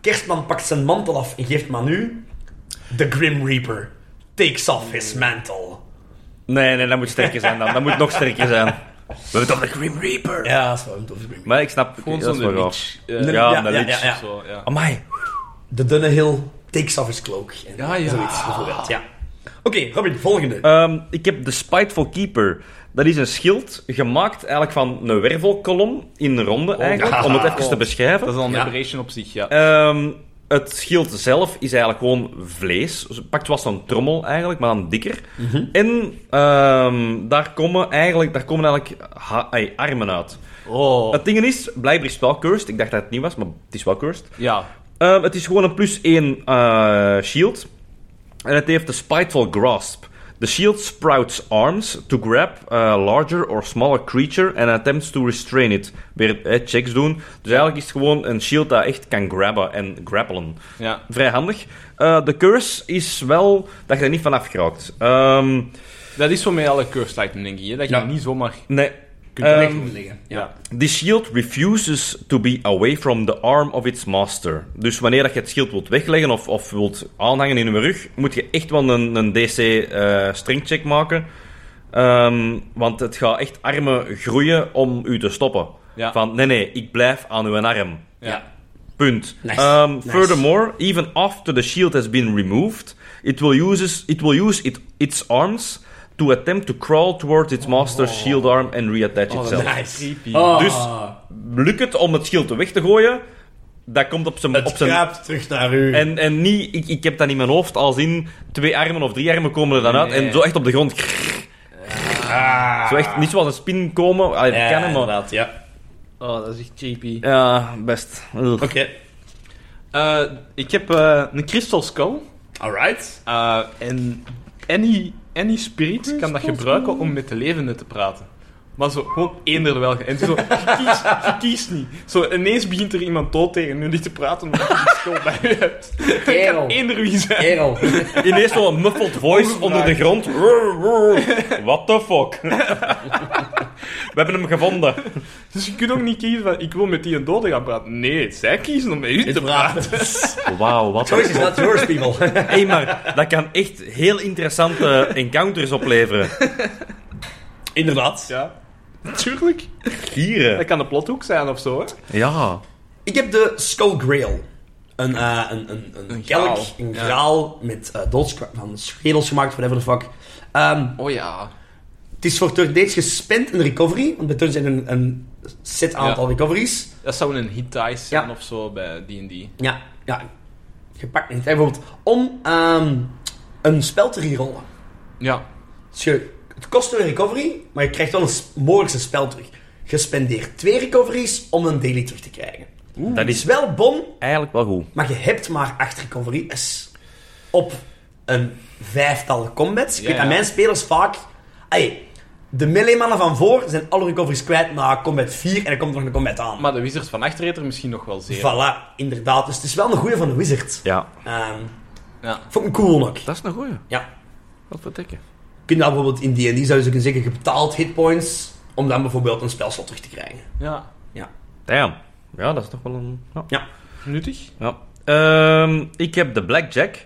[SPEAKER 2] Kerstman pakt zijn mantel af en geeft maar nu, The Grim Reaper takes off his mantle.
[SPEAKER 4] Nee, nee, dat moet sterker zijn dan. Dat moet nog sterker zijn. We hebben toch de Grim Reaper.
[SPEAKER 2] Ja, dat is wel een toffe Grim Reaper.
[SPEAKER 4] Maar ik snap,
[SPEAKER 3] Gewoon
[SPEAKER 4] dat
[SPEAKER 3] zo'n
[SPEAKER 4] is wel gaaf.
[SPEAKER 3] witch. eh,
[SPEAKER 2] De-
[SPEAKER 4] Ja, de
[SPEAKER 2] ja,
[SPEAKER 4] lich.
[SPEAKER 2] ja.
[SPEAKER 3] Zo, ja.
[SPEAKER 4] Amai.
[SPEAKER 2] The Dunnehill takes off his cloak. En
[SPEAKER 3] Ja, ja.
[SPEAKER 2] Zoiets, bijvoorbeeld, ja. Oké, Robin, volgende.
[SPEAKER 4] Ehm, ik heb de Spiteful Keeper. Dat is een schild gemaakt eigenlijk van een wervelkolom in een ronde eigenlijk,
[SPEAKER 2] ja.
[SPEAKER 4] om het even te beschrijven.
[SPEAKER 3] Oh, Dat is al een
[SPEAKER 2] Ja.
[SPEAKER 3] aberration op zich, ja.
[SPEAKER 4] Ehm, het schild zelf is eigenlijk gewoon vlees. Dus het Pakt was zo'n trommel eigenlijk, maar dan dikker.
[SPEAKER 3] Mhm.
[SPEAKER 4] En ehm, daar komen eigenlijk, daar komen eigenlijk ha- ai, armen uit.
[SPEAKER 3] Oh.
[SPEAKER 4] Het ding is, blijkbaar is het wel cursed. Ik dacht dat het niet was, maar het is wel cursed.
[SPEAKER 3] Ja.
[SPEAKER 4] Ehm, het is gewoon een plus 1 eh, shield. En het heeft de Spiteful Grasp. The shield sprouts arms to grab a larger or smaller creature and attempts to restrain it. Weer eh, checks doen. Dus eigenlijk is het gewoon een shield dat echt kan grabben en grappelen.
[SPEAKER 3] Ja.
[SPEAKER 4] Vrij handig. Eh, de curse is wel dat je er niet vanaf geraakt. Ehm,
[SPEAKER 3] Dat is zo met alle cursed item, denk ik. Hè? Dat je
[SPEAKER 2] Ja.
[SPEAKER 3] niet zomaar...
[SPEAKER 4] nee.
[SPEAKER 3] Kunt er
[SPEAKER 4] Ehm,
[SPEAKER 2] Weg moet liggen. Ja.
[SPEAKER 3] Ja.
[SPEAKER 4] The shield refuses to be away from the arm of its master. Dus wanneer dat je het schild wilt wegleggen of, of wilt aanhangen in je rug, moet je echt wel een, een DC eh, strength check maken. Ehm, want het gaat echt armen groeien om u te stoppen.
[SPEAKER 3] Ja.
[SPEAKER 4] Van nee, nee, ik blijf aan uw arm.
[SPEAKER 3] Ja.
[SPEAKER 4] Punt.
[SPEAKER 2] Nice.
[SPEAKER 4] Um,
[SPEAKER 2] Nice.
[SPEAKER 4] Furthermore, even after the shield has been removed, it will uses it will use it, its arms to attempt to crawl towards its master's shield arm and reattach itself.
[SPEAKER 2] Nice.
[SPEAKER 3] Creepy.
[SPEAKER 2] Oh.
[SPEAKER 4] Dus Lukt het om het schild weg te gooien? Dat komt op zijn... Op
[SPEAKER 2] het
[SPEAKER 4] zijn
[SPEAKER 2] kruipt terug naar u.
[SPEAKER 4] en, en niet, ik, ik heb dat in mijn hoofd als in twee armen of drie armen komen er dan uit
[SPEAKER 3] Nee.
[SPEAKER 4] en zo echt op de grond. Zo echt niet zoals een spin komen. Allee, dat
[SPEAKER 2] Ah. Ja,
[SPEAKER 4] kan hem, maar...
[SPEAKER 2] inderdaad, ja.
[SPEAKER 3] Oh, dat is echt creepy.
[SPEAKER 4] Ja, best. Ugh.
[SPEAKER 2] Oké.
[SPEAKER 3] Eh, ik heb eh, een Crystal Skull.
[SPEAKER 2] Alright.
[SPEAKER 3] Eh, en any, any spirit kan dat gebruiken om met de levenden te praten. Maar zo, gewoon eender welke. En zo, je kiest, je kiest niet. Zo, ineens begint er iemand dood tegen jullie te praten omdat je die skull bij je hebt. Dat
[SPEAKER 2] Kerel.
[SPEAKER 3] kan eender wie zijn.
[SPEAKER 2] Kerel.
[SPEAKER 4] Ineens zo'n muffled voice onder de grond. What the fuck? We hebben hem gevonden.
[SPEAKER 3] Dus je kunt ook niet kiezen van, ik wil met die een dode gaan praten. Nee, zij kiezen om met u te praten.
[SPEAKER 2] Inderdaad.
[SPEAKER 4] Wauw, wat
[SPEAKER 2] Choice is not yours, people.
[SPEAKER 4] Hé, maar dat kan echt heel interessante encounters opleveren.
[SPEAKER 2] Inderdaad.
[SPEAKER 3] Ja, tuurlijk. Dat
[SPEAKER 4] Gieren.
[SPEAKER 3] kan de plothoek zijn of zo, hè.
[SPEAKER 4] Ja.
[SPEAKER 2] Ik heb de Skull Grail. Een, eh, een, een, een, kelk,
[SPEAKER 3] graal.
[SPEAKER 2] een
[SPEAKER 3] Ja.
[SPEAKER 2] graal met eh doodskra- van schedels gemaakt, whatever the fuck. Ehm,
[SPEAKER 3] Oh ja.
[SPEAKER 2] het is voor turn dates gespend in recovery, want bij turn zijn er een, een set aantal recoveries.
[SPEAKER 3] Dat zou een hit dice zijn
[SPEAKER 2] Ja.
[SPEAKER 3] of zo bij D&D.
[SPEAKER 2] Ja, ja. Gepakt niet. hè. Bijvoorbeeld om ehm, een spel te rerollen.
[SPEAKER 3] Ja.
[SPEAKER 2] Dus je, het kost een recovery, maar je krijgt wel een s- mogelijk een spel terug. Je spendeert twee recoveries om een daily terug te krijgen.
[SPEAKER 4] Dat
[SPEAKER 2] is
[SPEAKER 4] is
[SPEAKER 2] wel bon,
[SPEAKER 4] eigenlijk wel goed.
[SPEAKER 2] Maar je hebt maar acht recoveries op een vijftal combats. Ik
[SPEAKER 3] Ja,
[SPEAKER 2] weet dat
[SPEAKER 3] ja.
[SPEAKER 2] mijn spelers vaak... Ay, de melee-mannen van voor zijn alle recoveries kwijt na combat 4 en er komt nog een combat aan.
[SPEAKER 3] Maar de wizard van achter heeft er misschien nog wel zeer.
[SPEAKER 2] Voilà, inderdaad. Dus het is wel een goeie van de wizard.
[SPEAKER 4] Ja.
[SPEAKER 2] Ehm,
[SPEAKER 3] Ja.
[SPEAKER 2] vond ik cool ook.
[SPEAKER 4] Dat is een goeie.
[SPEAKER 2] Ja.
[SPEAKER 4] Wat vertikken.
[SPEAKER 2] Kun je dat bijvoorbeeld in D&D zou je kunnen zeggen, je betaalt hitpoints om dan bijvoorbeeld een spelslot terug te krijgen.
[SPEAKER 3] Ja.
[SPEAKER 2] Ja.
[SPEAKER 4] Damn. Ja, dat is toch wel een... Ja.
[SPEAKER 3] Nuttig.
[SPEAKER 4] Ja. Ehm, ik heb de Blackjack.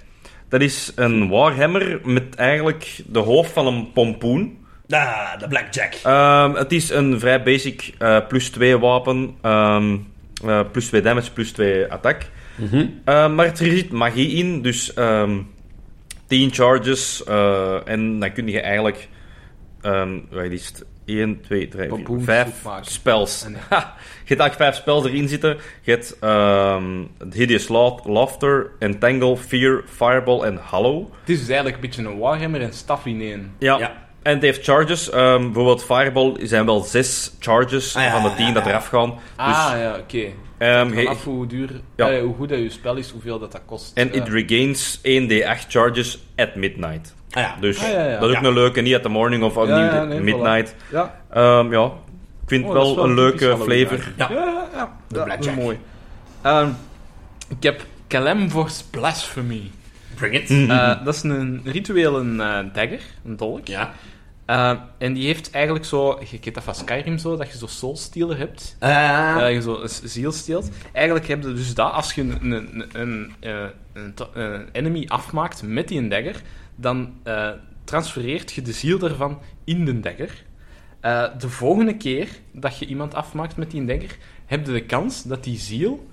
[SPEAKER 4] Dat is een warhammer met eigenlijk de hoofd van een pompoen.
[SPEAKER 2] Ah, de blackjack.
[SPEAKER 4] Ehm, het is een vrij basic eh, plus 2 wapen. Ehm, eh, plus 2 damage, plus 2 attack. Ehm, maar er zit magie in, dus ehm 10 charges. eh, en dan kun je eigenlijk ehm wat is het? 1, 2, 3, 4,
[SPEAKER 3] Pompoen
[SPEAKER 4] 5
[SPEAKER 3] goed maken.
[SPEAKER 4] spels.
[SPEAKER 3] Ah, nee.
[SPEAKER 4] Ha, je hebt eigenlijk 5 spels erin zitten. Je hebt ehm, Hideous Laugh- Laughter, Entangle, Fear, Fireball en Hollow.
[SPEAKER 3] Het is dus eigenlijk een beetje een Warhammer en staf in één.
[SPEAKER 4] Ja.
[SPEAKER 2] Ja.
[SPEAKER 4] En het heeft charges. Ehm, bijvoorbeeld Fireball zijn wel zes charges
[SPEAKER 2] Ah, ja,
[SPEAKER 4] van de
[SPEAKER 2] ja,
[SPEAKER 4] tien
[SPEAKER 2] ja,
[SPEAKER 4] dat
[SPEAKER 2] ja.
[SPEAKER 4] eraf gaan.
[SPEAKER 3] Ah,
[SPEAKER 4] dus,
[SPEAKER 3] ja, oké.
[SPEAKER 4] ehm,
[SPEAKER 3] Vanaf
[SPEAKER 4] ge-
[SPEAKER 3] hoe duur,
[SPEAKER 4] Ja.
[SPEAKER 3] eh, hoe goed dat je spel is, hoeveel dat, dat kost.
[SPEAKER 4] en
[SPEAKER 3] Ja.
[SPEAKER 4] it regains 1d8 charges at midnight.
[SPEAKER 2] Ah ja.
[SPEAKER 4] Dus
[SPEAKER 3] Ah, ja, ja.
[SPEAKER 4] dat is ook
[SPEAKER 2] Ja.
[SPEAKER 4] een leuke. Niet at the morning of
[SPEAKER 3] Ja,
[SPEAKER 4] niet
[SPEAKER 3] ja,
[SPEAKER 4] at
[SPEAKER 3] nee,
[SPEAKER 4] midnight.
[SPEAKER 3] voilà. Ja.
[SPEAKER 4] Ehm, ja, ik vind
[SPEAKER 3] Oh,
[SPEAKER 4] het
[SPEAKER 3] dat
[SPEAKER 4] wel,
[SPEAKER 3] is wel
[SPEAKER 4] een
[SPEAKER 3] typisch
[SPEAKER 4] leuke
[SPEAKER 3] Halloween
[SPEAKER 4] flavor.
[SPEAKER 2] Ja.
[SPEAKER 3] Ja, ja, ja.
[SPEAKER 2] De
[SPEAKER 3] dat is
[SPEAKER 2] blackjack.
[SPEAKER 3] mooi. Ehm, ik heb Calemvor's Blasphemy.
[SPEAKER 2] Bring it.
[SPEAKER 3] Eh, dat is een rituele eh, dagger, een dolk.
[SPEAKER 2] Ja.
[SPEAKER 3] Eh, en die heeft eigenlijk zo... Je kent dat van Skyrim zo, dat je zo soulstealer hebt.
[SPEAKER 2] Eh,
[SPEAKER 3] dat je zo een ziel steelt. Eigenlijk heb je dus dat, als je een, een, een, eh, een, to- een enemy afmaakt met die dagger, dan eh, transfereert je de ziel daarvan in de dagger. Eh, de volgende keer dat je iemand afmaakt met die dagger, heb je de kans dat die ziel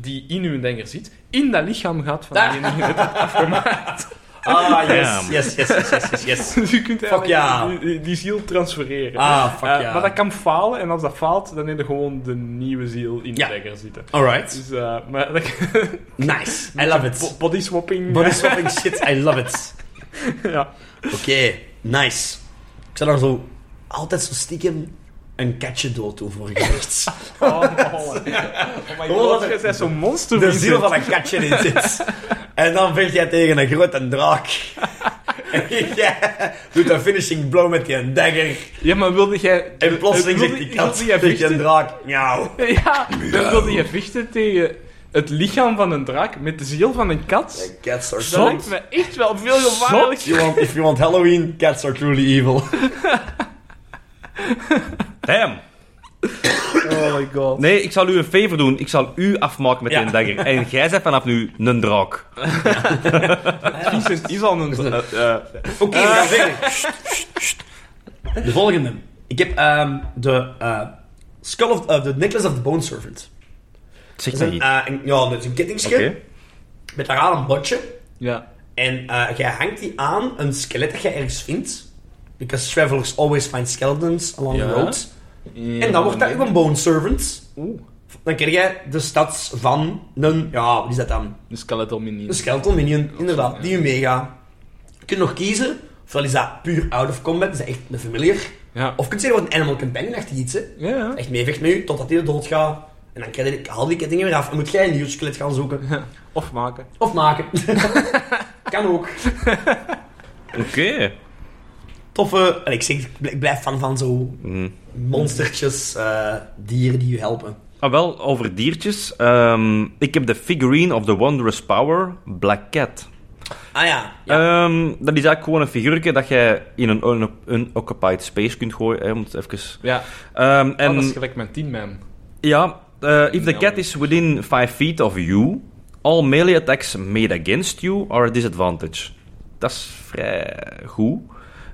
[SPEAKER 3] die in uw dagger zit, in dat lichaam gaat van
[SPEAKER 2] Ah.
[SPEAKER 3] diegene die je hebt afgemaakt. Eh,
[SPEAKER 2] ah, yes,
[SPEAKER 4] Damn.
[SPEAKER 2] yes, yes, yes, yes, yes, yes.
[SPEAKER 3] Dus je kunt eigenlijk
[SPEAKER 2] ja.
[SPEAKER 3] die, die- die ziel transfereren.
[SPEAKER 2] Ah, fuck
[SPEAKER 3] Eh,
[SPEAKER 2] ja.
[SPEAKER 3] Maar dat kan falen, en als dat faalt, dan heb je gewoon de nieuwe ziel in de
[SPEAKER 2] Ja.
[SPEAKER 3] dagger zitten.
[SPEAKER 2] Alright.
[SPEAKER 3] Dus, eh, maar dat
[SPEAKER 2] Nice. I love it.
[SPEAKER 3] bo- body swapping. eh,
[SPEAKER 2] Body swapping shit, I love it.
[SPEAKER 3] ja.
[SPEAKER 2] Oké, nice. Ik zou daar zo altijd zo stiekem een katje dood toe voor geweest.
[SPEAKER 3] Oh, my
[SPEAKER 2] Gewoon dat
[SPEAKER 3] god,
[SPEAKER 2] er-
[SPEAKER 3] jij bent zo'n monster.
[SPEAKER 2] de
[SPEAKER 3] Vincent.
[SPEAKER 2] ziel van een katje in zit. En dan vecht jij tegen een grote draak. En jij doet een finishing blow met die dagger.
[SPEAKER 3] Ja, maar wilde jij...
[SPEAKER 2] En plotseling
[SPEAKER 3] wilde-
[SPEAKER 2] zegt die kat
[SPEAKER 3] wilde jij
[SPEAKER 2] tegen een
[SPEAKER 3] vechten?
[SPEAKER 2] draak. Miauw.
[SPEAKER 3] Ja, dan wilde jij vechten tegen het lichaam van een draak met de ziel van een kat?
[SPEAKER 2] Cats are
[SPEAKER 3] Dat lijkt me echt wel veel gevaarlijk.
[SPEAKER 2] If you, want, if you want Halloween, cats are truly evil.
[SPEAKER 4] Damn!
[SPEAKER 3] Oh my god.
[SPEAKER 4] Nee, ik zal u een favor doen. Ik zal u afmaken met
[SPEAKER 2] Ja.
[SPEAKER 4] die dagger. En jij bent vanaf nu een draak.
[SPEAKER 3] Vincent is al een... eh, eh,
[SPEAKER 2] Oké, we gaan verder. Eh, De volgende. Ik heb ehm, de eh, Skull of eh, the Necklace of the Bone Servant.
[SPEAKER 4] Zeg
[SPEAKER 2] Dat is een, eh, een- ja, dat is een kettingje met daaraan een botje.
[SPEAKER 3] ja.
[SPEAKER 2] En eh, jij hangt die aan, een skelet dat je ergens vindt. Because travelers always find skeletons along
[SPEAKER 3] Ja.
[SPEAKER 2] the road. En dan wordt dat ook een bone servant.
[SPEAKER 3] Oeh,
[SPEAKER 2] Dan krijg jij de stads van een... Ja, wat is dat dan?
[SPEAKER 3] een skeletal minion.
[SPEAKER 2] Een skeleton minion, inderdaad, die je meegaat. Je kunt nog kiezen, ofwel is dat puur out of combat, is dat echt een familiar.
[SPEAKER 3] Ja.
[SPEAKER 2] Of je kunt zeggen, wat een animal companion, echt iets, hè.
[SPEAKER 3] Ja, ja.
[SPEAKER 2] Echt meevecht met je, totdat hij doodgaat. En dan krijg je al die kettingen weer af. En moet jij een nieuw skelet gaan zoeken.
[SPEAKER 3] Of maken.
[SPEAKER 2] Of maken. kan ook.
[SPEAKER 4] Oké.
[SPEAKER 2] Toffe... En ik, zeg, ik bl- ik blijf fan van zo
[SPEAKER 4] Mhm.
[SPEAKER 2] monstertjes, eh, dieren die je helpen.
[SPEAKER 4] Ah, wel, over diertjes. Ehm, ik heb de figurine of the Wondrous Power, Black Cat.
[SPEAKER 2] Ah ja.
[SPEAKER 4] Ehm, dat is eigenlijk gewoon een figuurtje dat jij in een un- unoccupied space kunt gooien. Hè, om het even...
[SPEAKER 3] Ja,
[SPEAKER 4] Ehm,
[SPEAKER 3] en... Oh, dat is
[SPEAKER 4] en
[SPEAKER 3] gelijk mijn Tin Man.
[SPEAKER 4] ja, eh, if the
[SPEAKER 3] Ja.
[SPEAKER 4] cat is within 5 feet of you, all melee attacks made against you are a disadvantage. Dat is vrij goed.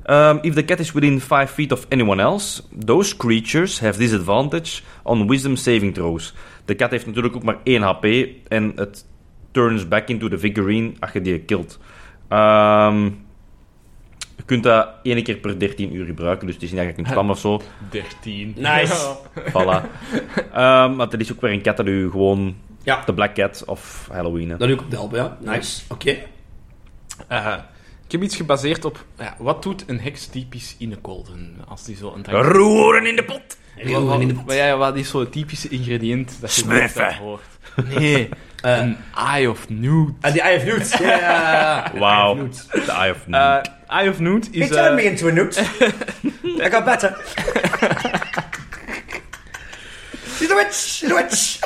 [SPEAKER 4] Ehm, if the cat is within 5 feet of anyone else, those creatures have disadvantage on wisdom saving throws. De kat heeft natuurlijk ook maar 1 HP en het turns back into the figurine als je die kilt. Ehm, je kunt dat één keer per 13 uur gebruiken, dus het is niet dat je kunt spammen of zo.
[SPEAKER 3] 13.
[SPEAKER 2] Nice.
[SPEAKER 4] Voilà. Ehm want er is ook weer een cat dat u gewoon...
[SPEAKER 2] Ja.
[SPEAKER 4] De Black Cat of Halloween. hè.
[SPEAKER 2] Dat doe ik op de helpen, ja. Nice. Oké.
[SPEAKER 3] Eh, ik heb iets gebaseerd op ja, wat doet een heks typisch in een kolden als die zo een draak-
[SPEAKER 4] Roeren in de pot!
[SPEAKER 3] Wat- wat- maar ja, wat is zo'n typische ingrediënt dat je
[SPEAKER 4] Smurfen.
[SPEAKER 3] niet hoort? Nee, eh, een eye of nude.
[SPEAKER 2] Ah, die Eye of Newt. Ja, ja, ja.
[SPEAKER 4] Wauw. The Eye of Noon.
[SPEAKER 3] Eh, eye of nude is...
[SPEAKER 2] He turned
[SPEAKER 3] eh,
[SPEAKER 2] me into a newt. I got better. She's a witch. She's a witch.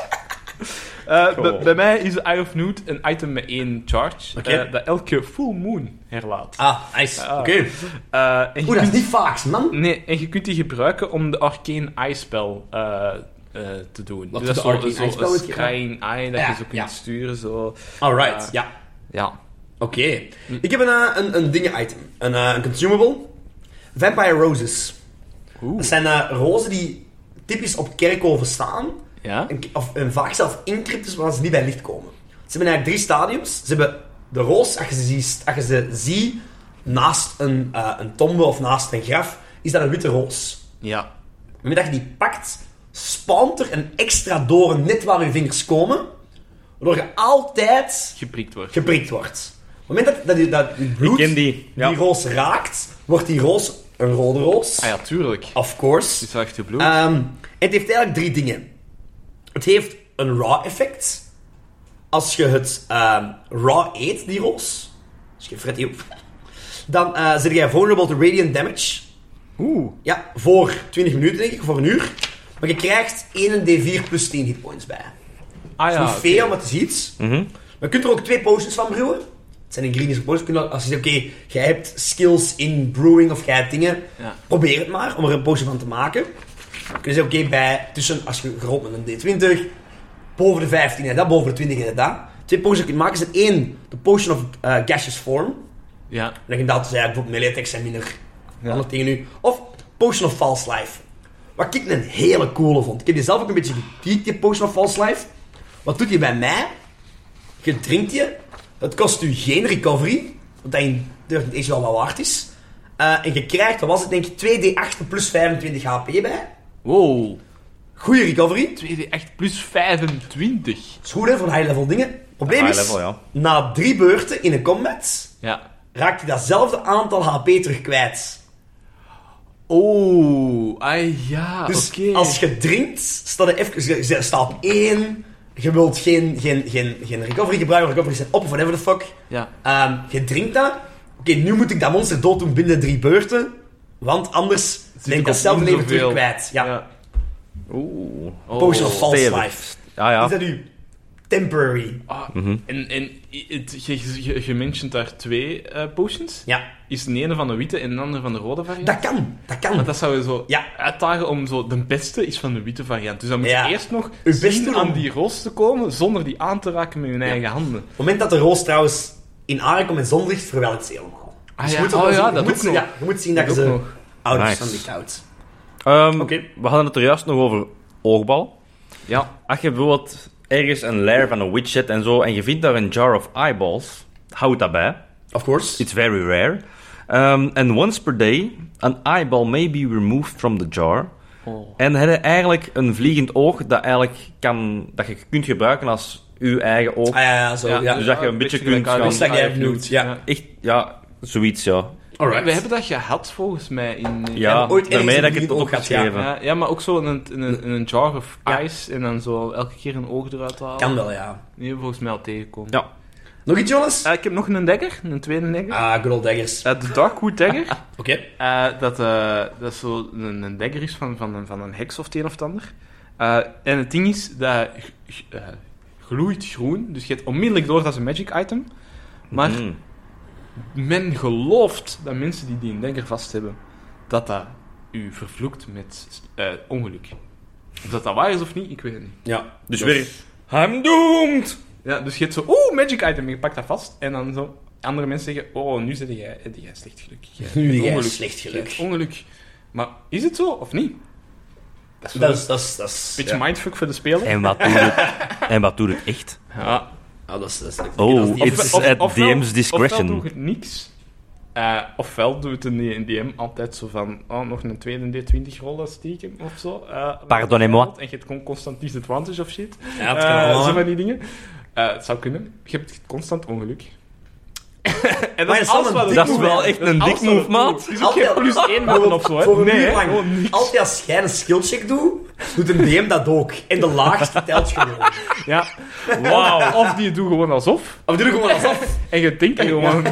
[SPEAKER 3] eh, bij-
[SPEAKER 2] Oh.
[SPEAKER 4] Cool.
[SPEAKER 3] bij mij is eye of nude een item met één charge
[SPEAKER 2] Oké.
[SPEAKER 3] eh, dat elke full moon herlaat.
[SPEAKER 2] Ah, nice.
[SPEAKER 3] Ah.
[SPEAKER 2] Oké.
[SPEAKER 3] Eh, en je
[SPEAKER 2] Oeh, dat is
[SPEAKER 3] kunt-
[SPEAKER 2] niet vaak, man.
[SPEAKER 3] Nee, en je kunt die gebruiken om de Arcane Eye spel eh, eh, te doen.
[SPEAKER 2] Wat
[SPEAKER 3] dus dat
[SPEAKER 2] doet de
[SPEAKER 3] is
[SPEAKER 2] Arcane
[SPEAKER 3] zo-
[SPEAKER 2] Eye spel?
[SPEAKER 3] zo'n Scrying Eye dat
[SPEAKER 2] Ja,
[SPEAKER 3] je zo kunt
[SPEAKER 2] ja.
[SPEAKER 3] sturen. Zo.
[SPEAKER 2] Alright,
[SPEAKER 3] Eh,
[SPEAKER 2] ja.
[SPEAKER 3] Ja.
[SPEAKER 2] Oké. Ik heb een, eh, een, een dingen-item. Een, eh, een consumable. Vampire Roses.
[SPEAKER 3] Oeh.
[SPEAKER 2] Dat zijn eh, rozen die typisch op kerkhoven staan.
[SPEAKER 3] Ja?
[SPEAKER 2] En, of, en vaak zelf in cryptes waar ze niet bij licht komen. Ze hebben eigenlijk drie stadiums. Ze hebben de roos, als je ze ziet, als je ze ziet naast een, eh, een tombe of naast een graf, is dat een witte roos.
[SPEAKER 3] Ja.
[SPEAKER 2] Op het moment dat je die pakt, spant er een extra doorn net waar je vingers komen, waardoor je altijd
[SPEAKER 3] Geprikt wordt.
[SPEAKER 2] geprikt wordt. Op het moment dat, dat, je- dat je bloed
[SPEAKER 4] ken die, ja.
[SPEAKER 2] roos raakt, wordt die roos een rode roos.
[SPEAKER 3] ah ja, tuurlijk. Het
[SPEAKER 2] Of course.
[SPEAKER 3] is wel echt bloed.
[SPEAKER 2] Ehm, het heeft eigenlijk drie dingen. Het heeft een raw effect. Als je het ehm, raw eet, die roos. Dus je fret die op. Dan eh zit jij vulnerable to radiant damage.
[SPEAKER 3] Oeh.
[SPEAKER 2] Ja, voor 20 minuten denk ik, voor een uur. Maar je krijgt 1 D4 plus 10 hitpoints bij.
[SPEAKER 3] Ah
[SPEAKER 2] Dat
[SPEAKER 3] ja,
[SPEAKER 2] is niet
[SPEAKER 3] oké. Mhm.
[SPEAKER 2] veel, maar het is iets. Maar je kunt er ook twee potions van brouwen. Het zijn een greenish potions. Kun je dan- Als je zegt, oké, jij hebt skills in brewing of jij hebt dingen,
[SPEAKER 3] Ja.
[SPEAKER 2] probeer het maar om er een potion van te maken. Dan kun je zeggen, oké, bij tussen, als je groot met een D20, boven de 15 en dat, boven de 20 en dat. Twee potions die je kunt maken zijn één, de potion of eh, gaseous form.
[SPEAKER 3] Ja.
[SPEAKER 2] En dan inderdaad, zei bijvoorbeeld melee attacks zijn minder
[SPEAKER 3] Ja.
[SPEAKER 2] handig tegen u. Of Potion of False Life. Wat ik een hele coole vond. Ik heb die zelf ook een beetje gekiekt, die Potion of False Life. Wat doet die bij mij? Je drinkt je. Het kost u geen recovery. Want dat in Dirt is wel wat waard is. Eh, en je krijgt, wat was het denk ik, 2d8 plus 25 HP bij.
[SPEAKER 3] Wow.
[SPEAKER 2] Goeie recovery.
[SPEAKER 3] 2D echt plus 25.
[SPEAKER 2] Dat is goed hè, voor high level dingen. Probleem
[SPEAKER 4] High
[SPEAKER 2] is,
[SPEAKER 4] level, ja.
[SPEAKER 2] na drie beurten in een combat,
[SPEAKER 3] Ja.
[SPEAKER 2] raakt hij datzelfde aantal HP terug kwijt.
[SPEAKER 3] Oh, ah ja,
[SPEAKER 2] Dus
[SPEAKER 3] oké.
[SPEAKER 2] als je drinkt, staat er even, je- je staat op één. Je wilt geen, geen, geen, geen recovery gebruiken, recovery zijn op of whatever the fuck.
[SPEAKER 3] Ja.
[SPEAKER 2] Ehm, je drinkt dat. Oké, nu moet ik dat monster dood doen binnen drie beurten. Want anders ben ik
[SPEAKER 3] ik
[SPEAKER 2] dat
[SPEAKER 3] op
[SPEAKER 2] zelf
[SPEAKER 3] niet
[SPEAKER 2] leven terug
[SPEAKER 3] zoveel.
[SPEAKER 2] kwijt. Ja. Oh.
[SPEAKER 4] Oeh.
[SPEAKER 3] Oh,
[SPEAKER 2] Potion of false
[SPEAKER 4] Stevig.
[SPEAKER 2] life.
[SPEAKER 4] Ah ja.
[SPEAKER 2] Is dat nu temporary?
[SPEAKER 3] Ah, En, en i- het- je, je, je mentioned daar twee eh, potions.
[SPEAKER 2] Ja,
[SPEAKER 3] Is de ene van de witte en de andere van de rode variant?
[SPEAKER 2] dat kan. Dat kan.
[SPEAKER 3] Maar dat zou je zo
[SPEAKER 2] Ja.
[SPEAKER 3] uitdagen om zo... De beste is van de witte variant. Dus dan moet
[SPEAKER 2] Ja.
[SPEAKER 3] je eerst nog
[SPEAKER 2] Uw
[SPEAKER 3] zien
[SPEAKER 2] beste
[SPEAKER 3] aan
[SPEAKER 2] om-
[SPEAKER 3] die roos te komen, zonder die aan te raken met je eigen handen.
[SPEAKER 2] Op het moment dat de roos trouwens in aarde komt en zonlicht, verwelkt ze helemaal. Dus
[SPEAKER 3] Ah
[SPEAKER 2] je
[SPEAKER 3] ja,
[SPEAKER 2] moet er
[SPEAKER 3] oh
[SPEAKER 2] wel
[SPEAKER 3] ja,
[SPEAKER 2] zien- je
[SPEAKER 3] dat
[SPEAKER 2] moet
[SPEAKER 3] ook
[SPEAKER 2] zien-
[SPEAKER 3] nog.
[SPEAKER 2] ja, Je moet zien dat,
[SPEAKER 3] Dat
[SPEAKER 2] je
[SPEAKER 3] ook
[SPEAKER 2] ze
[SPEAKER 3] nog.
[SPEAKER 2] out of
[SPEAKER 4] Nice.
[SPEAKER 2] sunlicht houdt.
[SPEAKER 4] Ehm,
[SPEAKER 2] Oké.
[SPEAKER 4] We hadden het er juist nog over oogbal.
[SPEAKER 3] Ja.
[SPEAKER 4] Als je bijvoorbeeld ergens een lair van een widget en zo en je vindt daar een jar of eyeballs, houd dat bij.
[SPEAKER 2] Of course.
[SPEAKER 4] It's very rare. Um, and once per day, an eyeball may be removed from the jar.
[SPEAKER 3] Oh.
[SPEAKER 4] En heb je eigenlijk een vliegend oog dat, eigenlijk kan, dat je kunt gebruiken als je eigen oog.
[SPEAKER 2] Ah ja, ja, zo. Ja,
[SPEAKER 4] dus- dat je een beetje kunt gaan-
[SPEAKER 2] Iets dat jij hebt noemd, ja.
[SPEAKER 4] Echt, ja, zoiets, ja.
[SPEAKER 2] Alright.
[SPEAKER 3] We hebben dat gehad, volgens mij, in... in-
[SPEAKER 4] Ja,
[SPEAKER 2] ooit ergens
[SPEAKER 4] daarmee dat
[SPEAKER 2] een
[SPEAKER 4] ik het
[SPEAKER 2] vliegend oog
[SPEAKER 4] op
[SPEAKER 2] had,
[SPEAKER 4] had gegeven.
[SPEAKER 3] Ja, ja, maar ook zo in een, in een, in een jar of
[SPEAKER 2] Ah.
[SPEAKER 3] ice en dan zo elke keer een oog eruit halen.
[SPEAKER 2] Kan wel, ja.
[SPEAKER 3] Die hebben we volgens mij al tegenkomen.
[SPEAKER 4] Ja.
[SPEAKER 2] Nog iets, jongens?
[SPEAKER 3] Eh, ik heb nog een dagger, een tweede dagger.
[SPEAKER 2] Ah, good old daggers.
[SPEAKER 3] Eh, de Darkwood dagger.
[SPEAKER 2] Oké.
[SPEAKER 3] Eh, dat, eh, dat zo een, een dagger is van, van, een, van een heks of het een of het ander. Eh, en het ding is, dat g- g- eh, gloeit groen, dus je hebt onmiddellijk door dat is een magic item. Maar
[SPEAKER 4] Mm.
[SPEAKER 3] men gelooft dat mensen die die een dagger vast hebben, dat dat u vervloekt met eh, ongeluk. Of dat dat waar is of niet, ik weet het niet.
[SPEAKER 2] Ja.
[SPEAKER 4] Dus weer, I'm doomed!
[SPEAKER 3] Ja, dus je hebt zo, oeh, magic item, en je pakt dat vast. En dan zo, andere mensen zeggen, oh, nu zit jij, heb jij slecht geluk. Jij hebt
[SPEAKER 2] Nu jij
[SPEAKER 3] ongeluk.
[SPEAKER 2] slecht
[SPEAKER 3] Je hebt
[SPEAKER 2] geluk.
[SPEAKER 3] ongeluk. Maar is het zo of niet? Dat is wel
[SPEAKER 2] Dat is... Dat is, dat is
[SPEAKER 3] een beetje
[SPEAKER 2] ja.
[SPEAKER 3] mindfuck voor de speler.
[SPEAKER 4] En wat doet het, en wat doet het echt?
[SPEAKER 3] Ja.
[SPEAKER 2] Ah, dat is... Dat is
[SPEAKER 4] Oh,
[SPEAKER 2] dat is
[SPEAKER 4] it's at DM's discretion.
[SPEAKER 3] Ofwel doe het niks, eh, ofwel doet een D- een DM altijd zo van, oh, nog een tweede D20 rollen stiekem of zo. eh,
[SPEAKER 4] Pardonnez-moi.
[SPEAKER 3] En je hebt gewoon constant disadvantage of shit.
[SPEAKER 2] Ja, het kan
[SPEAKER 3] Eh,
[SPEAKER 2] allemaal.
[SPEAKER 3] zo van die dingen. Eh, het zou kunnen. Je hebt constant ongeluk. en
[SPEAKER 2] Maar dat is wel een dik
[SPEAKER 4] move, hè? Dat is alles wat het doet.
[SPEAKER 3] Het is ook geen Dus plus één worden of zo, hè.
[SPEAKER 2] Voor een
[SPEAKER 3] nee,
[SPEAKER 2] uur lang.
[SPEAKER 3] gewoon niks.
[SPEAKER 2] Altijd als jij een skillcheck doet, doet een DM dat ook. En de laagste telt gewoon.
[SPEAKER 3] Ja. Wauw. Of die doet gewoon alsof.
[SPEAKER 2] Of doe ik gewoon alsof.
[SPEAKER 3] En je denkt dat gewoon...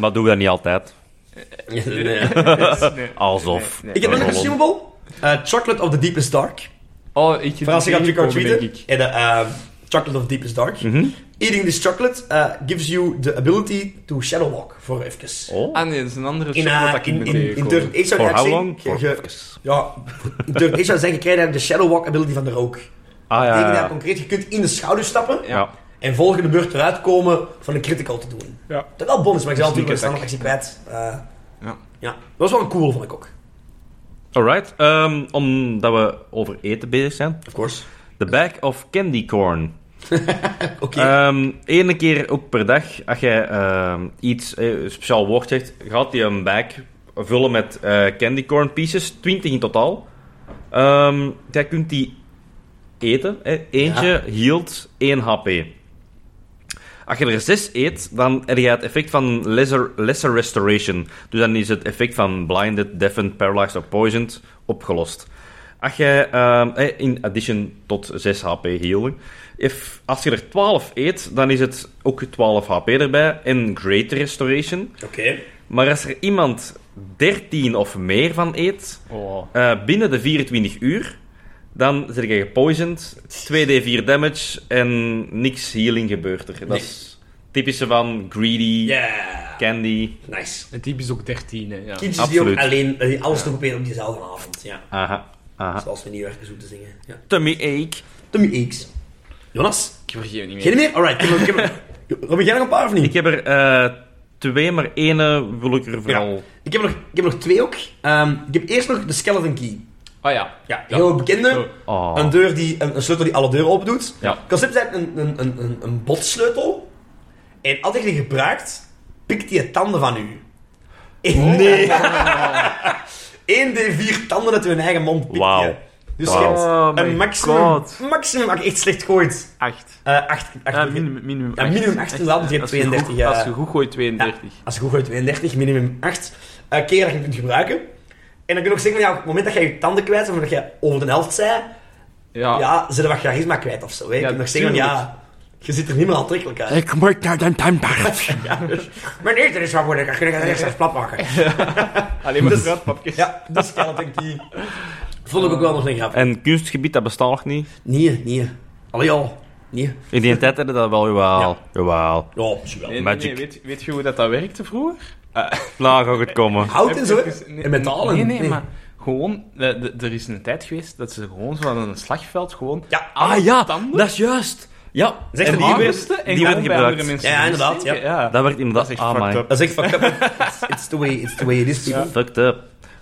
[SPEAKER 4] Maar doen we dat niet altijd?
[SPEAKER 3] Nee.
[SPEAKER 4] Alsof.
[SPEAKER 3] Nee,
[SPEAKER 2] Ik heb nog een
[SPEAKER 4] Rollen.
[SPEAKER 2] consumable. Eh, Chocolate of the Deepest Dark.
[SPEAKER 3] Oh, ik
[SPEAKER 2] Vooral als je gaat trick or
[SPEAKER 3] denk
[SPEAKER 2] treaten.
[SPEAKER 3] ik. Mhm.
[SPEAKER 2] En de, eh, Chocolate of the Deepest Dark.
[SPEAKER 4] Mhm.
[SPEAKER 2] Eating this chocolate eh, gives you the ability to shadow walk. Voor even.
[SPEAKER 4] Oh.
[SPEAKER 3] Ah nee, dat is een andere
[SPEAKER 2] In,
[SPEAKER 3] show
[SPEAKER 2] eh,
[SPEAKER 3] dat ik
[SPEAKER 2] in,
[SPEAKER 3] niet
[SPEAKER 2] in, in Dirt
[SPEAKER 3] tegenkom.
[SPEAKER 2] 8 zou
[SPEAKER 4] Voor
[SPEAKER 2] je
[SPEAKER 4] how
[SPEAKER 2] zeggen,
[SPEAKER 4] long?
[SPEAKER 2] je-
[SPEAKER 4] Voor
[SPEAKER 2] je-
[SPEAKER 4] even.
[SPEAKER 2] Ja, in Dirt 8 zou je zeggen, krijg je dan de shadow walk ability van de rook.
[SPEAKER 4] Ah
[SPEAKER 2] Dat
[SPEAKER 4] ja,
[SPEAKER 2] betekent
[SPEAKER 4] ja.
[SPEAKER 2] dat concreet, je kunt in de schouder stappen
[SPEAKER 4] Ja.
[SPEAKER 2] en volgende beurt eruit komen van een critical te doen.
[SPEAKER 3] Ja.
[SPEAKER 2] Dat wel bonus, maar ik zal
[SPEAKER 3] Sneak
[SPEAKER 2] natuurlijk een standaard
[SPEAKER 3] attack.
[SPEAKER 2] actie kwijt. Eh,
[SPEAKER 3] Ja.
[SPEAKER 2] ja, dat was wel een cool, vond ik ook.
[SPEAKER 4] Alright, ehm, omdat we over eten bezig zijn.
[SPEAKER 2] Of course.
[SPEAKER 4] The bag of candy corn.
[SPEAKER 2] Oké.
[SPEAKER 4] Ehm Eén keer ook per dag, als je ehm, iets, eh, een speciaal woord zegt, gaat die een bag vullen met eh, candy corn pieces, 20 in totaal. Ehm jij kunt die eten. Hè. Eentje hield 1 HP. Als je er 6 eet, dan heb je het effect van lesser, lesser restoration. Dus dan is het effect van blinded, deafened, paralyzed of poisoned opgelost. Als je, ehm, eh, in addition tot 6 HP healing, if, als je er 12 eet, dan is het ook 12 HP erbij en greater restoration.
[SPEAKER 2] Oké.
[SPEAKER 4] Maar als er iemand 13 of meer van eet,
[SPEAKER 3] Oh.
[SPEAKER 4] eh, binnen de 24 uur, dan zit je gepoisoned, 2d4 damage en niks healing gebeurt er. Dat is typische van greedy,
[SPEAKER 2] Yeah.
[SPEAKER 4] candy.
[SPEAKER 2] Nice.
[SPEAKER 3] Het type is ook 13, hè. Ja.
[SPEAKER 2] Kindjes die ook
[SPEAKER 4] Absoluut.
[SPEAKER 2] alleen eh, alles te proberen op diezelfde avond. Ja.
[SPEAKER 4] Aha, aha.
[SPEAKER 2] Zoals we niet werken zo te zingen. Ja.
[SPEAKER 4] Tummy ache.
[SPEAKER 2] Tommy X. Jonas?
[SPEAKER 3] Ik vergeet niet
[SPEAKER 2] Geen
[SPEAKER 3] meer.
[SPEAKER 2] meer? Alright. Ik heb, ik heb, Robin, jij nog een paar of niet?
[SPEAKER 4] Ik heb er eh, twee, maar ene wil ik er vooral...
[SPEAKER 2] Ik heb nog, ik heb nog twee ook. Ehm, ik heb eerst nog de Skeleton Key.
[SPEAKER 3] Ah ja.
[SPEAKER 2] Ja, heel bekende.
[SPEAKER 4] Oh.
[SPEAKER 2] Een, deur die, een, een sleutel die alle deuren open doet.
[SPEAKER 4] Ja.
[SPEAKER 2] Het concept is eigenlijk een, een, een, een, een botsleutel. En als je die gebruikt, pikt die het tanden van u. Nee. 1d4 tanden uit hun eigen mond pikt
[SPEAKER 4] Wauw.
[SPEAKER 2] je. Dus je
[SPEAKER 4] Wauw.
[SPEAKER 2] hebt
[SPEAKER 3] Oh my
[SPEAKER 2] een maximum,
[SPEAKER 3] god.
[SPEAKER 2] maximum, als je echt slecht gooit,
[SPEAKER 3] 8.
[SPEAKER 2] eh 8,
[SPEAKER 3] Ja, minimum, Ah, minimum
[SPEAKER 2] Ja,
[SPEAKER 3] acht.
[SPEAKER 2] minimum acht
[SPEAKER 3] Echt,
[SPEAKER 2] inderdaad, want je hebt
[SPEAKER 3] als je goed-
[SPEAKER 2] 32, ja.
[SPEAKER 3] Als je goed gooit,
[SPEAKER 2] Ja,
[SPEAKER 3] 32.
[SPEAKER 2] als je goed gooit, 32, minimum 8 eh keer dat je hem kunt gebruiken. En dan kun je ook zeggen, van, ja, op het moment dat je je tanden kwijt bent, omdat je over de helft zei,
[SPEAKER 3] Ja,
[SPEAKER 2] ja, zit er wat charisma kwijt of zo. Hè. Je
[SPEAKER 3] Ah. Ja,
[SPEAKER 2] kunt nog zeggen, van,
[SPEAKER 3] tuurlijk.
[SPEAKER 2] ja, je ziet er niet meer aantrekkelijk uit. dus-
[SPEAKER 1] Ik moet naar de tandarts.
[SPEAKER 2] Maar nee, er is wat moeilijk, kun je het rechtstreeks plat maken.
[SPEAKER 3] alleen maar fruitpapjes.
[SPEAKER 2] Ja, dus kan denk ik die... Vond ik ook wel nog een grap.
[SPEAKER 4] En kunstgebied, dat bestaat nog niet.
[SPEAKER 2] Nee, nee. Allee, ja. Nee.
[SPEAKER 4] In die tijd hadden dat wel, jawel. Jawel.
[SPEAKER 2] Ja, misschien wel.
[SPEAKER 3] Nee, nee,
[SPEAKER 4] Magic.
[SPEAKER 3] nee, Weet, weet je hoe dat, dat werkte vroeger?
[SPEAKER 4] Nou, gaat het komen.
[SPEAKER 2] Hout en zo, hè.
[SPEAKER 3] Even-
[SPEAKER 2] En metalen.
[SPEAKER 3] Nee, nee, maar gewoon... eh, d- Er is een tijd geweest dat ze gewoon zo aan een slagveld gewoon...
[SPEAKER 2] Ja,
[SPEAKER 3] alle
[SPEAKER 4] Ah ja,
[SPEAKER 3] tanden
[SPEAKER 4] dat is juist. Ja,
[SPEAKER 2] Zeg
[SPEAKER 4] en
[SPEAKER 2] de
[SPEAKER 4] die werd,
[SPEAKER 3] harvesten en
[SPEAKER 4] die werd
[SPEAKER 3] gewoon bij andere
[SPEAKER 4] gebruikt.
[SPEAKER 3] mensen
[SPEAKER 2] Ja, ja, inderdaad,
[SPEAKER 3] steken.
[SPEAKER 2] ja.
[SPEAKER 4] Dat werd inderdaad...
[SPEAKER 3] Dat is echt
[SPEAKER 4] ah,
[SPEAKER 3] fucked
[SPEAKER 4] my.
[SPEAKER 3] up.
[SPEAKER 2] Dat is echt fuck up. It's- It's the way, it's the way it is, people.
[SPEAKER 4] Fucked up.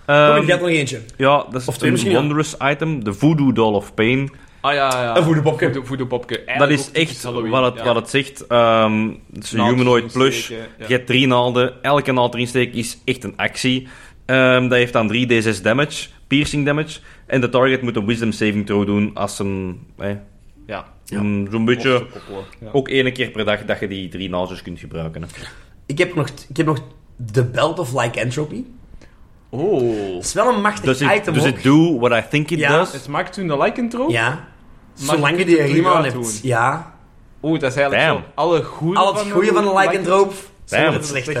[SPEAKER 2] Kom,
[SPEAKER 4] Ehm,
[SPEAKER 2] ik had nog eentje.
[SPEAKER 4] ja, dat is
[SPEAKER 2] Of twee
[SPEAKER 4] een
[SPEAKER 2] misschien, ja.
[SPEAKER 4] wondrous item. De voodoo doll of pain.
[SPEAKER 3] Ah ja, ja.
[SPEAKER 2] Een voedenpopje.
[SPEAKER 3] Voede- voedenpopje.
[SPEAKER 4] Dat
[SPEAKER 3] Eigenlijk
[SPEAKER 4] is
[SPEAKER 3] ook typisch
[SPEAKER 4] echt
[SPEAKER 3] Halloween,
[SPEAKER 4] wat het,
[SPEAKER 3] ja.
[SPEAKER 4] wat het zegt. Ehm het is een
[SPEAKER 3] Naald
[SPEAKER 4] humanoid
[SPEAKER 3] erin
[SPEAKER 4] plush.
[SPEAKER 3] steken, ja.
[SPEAKER 4] Je hebt drie naalden. Elke naald erin steken is echt een actie. Ehm, dat heeft dan 3d6 damage, piercing damage. En de target moet een wisdom saving throw doen als een... Eh,
[SPEAKER 3] Ja.
[SPEAKER 4] een- Zo'n beetje...
[SPEAKER 3] Of te koppelen, ja.
[SPEAKER 4] Ook één keer per dag dat je die drie naaldjes kunt gebruiken. hè.
[SPEAKER 2] Ik heb nog, ik heb nog The Belt of Lycanthropy.
[SPEAKER 3] Oh.
[SPEAKER 2] Dat is wel een machtig
[SPEAKER 4] Does it,
[SPEAKER 2] item,
[SPEAKER 4] does
[SPEAKER 2] hoor.
[SPEAKER 4] it do dus what I think it
[SPEAKER 2] Ja.
[SPEAKER 4] does?
[SPEAKER 3] Het maakt toen de lycanthrope.
[SPEAKER 2] Ja.
[SPEAKER 3] Maar
[SPEAKER 2] Zolang je
[SPEAKER 3] je
[SPEAKER 2] die
[SPEAKER 3] kunt het
[SPEAKER 2] riem aan
[SPEAKER 3] terug
[SPEAKER 2] hebt.
[SPEAKER 3] uitdoen.
[SPEAKER 2] Ja.
[SPEAKER 3] Oeh, dat is eigenlijk
[SPEAKER 4] Damn.
[SPEAKER 3] zo. Alle goede
[SPEAKER 2] Al het goede van de lycanthrope.
[SPEAKER 4] Damn.
[SPEAKER 2] Zonder het slechte.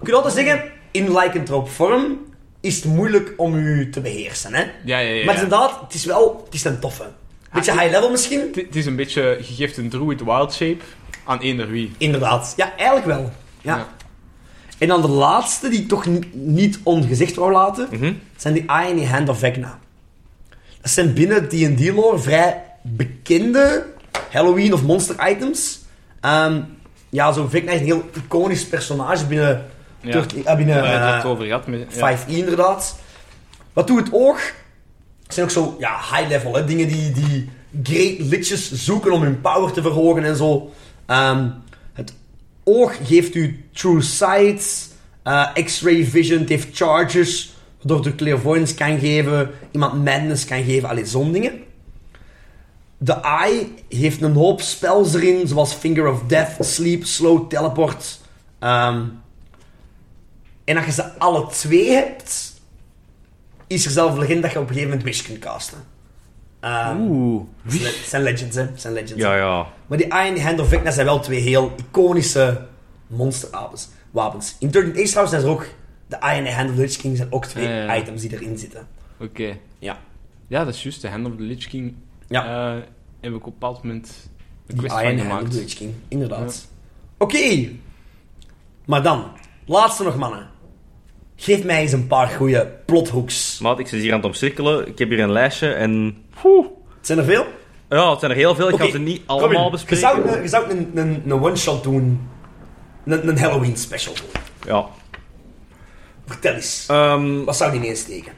[SPEAKER 2] Ik kan altijd zeggen, in lycanthrope vorm is het moeilijk om u te beheersen, hè.
[SPEAKER 3] Ja, ja, ja.
[SPEAKER 2] Maar
[SPEAKER 3] ja.
[SPEAKER 2] inderdaad, het is wel, het is een toffe. Beetje high level misschien?
[SPEAKER 3] Het- Het is een beetje, je geeft een druid wild shape aan eender wie.
[SPEAKER 2] Inderdaad. Ja, eigenlijk wel. Ja.
[SPEAKER 3] Ja.
[SPEAKER 2] En dan de laatste, die ik toch ni- niet ongezegd wou laten,
[SPEAKER 4] Mhm.
[SPEAKER 2] zijn die Eye in the Hand of Vecna. Dat zijn binnen D&D lore vrij bekende Halloween of monster items. Ehm, ja, zo'n Vecna is een heel iconisch personage binnen,
[SPEAKER 3] Ja.
[SPEAKER 2] Turk- eh, binnen
[SPEAKER 3] Waar je het
[SPEAKER 2] eh,
[SPEAKER 3] net over had. Met, ja.
[SPEAKER 2] 5e E, inderdaad. Wat doet het oog? Het zijn ook zo ja, high level, hè? dingen die, die great liches zoeken om hun power te verhogen en zo. Ehm, het oog geeft u true sight, eh, x-ray vision, het heeft charges, waardoor het u clairvoyance kan geven, iemand madness kan geven, allee, zo'n dingen. De Eye heeft een hoop spells erin, zoals Finger of Death, Sleep, Slow, Teleport. Ehm, en als je ze alle twee hebt, is er zelf legend dat je op een gegeven moment Wish kunt casten. Ehm,
[SPEAKER 4] Oeh.
[SPEAKER 2] het zijn, het zijn legends, hè. Het zijn legends.
[SPEAKER 4] Ja, ja.
[SPEAKER 2] Maar die Eye en die Hand of Vecna zijn wel twee heel iconische monsterwapens. Wapens. In Turn Ace trouwens zijn er ook... De Eye en the Hand of the Lich King zijn ook twee
[SPEAKER 3] Ja, ja, ja.
[SPEAKER 2] items die erin zitten.
[SPEAKER 3] Oké.
[SPEAKER 2] Ja.
[SPEAKER 3] Ja, dat is juist. De Hand of the Lich King
[SPEAKER 2] Ja.
[SPEAKER 3] eh, heb ik op een bepaald moment een
[SPEAKER 2] Die
[SPEAKER 3] quest
[SPEAKER 2] Eye
[SPEAKER 3] van
[SPEAKER 2] and the Hand of the
[SPEAKER 3] gemaakt.
[SPEAKER 2] Lich King. Inderdaad. Oké. Maar dan. Laatste nog, mannen. Geef mij eens een paar goede plothooks.
[SPEAKER 4] Maat, ik zit hier aan het omcirkelen. Ik heb hier een lijstje en... Oeh.
[SPEAKER 2] Zijn er veel?
[SPEAKER 4] Ja, het zijn er heel veel. Ik
[SPEAKER 2] Oké,
[SPEAKER 4] ga ze niet
[SPEAKER 2] Kom
[SPEAKER 4] allemaal
[SPEAKER 2] in.
[SPEAKER 4] bespreken.
[SPEAKER 2] Je zou, een- je zou een, een, een one-shot doen. Een, een Halloween special doen.
[SPEAKER 4] Ja.
[SPEAKER 2] Vertel eens.
[SPEAKER 4] Ehm,
[SPEAKER 2] Wat zou die insteken?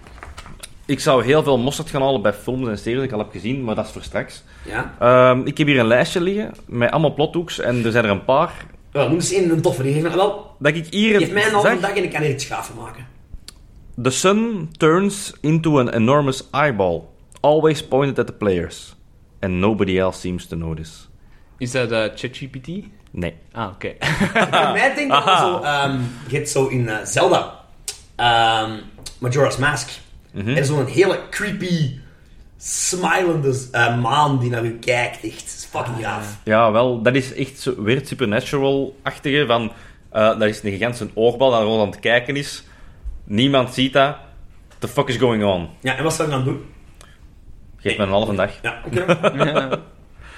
[SPEAKER 4] ik zou heel veel mosterd gaan halen bij films en series die ik al heb gezien, maar dat is voor straks.
[SPEAKER 2] Ja?
[SPEAKER 4] Ehm, ik heb hier een lijstje liggen met allemaal plothoeks en er zijn er een paar.
[SPEAKER 2] ja noem eens één een toffe. Die geeft mij wel
[SPEAKER 4] Dat ik hier
[SPEAKER 2] Geef mij een halve
[SPEAKER 4] zag,
[SPEAKER 2] dag en ik kan er iets gaaf van maken.
[SPEAKER 4] The sun turns into an enormous eyeball, always pointed at the players. And nobody else seems to notice.
[SPEAKER 3] Is dat eh, ChatGPT?
[SPEAKER 4] Nee.
[SPEAKER 3] Ah, oké.
[SPEAKER 2] Bij mij denk ik wel zo... ehm, je hebt zo in eh, Zelda... ehm, Majora's Mask.
[SPEAKER 4] Mhm.
[SPEAKER 2] Er is zo'n hele creepy... Smilende eh, maan die naar u kijkt. Echt. Dat is fucking
[SPEAKER 4] Ah,
[SPEAKER 2] gaaf.
[SPEAKER 4] Ja, wel, dat is echt zo weird supernatural-achtige. Van, eh daar is een gigantische oogbal dat gewoon aan het kijken is. Niemand ziet dat. The fuck is going on?
[SPEAKER 2] Ja, en wat zou je dan doen?
[SPEAKER 4] Geef me een halve dag.
[SPEAKER 2] Ja, oké.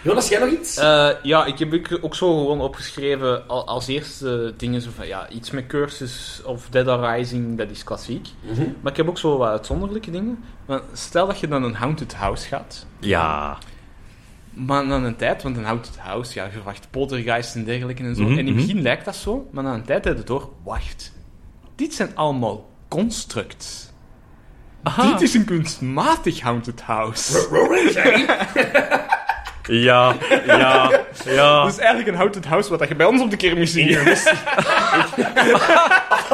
[SPEAKER 2] Jonas, jij nog iets?
[SPEAKER 3] Eh, ja, ik heb ook- ook zo gewoon opgeschreven al- als eerste dingen zo van ja, iets met Cursus of Dead Rising, dat is klassiek.
[SPEAKER 2] Mhm.
[SPEAKER 3] Maar ik heb ook zo wat uitzonderlijke dingen. Want stel dat je dan een Haunted House gaat,
[SPEAKER 4] Ja.
[SPEAKER 3] maar na een tijd, want een Haunted House, ja, je verwacht poltergeist en dergelijke en zo.
[SPEAKER 4] Mhm,
[SPEAKER 3] en in het
[SPEAKER 4] mhm.
[SPEAKER 3] begin lijkt dat zo, maar na een tijd heb je door, wacht, dit zijn allemaal constructs. Dit is een kunstmatig Haunted House.
[SPEAKER 4] Ja, ja, ja.
[SPEAKER 3] Dat is eigenlijk een Haunted House wat dat je bij ons op de kermismuseum is.
[SPEAKER 2] Dat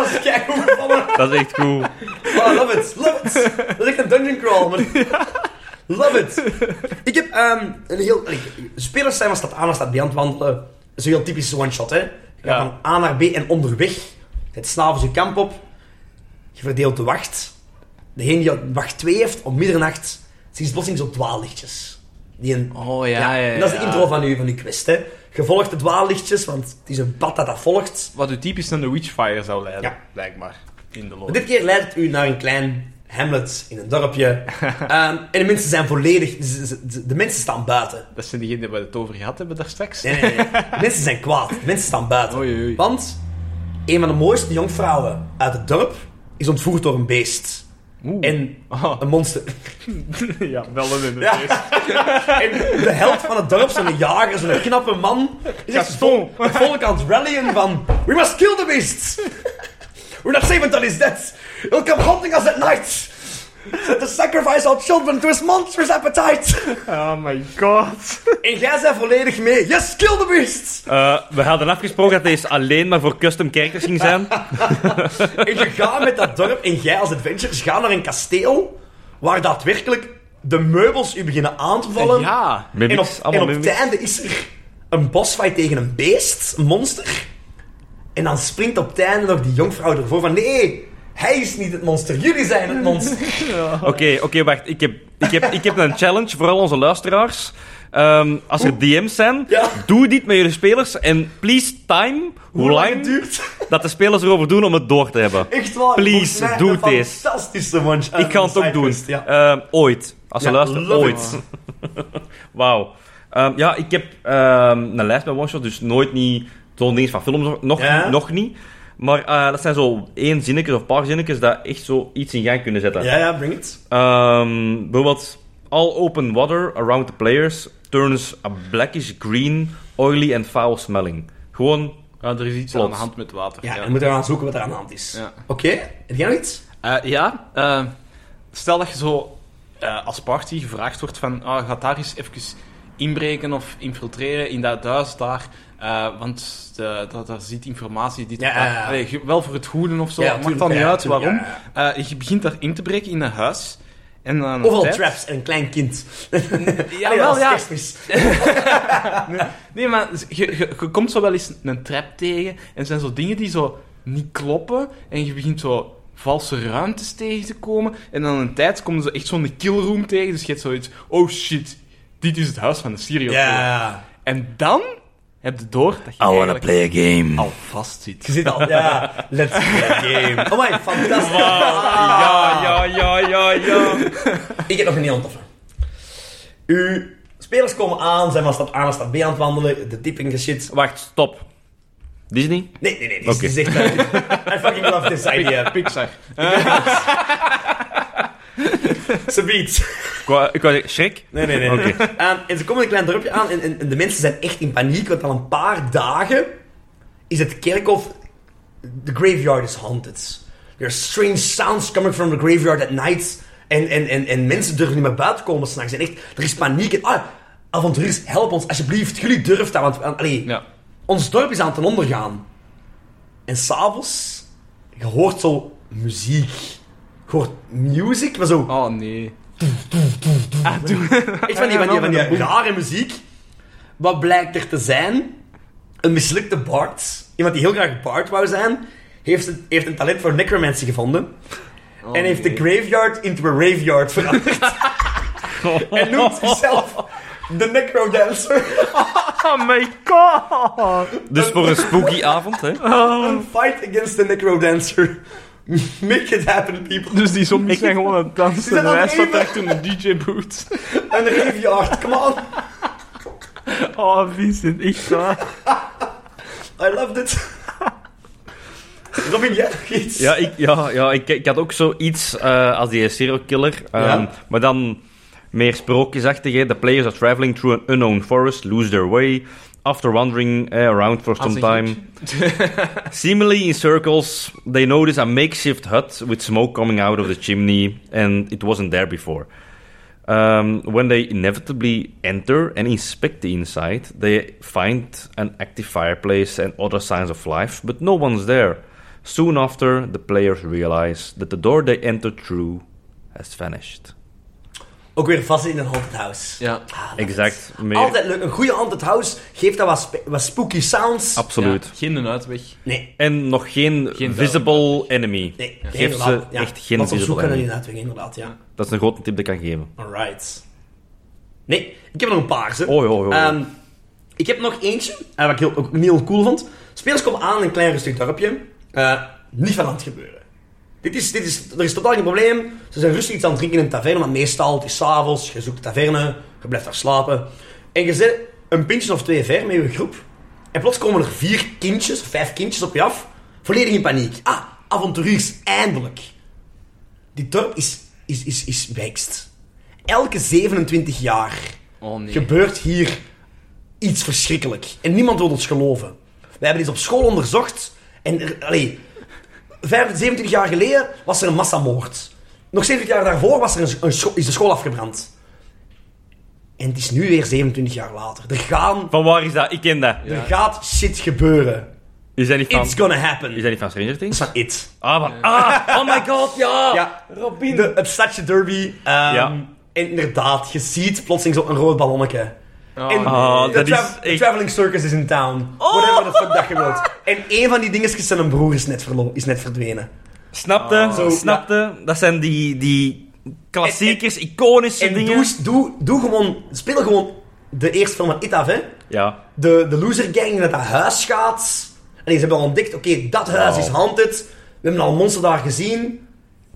[SPEAKER 2] is kijk hoe
[SPEAKER 4] Dat is echt cool.
[SPEAKER 2] Oh, love it, love it. Dat is echt een dungeon crawl, man. Love it. Ik heb ehm, een heel... allee, Spelers zijn van stad A naar stad B aan het wandelen. Dat is een heel typisch one-shot, hè. Je gaat
[SPEAKER 3] Ja.
[SPEAKER 2] van A naar B en onderweg. Het s'avonds je kamp op. Je verdeelt de wacht. Degene die op wacht 2 heeft, om middernacht, zien plotseling zo dwaallichtjes. Die een,
[SPEAKER 3] Oh, ja, ja, ja,
[SPEAKER 2] en dat is de
[SPEAKER 3] ja.
[SPEAKER 2] intro van u, van uw quest, hè. Je volgt de dwaallichtjes, want het is een pad dat dat volgt.
[SPEAKER 3] Wat u typisch naar de Witchfire zou leiden,
[SPEAKER 2] Ja.
[SPEAKER 3] blijkbaar. In de
[SPEAKER 2] Maar
[SPEAKER 3] lore.
[SPEAKER 2] dit keer leidt het u naar een klein hamlet in een dorpje. Ehm, en de mensen zijn volledig... ze- ze- ze- De mensen staan buiten.
[SPEAKER 3] Dat zijn diegenen waar we het over gehad hebben daar straks.
[SPEAKER 2] Nee, nee, nee. De mensen zijn kwaad. De mensen staan buiten.
[SPEAKER 3] Oei, oei, oei.
[SPEAKER 2] Want een van de mooiste jonkvrouwen uit het dorp is ontvoerd door een beest.
[SPEAKER 3] Oeh.
[SPEAKER 2] En
[SPEAKER 3] Oh,
[SPEAKER 2] een monster.
[SPEAKER 3] ja, wel een in
[SPEAKER 2] Ja. En de helft van het dorp zijn de jagers, een knappe man. Is echt
[SPEAKER 3] Gaston.
[SPEAKER 2] vol- Het volk aan het rallyen van... We must kill the beast! We're not safe until he's dead! He'll come haunting us at night! To sacrifice our children to his monstrous appetite!
[SPEAKER 3] Oh my god.
[SPEAKER 2] En jij bent volledig mee. Yes, kill the beast!
[SPEAKER 4] Eh, we hadden afgesproken dat deze alleen maar voor custom characters ging zijn.
[SPEAKER 2] En je gaat met dat dorp en jij als adventures gaat naar een kasteel waar daadwerkelijk de meubels u beginnen aan te vallen.
[SPEAKER 3] Ja.
[SPEAKER 2] en op,
[SPEAKER 4] Mimics,
[SPEAKER 2] en
[SPEAKER 4] allemaal
[SPEAKER 2] op het
[SPEAKER 4] mimics.
[SPEAKER 2] einde is er een bossfight tegen een beest, een monster. En dan springt op het einde nog die jonkvrouw ervoor van nee, hij is niet het monster, jullie zijn het monster.
[SPEAKER 4] Oké, oké, wacht. Ik heb, ik, heb, ik heb een challenge voor al onze luisteraars. Ehm, als er DM's zijn,
[SPEAKER 2] Ja.
[SPEAKER 4] doe dit met jullie spelers. En please time hoe
[SPEAKER 2] het
[SPEAKER 4] lang
[SPEAKER 2] duurt.
[SPEAKER 4] dat de spelers erover doen om het door te hebben.
[SPEAKER 2] Echt waar.
[SPEAKER 4] Please,
[SPEAKER 2] volgens mij
[SPEAKER 4] doe
[SPEAKER 2] een
[SPEAKER 4] this.
[SPEAKER 2] Fantastische munch.
[SPEAKER 4] Ik ga het ook doen.
[SPEAKER 2] eh, Ja.
[SPEAKER 4] Ehm, ooit. Als ze
[SPEAKER 2] Ja,
[SPEAKER 4] luisteren,
[SPEAKER 2] love
[SPEAKER 4] ooit. Wauw. Ehm, ja, ik heb ehm, een lijst met one-shots, dus nooit niet... Zo'n ding van films, nog,
[SPEAKER 2] Ja.
[SPEAKER 4] nog niet. Maar eh, dat zijn zo één zinnetjes of paar zinnetjes dat echt zo iets in gang kunnen zetten.
[SPEAKER 2] ja, ja, bring it.
[SPEAKER 4] Ehm, bijvoorbeeld, all open water around the players turns a blackish green, oily and foul smelling. Gewoon,
[SPEAKER 3] Ja, er is iets
[SPEAKER 4] Plots.
[SPEAKER 3] aan de hand met water.
[SPEAKER 2] Ja,
[SPEAKER 3] Ja,
[SPEAKER 2] en dan moeten we gaan zoeken wat er aan de hand is.
[SPEAKER 3] Ja.
[SPEAKER 2] Oké, heb jij nog iets?
[SPEAKER 3] Eh, ja, eh, stel dat je zo eh, als party gevraagd wordt van ah ga daar eens even inbreken of infiltreren in dat huis daar, eh, want de- da- daar zit informatie die... te-
[SPEAKER 2] Ja, ja, ja.
[SPEAKER 3] Allee, ge- wel voor het goede of zo,
[SPEAKER 2] Ja,
[SPEAKER 3] maakt
[SPEAKER 2] tuurlijk,
[SPEAKER 3] dan niet
[SPEAKER 2] ja,
[SPEAKER 3] uit
[SPEAKER 2] tuurlijk,
[SPEAKER 3] waarom.
[SPEAKER 2] ja,
[SPEAKER 3] Eh, je begint daar in te breken in een huis. En dan aan de
[SPEAKER 2] Overal
[SPEAKER 3] tijd-
[SPEAKER 2] traps en een klein kind.
[SPEAKER 3] Ja,
[SPEAKER 2] Allee,
[SPEAKER 3] wel,
[SPEAKER 2] dat is
[SPEAKER 3] ja.
[SPEAKER 2] kerstmis.
[SPEAKER 3] Nee, maar je, je, je komt zo wel eens een trap tegen en er zijn zo dingen die zo niet kloppen en je begint zo valse ruimtes tegen te komen en dan een tijd komen ze echt zo'n killroom tegen, dus je hebt zoiets, oh shit, dit is het huis van de serial killer.
[SPEAKER 2] Ja,
[SPEAKER 3] En dan heb je door dat je
[SPEAKER 1] I wanna
[SPEAKER 3] eigenlijk
[SPEAKER 1] play a game.
[SPEAKER 3] al vast zit.
[SPEAKER 2] je zit al. Ja, let's play a game. Oh my, fantastisch.
[SPEAKER 4] ja, ja, ja, ja, ja.
[SPEAKER 2] Ik heb nog een heel toffe. Uw spelers komen aan, zijn van stad A naar stad B aan het wandelen, de dipping en shit.
[SPEAKER 4] Wacht, stop. Disney?
[SPEAKER 2] Nee, nee, nee, dit is,
[SPEAKER 4] Oké.
[SPEAKER 2] dit is echt... eh, I fucking love this idea.
[SPEAKER 3] Pixar.
[SPEAKER 2] Ze biedt.
[SPEAKER 4] Ik wou, ik wou zeggen, Shrek?
[SPEAKER 2] Nee, nee, nee.
[SPEAKER 4] Oké.
[SPEAKER 2] Ehm, en ze komen in een klein dorpje aan en, en, en de mensen zijn echt in paniek, want al een paar dagen is het kerkhof... The graveyard is haunted. There are strange sounds coming from the graveyard at night. En, en, en, en mensen durven niet meer buiten komen s'nachts. En echt, er is paniek. En, ah, avonturiers, help ons alsjeblieft. Jullie durven dat, want... want, Allee,
[SPEAKER 3] Ja.
[SPEAKER 2] Ons dorp is aan het ondergaan. En s'avonds, je hoort zo muziek. Je hoort music, maar zo.
[SPEAKER 3] Oh nee.
[SPEAKER 2] Echt van die, van die, van die rare muziek. Wat blijkt er te zijn? Een mislukte bard. Iemand die heel graag bard wou zijn, heeft een, heeft een talent voor necromancy gevonden. en heeft de graveyard into a raveyard veranderd. en noemt zichzelf de necrodancer.
[SPEAKER 3] Oh my god!
[SPEAKER 4] Dus voor een spooky avond, hè?
[SPEAKER 2] Fight against the necrodancer. Make it happen, people.
[SPEAKER 3] Dus die zombies zijn gewoon aan het dansen
[SPEAKER 2] zijn
[SPEAKER 3] en
[SPEAKER 2] aan
[SPEAKER 3] hij
[SPEAKER 2] het
[SPEAKER 3] staat
[SPEAKER 2] eten.
[SPEAKER 3] achter een DJ-boot.
[SPEAKER 2] Een graveyard, come on.
[SPEAKER 3] Oh, Vincent, echt waar.
[SPEAKER 2] I loved it. Robin, jij nog iets?
[SPEAKER 4] Ja, ik, ja, ja ik, ik had ook zoiets eh, als die serial killer. ehm,
[SPEAKER 2] Ja.
[SPEAKER 4] Maar dan meer sprookjesachtig. hè. The players are traveling through an unknown forest, lose their way. After wandering eh, around for some time, seemingly in circles, they notice a makeshift hut with smoke coming out of the chimney, and it wasn't there before. Um, when they inevitably enter and inspect the inside, they find an active fireplace and other signs of life, but no one's there. Soon after, the players realize that the door they entered through has vanished.
[SPEAKER 2] Ook weer vast in een haunted house.
[SPEAKER 3] Ja.
[SPEAKER 2] Ah, dat
[SPEAKER 4] Exact.
[SPEAKER 2] is
[SPEAKER 4] Meer,
[SPEAKER 2] Altijd leuk. Een goede haunted house geeft dat wat, spe- wat spooky sounds.
[SPEAKER 4] Absoluut.
[SPEAKER 3] Ja, geen een uitweg.
[SPEAKER 2] nee.
[SPEAKER 4] En nog geen,
[SPEAKER 3] Geen
[SPEAKER 4] visible enemy.
[SPEAKER 2] Nee, ja.
[SPEAKER 4] Geef ze echt geen
[SPEAKER 2] Want
[SPEAKER 4] visible
[SPEAKER 2] op zoek gaan we
[SPEAKER 4] enemy.
[SPEAKER 2] inderdaad weg, inderdaad, ja.
[SPEAKER 4] Dat is een grote tip dat ik kan geven.
[SPEAKER 2] Alright. Nee, ik heb er nog een paar, ze.
[SPEAKER 4] Oh, joh, joh.
[SPEAKER 2] Ehm, ik heb nog eentje, eh, wat ik heel, ook niet heel cool vond. Spelers komen aan in een klein rustig dorpje. Eh, niet van aan het gebeuren. Dit is, dit is, er is totaal geen probleem. Ze zijn rustig iets aan het drinken in een taverne, maar meestal, het is 's avonds, je zoekt de taverne, je blijft daar slapen. En je zit een pintje of twee ver met je groep. En plots komen er vier kindjes, vijf kindjes op je af. Volledig in paniek. Ah, avonturiers, eindelijk. Dit dorp is, is, is, is wijkst. Elke 27 jaar
[SPEAKER 3] Oh nee.
[SPEAKER 2] gebeurt hier iets verschrikkelijk. En niemand wil ons geloven. We hebben dit op school onderzocht. En er- allee, 25, 27 jaar geleden was er een massamoord. Nog 70 jaar daarvoor was er een, een scho- is de school afgebrand. En het is nu weer 27 jaar later. Er, gaan,
[SPEAKER 4] Van waar is dat? Ik ken dat.
[SPEAKER 2] er gaat shit gebeuren.
[SPEAKER 4] Is dat niet van,
[SPEAKER 2] It's gonna happen.
[SPEAKER 4] is
[SPEAKER 2] Dat
[SPEAKER 4] dat niet van Stranger
[SPEAKER 2] is
[SPEAKER 4] Things?
[SPEAKER 2] van it.
[SPEAKER 4] Ah, van, ah, oh my god, ja!
[SPEAKER 2] Ja,
[SPEAKER 4] Robin.
[SPEAKER 2] de, het stadje derby. ehm,
[SPEAKER 4] Ja.
[SPEAKER 2] En inderdaad, je ziet plotseling zo'n rood ballonnetje.
[SPEAKER 3] Oh,
[SPEAKER 2] En
[SPEAKER 3] nee.
[SPEAKER 4] Ah,
[SPEAKER 2] de,
[SPEAKER 4] dat
[SPEAKER 2] tra-
[SPEAKER 4] is
[SPEAKER 2] de
[SPEAKER 4] echt-
[SPEAKER 2] traveling circus is in town. Whatever the fuck dat je wilt. En één van die dingetjes, zijn een broer is net, verlo- is net verdwenen.
[SPEAKER 4] Snapte,
[SPEAKER 2] Zo,
[SPEAKER 4] snapte. Dat zijn die, die klassiekers, iconische
[SPEAKER 2] En
[SPEAKER 4] dingen.
[SPEAKER 2] doe, eens- doe, doe gewoon, speel gewoon de eerste film van Itaf, hè.
[SPEAKER 4] Ja,
[SPEAKER 2] De, de loser gang die naar dat huis gaat. En ze hebben al ontdekt, oké, dat huis
[SPEAKER 4] Wow.
[SPEAKER 2] is haunted. We hebben al een monster daar gezien.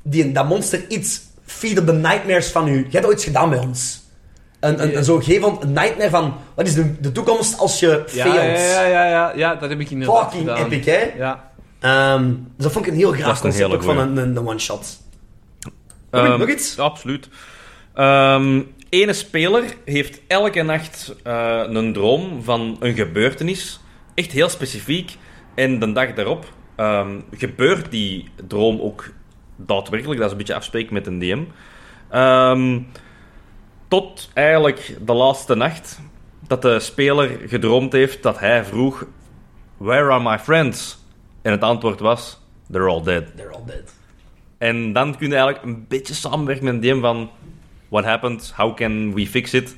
[SPEAKER 2] Die, dat monster iets feed op de nightmares van u. Jij hebt ooit iets gedaan bij ons. Een, een,
[SPEAKER 3] Ja.
[SPEAKER 2] een, zo gegeven een nightmare van, wat is de, de toekomst als je
[SPEAKER 3] ja,
[SPEAKER 2] fails?
[SPEAKER 3] ja, ja, ja, ja, ja, dat heb ik inderdaad
[SPEAKER 2] Fucking
[SPEAKER 3] gedaan.
[SPEAKER 2] epic, hè?
[SPEAKER 3] Ja.
[SPEAKER 2] Ehm, dus dat vond ik een heel graag
[SPEAKER 4] Dat is een
[SPEAKER 2] concept
[SPEAKER 4] hele
[SPEAKER 2] ook van
[SPEAKER 4] goeie.
[SPEAKER 2] een, een, een one-shot. Robin,
[SPEAKER 4] Ehm,
[SPEAKER 2] nog iets?
[SPEAKER 4] Absoluut. Ehm ene speler heeft elke nacht eh, een droom van een gebeurtenis. Echt heel specifiek. En de dag daarop ehm, gebeurt die droom ook daadwerkelijk. Dat is een beetje afspreken met een DM. Ehm, tot eigenlijk de laatste nacht dat de speler gedroomd heeft dat hij vroeg... Where are my friends? En het antwoord was... They're all dead.
[SPEAKER 2] They're all dead.
[SPEAKER 4] En dan kun je eigenlijk een beetje samenwerken met een DM van... What happened? How can we fix it?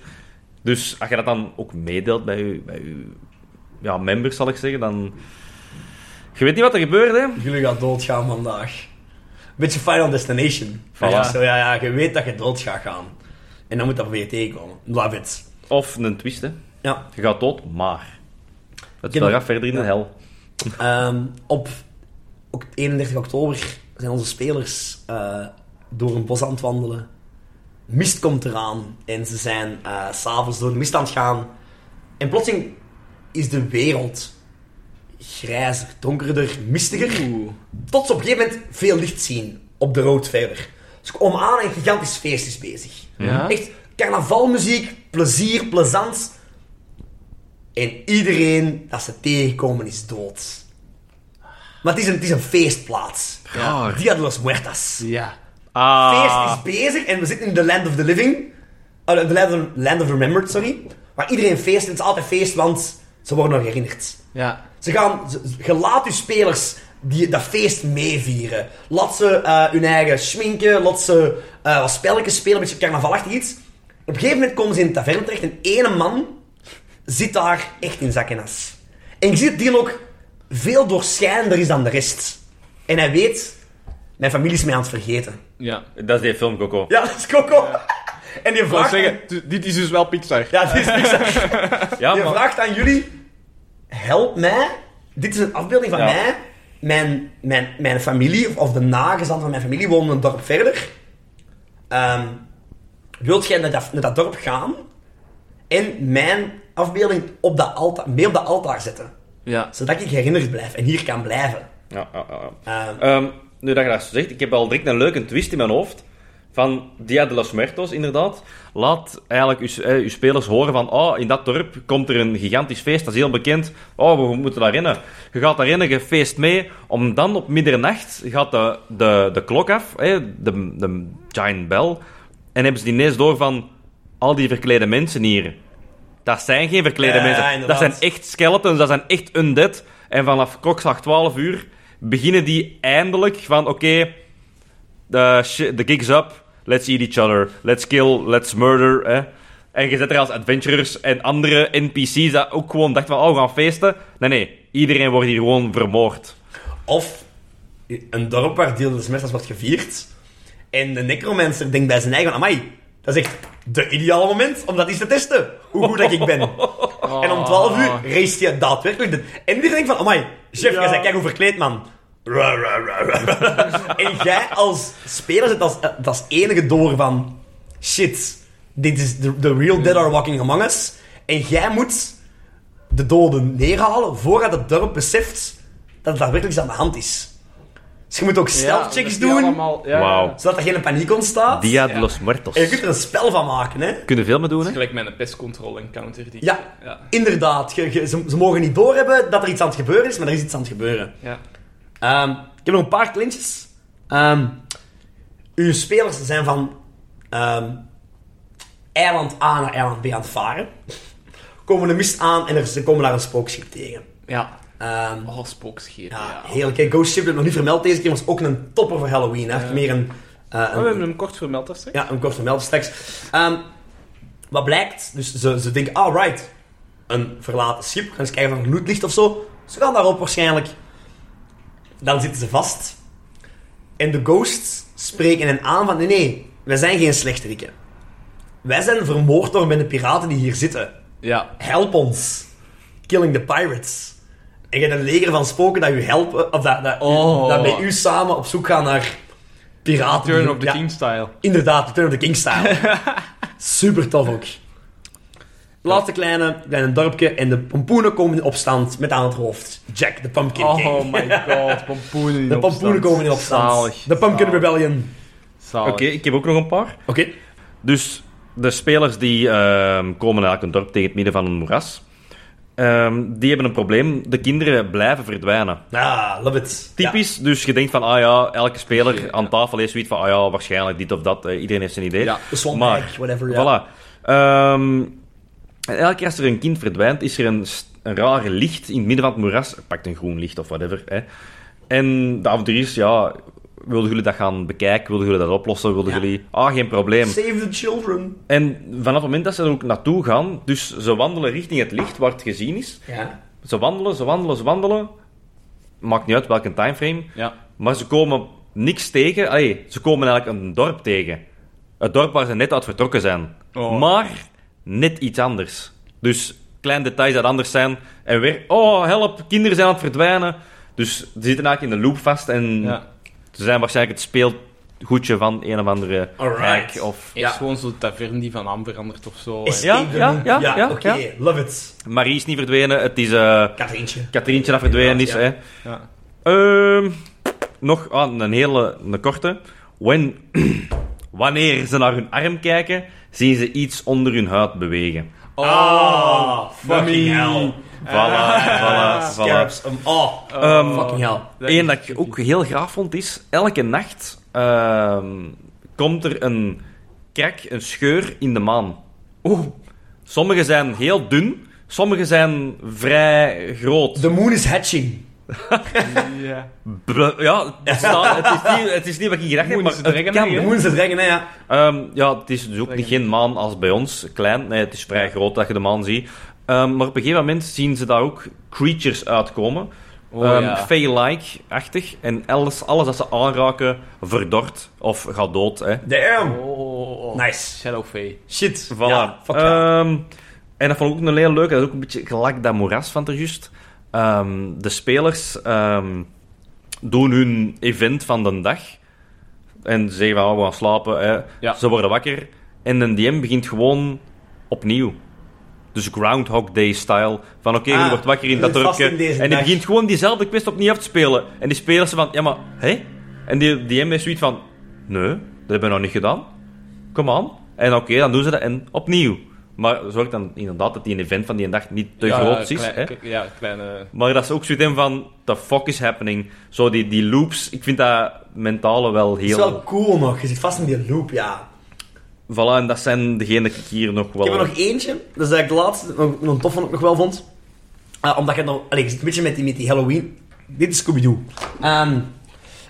[SPEAKER 4] Dus als je dat dan ook meedeelt bij je, bij je ja, members, zal ik zeggen, dan... Je weet niet wat er gebeurt, hè?
[SPEAKER 2] Jullie gaan doodgaan vandaag. Beetje Final Destination. Van
[SPEAKER 4] Ja.
[SPEAKER 2] Zo, ja, ja, je weet dat je dood gaat gaan. En dan moet dat weer tegenkomen. Love it.
[SPEAKER 4] Of een twist, hè?
[SPEAKER 2] Ja.
[SPEAKER 4] Je gaat dood, maar... Het
[SPEAKER 2] Ik
[SPEAKER 4] spel
[SPEAKER 2] heb-
[SPEAKER 4] gaat verder in de
[SPEAKER 2] ja.
[SPEAKER 4] hel.
[SPEAKER 2] Ehm, op ook 31 oktober zijn onze spelers eh, door een bos aan het wandelen. Mist komt eraan en ze zijn eh, s s'avonds door de mist aan het gaan. En plotseling is de wereld grijzer, donkerder, mistiger.
[SPEAKER 3] Oeh.
[SPEAKER 2] Tot ze op een gegeven moment veel licht zien op de road verder. Dus ik kom aan en een gigantisch feest is bezig.
[SPEAKER 3] Ja.
[SPEAKER 2] Echt carnavalmuziek, plezier, plezant. En iedereen dat ze tegenkomen is dood. Maar het is een, het is een feestplaats.
[SPEAKER 3] Ja.
[SPEAKER 2] Dia de los Muertas.
[SPEAKER 3] Ja.
[SPEAKER 4] Ah,
[SPEAKER 2] Feest is bezig en we zitten in de Land of the Living. Eh, de land of, land of Remembered, sorry. Waar iedereen feest en het is altijd feest, want ze worden nog herinnerd.
[SPEAKER 3] Ja.
[SPEAKER 2] Ze gaan, ze- ze- je laat je spelers die, dat feest meevieren. Laat ze eh, hun eigen schminken, laat ze eh, wat spelletjes spelen, een beetje carnavalachtig iets. Op een gegeven moment komen ze in de taverne terecht en ene man zit daar echt in zak en as. En je ziet dat die ook veel doorschijnender is dan de rest. En hij weet, mijn familie is mij aan het vergeten.
[SPEAKER 3] Ja.
[SPEAKER 4] dat is die film, Coco.
[SPEAKER 2] Ja, dat is Coco. En je
[SPEAKER 3] Ik wou
[SPEAKER 2] vraagt...
[SPEAKER 3] zeggen, tu- dit is dus wel Pixar.
[SPEAKER 2] Ja, dit is niks.
[SPEAKER 4] Ja,
[SPEAKER 2] Je
[SPEAKER 4] maar-
[SPEAKER 2] vraagt aan jullie: help mij. Dit is een afbeelding van
[SPEAKER 4] Ja.
[SPEAKER 2] mij. Mijn, mijn, mijn familie, of- of de nagezant van mijn familie, woont een dorp verder. Ehm, wilt jij naar dat, naar dat dorp gaan en mijn afbeelding op dat altaar, mee op dat altaar zetten?
[SPEAKER 3] Ja.
[SPEAKER 2] Zodat ik herinnerd blijf en hier kan blijven.
[SPEAKER 4] Ja, ja, ja, ja.
[SPEAKER 2] Ehm,
[SPEAKER 4] Ehm, nu dat je dat zo zegt, ik heb al direct een leuke twist in mijn hoofd. Van Dia de los Muertos, inderdaad. Laat eigenlijk uw, eh, uw spelers horen van... Oh, in dat dorp komt er een gigantisch feest, dat is heel bekend. Oh, we moeten daar rennen. Je gaat daar rennen, je feest mee. Om dan op middernacht gaat de, de, de klok af, eh, de, de giant bell. En hebben ze ineens door van... Al die verklede mensen hier. Dat zijn geen verklede
[SPEAKER 2] Ja,
[SPEAKER 4] mensen.
[SPEAKER 2] inderdaad.
[SPEAKER 4] Dat zijn echt skeletons, dat zijn echt undead. En vanaf klokslag 12 uur beginnen die eindelijk van... Oké, de, shi- de gig's up. let's eat each other, let's kill, let's murder. Hè. En je zit er als adventurers en andere NPC's dat ook gewoon dachten van, oh, we gaan feesten. Nee, nee, iedereen wordt hier gewoon vermoord.
[SPEAKER 2] Of een dorp waar Deal de Smurfs wordt gevierd. En de necromancer denkt bij zijn eigen, amai, dat is echt de ideale moment om dat eens te testen. Hoe goed dat ik ben. En om 12 uur race je daadwerkelijk. De... En iedereen denkt van, amai, chef, jij bent kijk hoe verkleed, man. Ra, ra, ra, ra. en jij als speler zit als, eh, dat is enige door van, shit, dit is de, de real dead are walking among us. En jij moet de doden neerhalen voordat het dorp beseft dat er daadwerkelijk iets aan de hand is. Dus je moet ook
[SPEAKER 3] dat
[SPEAKER 2] stealth-checks
[SPEAKER 3] die
[SPEAKER 2] doen,
[SPEAKER 3] allemaal- ja,
[SPEAKER 4] Wauw.
[SPEAKER 3] ja. Het
[SPEAKER 2] zodat er geen paniek ontstaat.
[SPEAKER 4] Dia
[SPEAKER 3] Ja.
[SPEAKER 4] de los Muertos.
[SPEAKER 2] En je kunt er een spel van maken, hè.
[SPEAKER 4] Kunnen veel mee doen,
[SPEAKER 3] is
[SPEAKER 4] hè?
[SPEAKER 3] gelijk met een pest control encounter. Die...
[SPEAKER 2] Ja.
[SPEAKER 3] ja.
[SPEAKER 2] Inderdaad, je- je- ze, ze mogen niet doorhebben dat er iets aan het gebeuren is, maar er is iets aan het gebeuren.
[SPEAKER 3] ja.
[SPEAKER 2] Ehm, ik heb nog een paar klintjes. Ehm, uw spelers zijn van ehm, eiland A naar eiland B aan het varen. Komen de mist aan en er, ze komen daar een spookschip tegen.
[SPEAKER 3] Ja.
[SPEAKER 2] Ehm,
[SPEAKER 3] Oh, spookscheer.
[SPEAKER 2] ja,
[SPEAKER 3] Ja.
[SPEAKER 2] heerlijk. hè. Ghost Ship heb ik nog niet vermeld deze keer, was ook een topper voor Halloween. Hè. Echt Meer een, eh,
[SPEAKER 3] Oh,
[SPEAKER 2] een-
[SPEAKER 3] we hebben hem kort vermeld, dat
[SPEAKER 2] ja, een korte meld straks. Ehm, wat blijkt, dus ze, ze denken, alright, een verlaten schip, gaan eens kijken of er loot ligt of zo. Ze gaan daarop waarschijnlijk. Dan zitten ze vast. En de ghosts spreken hen aan van, nee, nee, wij zijn geen slechteriken. Wij zijn vermoord door de piraten die hier zitten.
[SPEAKER 3] Ja.
[SPEAKER 2] Help ons. Killing the pirates. En je hebt een leger van spoken dat u helpen, of dat, dat,
[SPEAKER 3] Oh.
[SPEAKER 2] dat met u samen op zoek gaan naar piraten.
[SPEAKER 3] Turn of the
[SPEAKER 2] Ja.
[SPEAKER 3] King style.
[SPEAKER 2] Inderdaad, Return of the King style. Super tof ook. Laatste kleine, kleine dorpje en de pompoenen komen in opstand met aan het hoofd Jack the Pumpkin King.
[SPEAKER 3] Oh my god, pompoenen in
[SPEAKER 2] de pompoenen komen in opstand.
[SPEAKER 3] Zalig.
[SPEAKER 2] De Pumpkin
[SPEAKER 3] Zalig.
[SPEAKER 2] Rebellion.
[SPEAKER 3] Zalig.
[SPEAKER 4] Oké, ik heb ook nog een paar.
[SPEAKER 2] Oké.
[SPEAKER 4] Dus de spelers die ehm, komen naar een dorp tegen het midden van een moeras. Ehm, die hebben een probleem. De kinderen blijven verdwijnen.
[SPEAKER 2] Ah, love it.
[SPEAKER 4] Typisch, dus je denkt van, ah ja, elke speler aan tafel is zoiets van, ah ja, waarschijnlijk dit of dat. Eh, iedereen heeft zijn idee.
[SPEAKER 3] Ja.
[SPEAKER 2] Ja, de Swamp
[SPEAKER 4] Maar,
[SPEAKER 2] Egg, whatever. Ja.
[SPEAKER 4] Voilà. Ehm, en elke keer als er een kind verdwijnt, is er een, st- een rare licht in het midden van het moeras. Het Pakt een groen licht of whatever. Hè. En de avonturiers, ja, wilden jullie dat gaan bekijken? Wilden jullie dat oplossen? Wilden
[SPEAKER 2] Ja.
[SPEAKER 4] jullie... Ah, geen probleem.
[SPEAKER 2] Save the children.
[SPEAKER 4] En vanaf het moment dat ze er ook naartoe gaan, dus ze wandelen richting het licht waar het gezien is.
[SPEAKER 2] Ja.
[SPEAKER 4] Ze wandelen, ze wandelen, ze wandelen. Maakt niet uit welke timeframe.
[SPEAKER 3] Ja.
[SPEAKER 4] Maar ze komen niks tegen. Allee, ze komen eigenlijk een dorp tegen. Het dorp waar ze net uit vertrokken zijn.
[SPEAKER 3] Oh.
[SPEAKER 4] Maar net iets anders. Dus klein details dat anders zijn. En weer, oh help, kinderen zijn aan het verdwijnen. Dus ze zitten eigenlijk in de loop vast. En
[SPEAKER 3] Ja.
[SPEAKER 4] ze zijn waarschijnlijk het speelgoedje van een of andere
[SPEAKER 2] Alright.
[SPEAKER 4] rijk Of...
[SPEAKER 3] Is
[SPEAKER 2] Ja.
[SPEAKER 3] gewoon zo'n taverne die van aan verandert of zo.
[SPEAKER 2] Escape
[SPEAKER 4] Ja,
[SPEAKER 2] the
[SPEAKER 4] ja,
[SPEAKER 2] room.
[SPEAKER 4] ja, ja,
[SPEAKER 2] Oké,
[SPEAKER 4] ja.
[SPEAKER 2] love it.
[SPEAKER 4] Marie is niet verdwenen. Het is... eh,
[SPEAKER 2] Katrientje.
[SPEAKER 4] Katrientje dat verdwenen is.
[SPEAKER 2] Ja.
[SPEAKER 4] Hè.
[SPEAKER 3] Ja.
[SPEAKER 4] Ehm, nog ah, een hele een korte. When, wanneer ze naar hun arm kijken, zien ze iets onder hun huid bewegen.
[SPEAKER 3] Oh,
[SPEAKER 2] Ah, fucking hell.
[SPEAKER 3] Ah,
[SPEAKER 4] Voilà, voilà, Ah, voilà.
[SPEAKER 2] Scarabs. um, oh,
[SPEAKER 4] Ehm,
[SPEAKER 2] fucking hell.
[SPEAKER 4] Eén dat ik ook heel graaf vond is, elke nacht ehm, komt er een krak, een scheur in de maan. Oeh. Sommige zijn heel dun, sommige zijn vrij groot.
[SPEAKER 2] The moon is hatching.
[SPEAKER 3] Ja.
[SPEAKER 4] Bl- Ja, het, staat- het, is niet, het is niet wat ik gedacht heb, maar
[SPEAKER 3] Moeten ze
[SPEAKER 4] het
[SPEAKER 3] drengen,
[SPEAKER 4] kan.
[SPEAKER 3] hè?
[SPEAKER 2] The moon is het reggen, hè, ja.
[SPEAKER 4] Ehm, ja, het is dus ook niet geen maan als bij ons, klein. Nee, het is vrij groot dat je de maan ziet. Ehm, maar op een gegeven moment zien ze daar ook creatures uitkomen.
[SPEAKER 3] Oh,
[SPEAKER 4] Ehm,
[SPEAKER 3] ja.
[SPEAKER 4] Fey-like-achtig. En alles, alles dat ze aanraken, verdort of gaat dood. Hè.
[SPEAKER 2] Damn.
[SPEAKER 3] Oh, oh, oh.
[SPEAKER 2] Nice.
[SPEAKER 3] Shadow Fae.
[SPEAKER 2] Shit.
[SPEAKER 4] Voilà.
[SPEAKER 2] Ja, fuck ja.
[SPEAKER 4] Ehm, en dat vond ik ook een heel leuke. Dat is ook een beetje gelijk dat moeras van ter juist. Ehm, de spelers ehm, doen hun event van de dag. En ze zeggen van, oh, we gaan slapen. Hè.
[SPEAKER 3] Ja.
[SPEAKER 4] Ze worden wakker. En een DM begint gewoon opnieuw. Dus Groundhog Day-style. Van oké,
[SPEAKER 2] Ah,
[SPEAKER 4] je wordt wakker in
[SPEAKER 2] je
[SPEAKER 4] dat
[SPEAKER 2] zit vast
[SPEAKER 4] dorpje.
[SPEAKER 2] in deze
[SPEAKER 4] En die
[SPEAKER 2] dag.
[SPEAKER 4] begint gewoon diezelfde quest opnieuw af te spelen. En die spelers van, ja maar, hé? En die DM is zoiets van, nee, dat hebben we nog niet gedaan. Kom aan. En oké, dan doen ze dat en opnieuw. Maar zorg dan inderdaad dat die een event van die dag niet te
[SPEAKER 3] Ja,
[SPEAKER 4] groot is.
[SPEAKER 3] klein-
[SPEAKER 4] Hè?
[SPEAKER 3] k- Ja, kleine...
[SPEAKER 4] Maar dat is ook zoiets in van, the fuck is happening? Zo die, die loops, ik vind dat mentale wel
[SPEAKER 2] Het is
[SPEAKER 4] heel...
[SPEAKER 2] wel cool nog. Je zit vast in die loop, ja.
[SPEAKER 4] Voilà, en dat zijn degenen die ik hier nog wel...
[SPEAKER 2] Ik heb er nog eentje. Dat is eigenlijk de laatste. Nog, nog een tof van ik nog wel vond. Eh, omdat je nog... Allee, ik zit een beetje met die, met die Halloween... Dit is Scooby-Doo. Ehm,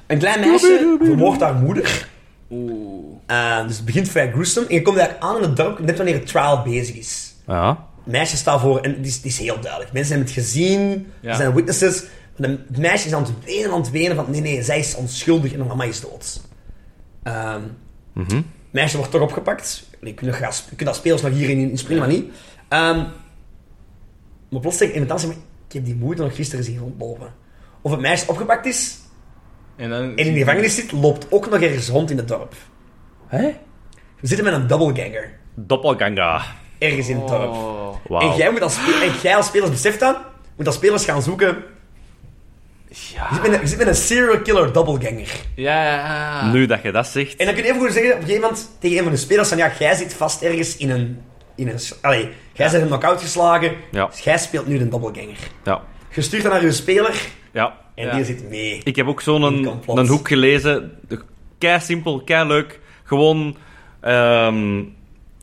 [SPEAKER 2] een klein meisje vermoordt haar moeder.
[SPEAKER 3] Oeh.
[SPEAKER 2] Eh, dus het begint vrij gruesome. En je komt eigenlijk aan in het dorp net wanneer het trial bezig is.
[SPEAKER 4] Ja.
[SPEAKER 2] Het meisje staat voor en het is, het is heel duidelijk. Mensen hebben het gezien,
[SPEAKER 3] Ja.
[SPEAKER 2] er zijn witnesses. En de- het meisje is aan het wenen, aan het wenen van nee, nee, zij is onschuldig en haar mama is dood. Ehm, Het meisje wordt toch opgepakt. Je kunt, nog gaan sp- je kunt als spelers nog hierin in- inspringen, maar niet. Ehm, maar plots tegen iemand anders, ik heb die moeder nog gisteren zien rondlopen. Of het meisje opgepakt is
[SPEAKER 3] En, dan...
[SPEAKER 2] en in de gevangenis zit, loopt ook nog ergens rond in het dorp.
[SPEAKER 4] Hé?
[SPEAKER 2] We zitten met een doppelganger
[SPEAKER 4] Doppelganger.
[SPEAKER 2] ergens in het dorp.
[SPEAKER 3] Oh.
[SPEAKER 2] En,
[SPEAKER 4] Wauw.
[SPEAKER 2] jij moet als spe- en jij als spelers beseft dat, moet als spelers gaan zoeken. Je
[SPEAKER 3] Ja.
[SPEAKER 2] zit met een, je zit met een serial killer doppelganger.
[SPEAKER 3] Ja, ja.
[SPEAKER 4] Nu dat je dat zegt.
[SPEAKER 2] En dan kun je even goed zeggen op een gegeven moment tegen een van de spelers van ja, jij zit vast ergens in een. In een allee, jij bent een knock-out geslagen,
[SPEAKER 4] Ja.
[SPEAKER 2] dus jij speelt nu een doppelganger.
[SPEAKER 4] Ja.
[SPEAKER 2] Je stuurt dat naar je speler
[SPEAKER 4] Ja.
[SPEAKER 2] en
[SPEAKER 3] Ja.
[SPEAKER 2] die zit mee.
[SPEAKER 4] Ik heb ook zo'n een,
[SPEAKER 2] complot.
[SPEAKER 4] een hoek gelezen. Kei simpel, kei leuk. Gewoon, ehm,